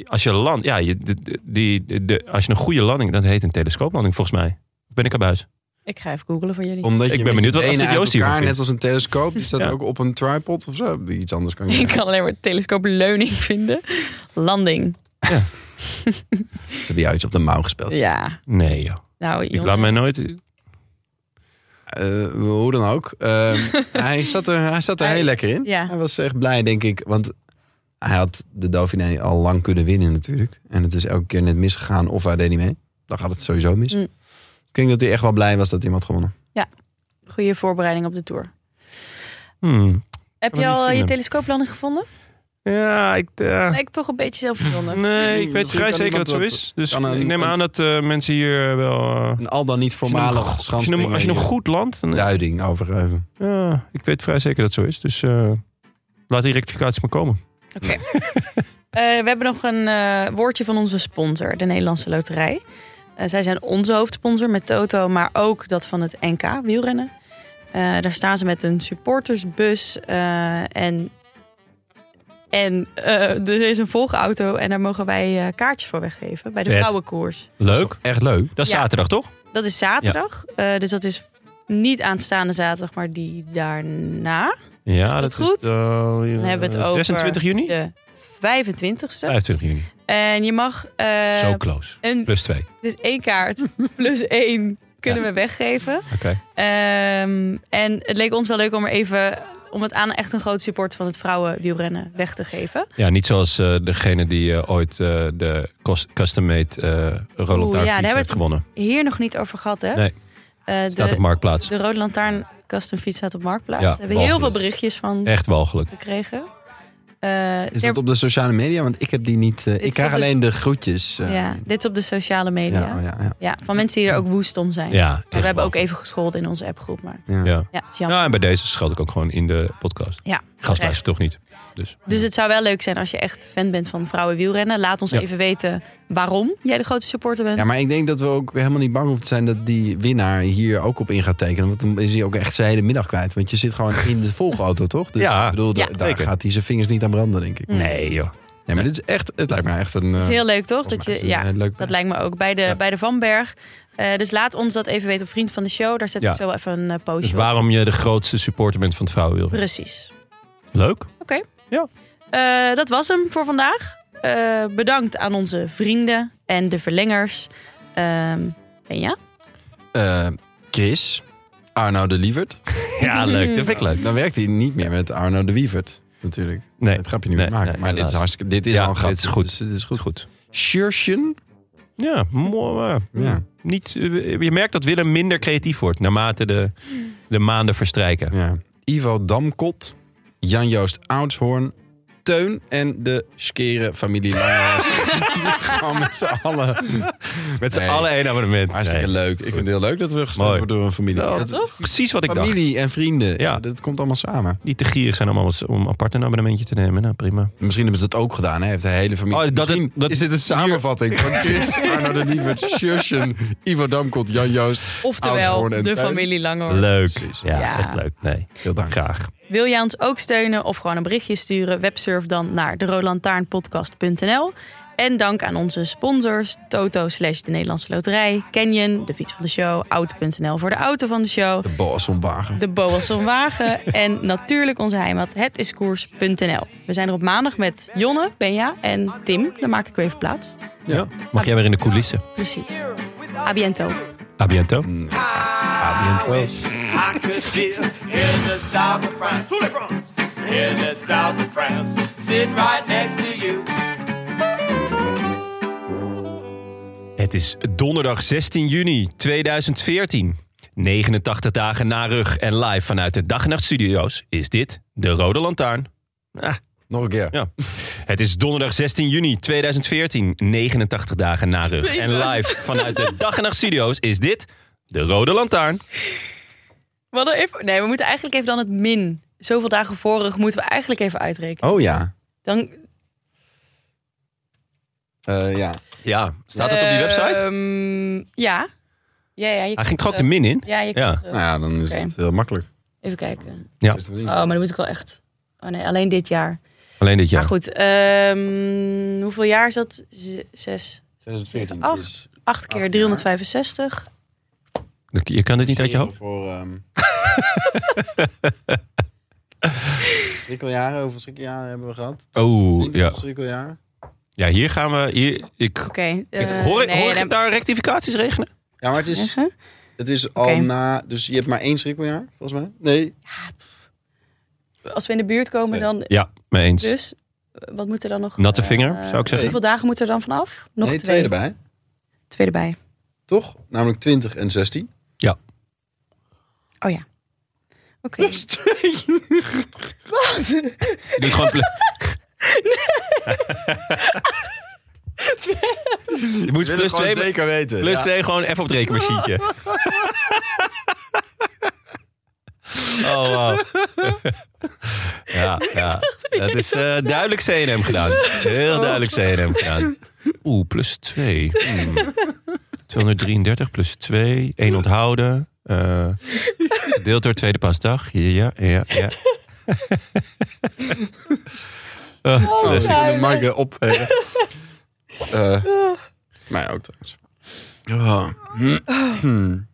S1: als je land... Ja, je, de- de- die, de- de- als je een goede landing... Dat heet een telescooplanding, volgens mij. Ben ik aan buis?
S3: Ik ga even googlen voor jullie.
S2: Omdat
S1: Ik
S2: je
S1: ben
S2: met je
S1: benieuwd wat
S2: benen
S1: Astrid
S2: uit
S1: Joost hiervan
S2: elkaar, net
S1: vindt.
S2: als een telescoop, die staat
S1: Ja.
S2: ook op een tripod of zo. Iets anders kan je
S3: (laughs) Ik kan alleen maar telescoopleuning vinden. Landing.
S2: Ze hebben jou iets op de mouw gespeeld.
S3: Ja.
S1: Nee, joh.
S3: Nou,
S1: Ik
S3: jongen.
S1: laat mij nooit...
S2: Eh, hoe dan ook. Eh,
S3: (laughs)
S2: hij zat er, hij zat er
S3: Hij-
S2: heel lekker in.
S3: ja.
S2: Hij was echt blij, denk ik. Want hij had de Dauphiné al lang kunnen winnen natuurlijk. En het is elke keer net misgegaan of hij deed niet mee. Dan gaat het sowieso mis.
S3: Mm.
S2: Ik denk dat hij echt wel blij was dat iemand gewonnen.
S3: Goede voorbereiding op de tour.
S1: Hmm.
S3: Heb
S1: Kan
S3: je
S1: het niet
S3: al eh, je
S1: vinden.
S3: telescooplanding gevonden?
S1: Ja, ik... eh,
S3: Nee, ik toch een beetje zelf
S1: (laughs)
S3: gevonden.
S1: Nee, ik weet
S2: Misschien
S1: vrij
S2: kan
S1: zeker
S2: iemand
S1: dat het zo
S2: dat-
S1: is. Dus
S2: kan een-
S1: ik neem aan dat eh, mensen hier eh, wel... eh,
S2: Een al dan niet
S1: Als
S2: voormalig
S1: je hem- Als je hem
S2: schanspringen.
S1: goed landt, dan,
S2: Duiding overgeven.
S1: ja, ik weet vrij zeker dat het zo is. Dus eh, laat die rectificaties maar komen.
S3: Eh, we hebben nog een eh, woordje van onze sponsor, de Nederlandse Loterij. Eh, zij zijn onze hoofdsponsor met Toto, maar ook dat van het NK wielrennen. Eh, daar staan ze met een supportersbus eh, en, en eh, er is een volgauto en daar mogen wij eh, kaartjes voor weggeven bij de
S1: Vet.
S3: vrouwenkoers.
S1: Leuk.
S2: Echt leuk.
S1: Dat is
S3: Ja.
S1: zaterdag, toch?
S3: Dat is zaterdag, eh, dus dat is niet aanstaande zaterdag, maar die daarna,
S1: Ja, dat,
S3: dat dat goed?
S1: is eh,
S3: is, Dan hebben we het over
S1: 26 juni?
S3: de 25ste.
S1: 25 juni.
S3: En je mag eh,
S1: Zo close.
S3: een
S1: Plus 2.
S3: Dus één kaart plus één kunnen
S1: Ja.
S3: we weggeven.
S1: Oké.
S3: Ehm, en het leek ons wel leuk om er even om het aan echt een groot support van het vrouwenwielrennen weg te geven.
S1: Ja, niet zoals eh, degene die eh, ooit eh, de cos- custom-made eh Roland
S3: Oeh,
S1: Taart
S3: ja, daar
S1: fiets
S3: hebben we
S1: heeft
S3: het-
S1: gewonnen.
S3: Hier nog niet over gehad, hè?
S1: Nee.
S3: Eh,
S1: Staat op
S3: de,
S1: Marktplaats.
S3: de Rode Lantaarn Custom Fiets staat op Marktplaats.
S1: Ja,
S3: we hebben heel veel
S1: walgelijk.
S3: berichtjes van
S1: Echt walgelijk.
S3: gekregen. Eh,
S2: Is
S3: ter-
S2: dat op de sociale media? Want ik heb die niet. eh,
S3: is
S2: ik krijg
S3: op de-
S2: alleen de groetjes. eh.
S3: dus- ja, dit is op de sociale
S2: Ja,
S3: media.
S2: oh
S3: Ja,
S2: ja, ja,
S3: van mensen die er ook woest om zijn.
S1: Ja, echt
S3: we hebben ook
S1: walgelijk.
S3: even gescholden in onze appgroep, maar
S2: ja.
S1: Ja.
S3: ja, het is jammer.
S1: Nou, en bij deze scheld ik ook gewoon in de podcast.
S3: Ja,
S1: Gast
S3: terecht.
S1: luistert toch niet.
S3: Dus het zou wel leuk zijn als je echt fan bent van vrouwenwielrennen. Laat ons
S1: Ja.
S3: even weten waarom jij de grote supporter bent.
S2: Ja, maar ik denk dat we ook helemaal niet bang hoeven te zijn dat die winnaar hier ook op in gaat tekenen. Want dan is hij ook echt zijn hele middag kwijt. Want je zit gewoon in de volgauto, toch? Dus
S1: Ja,
S2: ik bedoel, da-
S3: ja,
S2: daar
S1: zeker.
S2: gaat hij zijn vingers niet aan branden, denk ik.
S1: Nee,
S3: Oh,
S1: joh.
S2: Nee, maar dit is echt, het lijkt me echt een. eh,
S3: Het is
S1: eh,
S3: heel leuk, toch? Dat, je, ja,
S2: leuk
S3: dat lijkt me ook. Bij de, bij de Vanberg. Eh, dus laat ons dat even weten op Vriend van de Show. Daar zet
S1: Ja.
S3: ik zo wel even een eh, postje
S1: Dus
S3: op.
S1: waarom je de grootste supporter bent van het vrouwenwiel.
S3: Precies.
S2: (laughs)
S1: Leuk.
S3: Eh, dat was hem voor vandaag. Eh, bedankt aan onze vrienden en de verlengers. Ehm, en ja,
S2: Eh, Chris, Arno de Lievert.
S1: Ja, leuk. Dat vind ik leuk.
S2: Dan werkt hij niet meer met Arno de Wievert, natuurlijk.
S1: Nee.
S2: Het grapje niet
S1: Nee,
S2: meer maken.
S1: nee,
S2: maar dit is,
S1: helaas.
S2: hartstikke, dit is
S1: Ja,
S2: al een grap.
S1: dit is goed.
S2: Dus dit is goed.
S1: Goed.
S2: Sjursjen?
S1: Ja, mooi. maar
S2: Ja.
S1: Niet, eh, je merkt dat Willem minder creatief wordt naarmate de, de maanden verstrijken.
S2: Ja. Ivo Damkot, Jan-Joost Oudshoorn, T. Teun en de skere familie Langerhorst. Gewoon met z'n allen.
S1: Met z'n
S2: Nee.
S1: allen één abonnement.
S2: Hartstikke
S1: Nee.
S2: leuk. Ik vind het heel leuk dat we gesteund
S1: Mooi.
S2: worden door een familie.
S1: Nou,
S2: dat,
S1: Precies wat ik dacht.
S2: familie en vrienden.
S1: Ja.
S2: Ja. Dat komt allemaal samen.
S1: Die te gierig zijn allemaal om apart een abonnementje te nemen. Nou, prima.
S2: Misschien hebben ze dat ook gedaan. Hè? Heeft de hele familie.
S1: Oh, dat
S2: Misschien
S1: het- dat-
S2: is dit een samenvatting van Chris, Arno de Lievert, Sjusjen, Ivo Damkot, Jan Joost.
S3: Oftewel,
S2: Oudshoorn en
S3: de
S2: Teun.
S3: familie Langhorst.
S1: Leuk.
S2: precies.
S1: Ja,
S3: Ja.
S1: echt leuk. Nee,
S2: Heel dank.
S1: graag.
S3: Wil jij ons ook steunen of gewoon een berichtje sturen? Websurf dan naar de rolantaarnpodcast.nl. En dank aan onze sponsors: Toto slash de Nederlandse Loterij, Canyon, de fiets van de show, Auto.nl voor de auto van de show,
S2: De Boas van Wagen.
S3: de Boasson Wagen (laughs) en natuurlijk onze heimat hetiskoers.nl. We zijn er op maandag met Jonne, Benja en Tim. Dan maak ik weer even plaats.
S1: Ja. Mag jij weer in de coulissen? Mm.
S3: Precies. A biento.
S1: A biento.
S6: I could just in the south of France. In the south of France. Sitting right next to you.
S1: Het is donderdag 16 juni 2014. 89 dagen na rug en live vanuit de Dag en Nacht Studio's is dit de Rode Lantaarn. Ah,
S2: Nog een keer.
S1: ja. Het is donderdag 16 juni 2014. 89 dagen na rug en live vanuit de Dag en Nacht Studio's is dit de Rode Lantaarn.
S3: Wat een info- Nee, we moeten eigenlijk even dan het min. Zoveel dagen vorig moeten we eigenlijk even uitrekenen.
S2: Oh ja.
S3: Dan,
S2: Eh, ja.
S1: Ja, staat dat op die website?
S3: Ehm, ja. Ja, ja. Je
S1: Hij
S3: kunt
S1: ging toch ook de
S3: terug.
S1: min in?
S3: Ja, je kunt
S1: Ja.
S3: terug.
S2: Nou ja, dan is
S3: Oké.
S2: het heel makkelijk.
S3: Even kijken.
S1: Ja,
S2: Is het niet?
S3: Oh, maar dan moet ik wel echt... Oh nee, alleen dit jaar.
S1: alleen dit
S3: Maar
S1: jaar.
S3: goed, ehm, hoeveel jaar is dat? Z- zes.
S2: 2014
S3: Acht.
S1: dus
S2: is
S3: Acht keer
S2: jaar.
S3: 365.
S1: Je kan dit niet uit je hoofd?
S2: Voor, ehm
S3: (laughs)
S2: schrikkeljaren, hoeveel schrikkeljaren hebben we gehad?
S1: Oh, ja.
S2: Schrikkeljaren.
S1: Ja, hier gaan we... Hier, ik,
S3: Oké.
S1: ik,
S3: eh,
S1: hoor ik,
S3: nee,
S1: hoor ik
S3: dan-
S1: daar rectificaties regenen?
S2: Ja, maar het is,
S3: Zeggen?
S2: het is al
S3: Oké.
S2: na... Dus je hebt maar één schrikkeljaar, volgens mij. Nee.
S3: Als we in de buurt komen, dan...
S1: Ja, mee eens.
S3: Dus, eh, wat moet er dan nog...
S1: Natte vinger,
S3: eh,
S1: zou ik zeggen.
S3: Hoeveel dagen moet er dan vanaf? Nog
S2: nee,
S3: twee.
S2: twee erbij.
S3: Twee erbij.
S2: Toch? Namelijk 20 en 16.
S3: (laughs) Oh ja. Oké.
S1: Je doet gewoon pla- (laughs) Je moet plus twee,
S2: zeker weten.
S1: plus twee gewoon even op het rekenmachientje. Oh, wow. Ja, ja. Dat is eh, duidelijk CNM gedaan. Heel duidelijk CNM gedaan. Oeh, plus 2. 233 plus 2. 1 onthouden. Eh gedeeld door tweede pasdag. Ja, ja, ja. Eh,
S3: Oh,
S2: Dus
S1: classic.
S2: ik wil de Mike
S3: (laughs)
S2: opvegen. Eh, mij ook trouwens. Oh.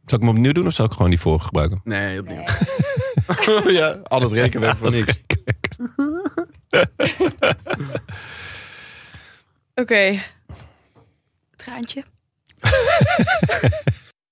S1: Zal ik hem opnieuw doen of zal ik gewoon die vorige gebruiken?
S2: Nee, opnieuw. (laughs) ja, al het rekenwerk (laughs) van niks.
S3: Oké. Traantje.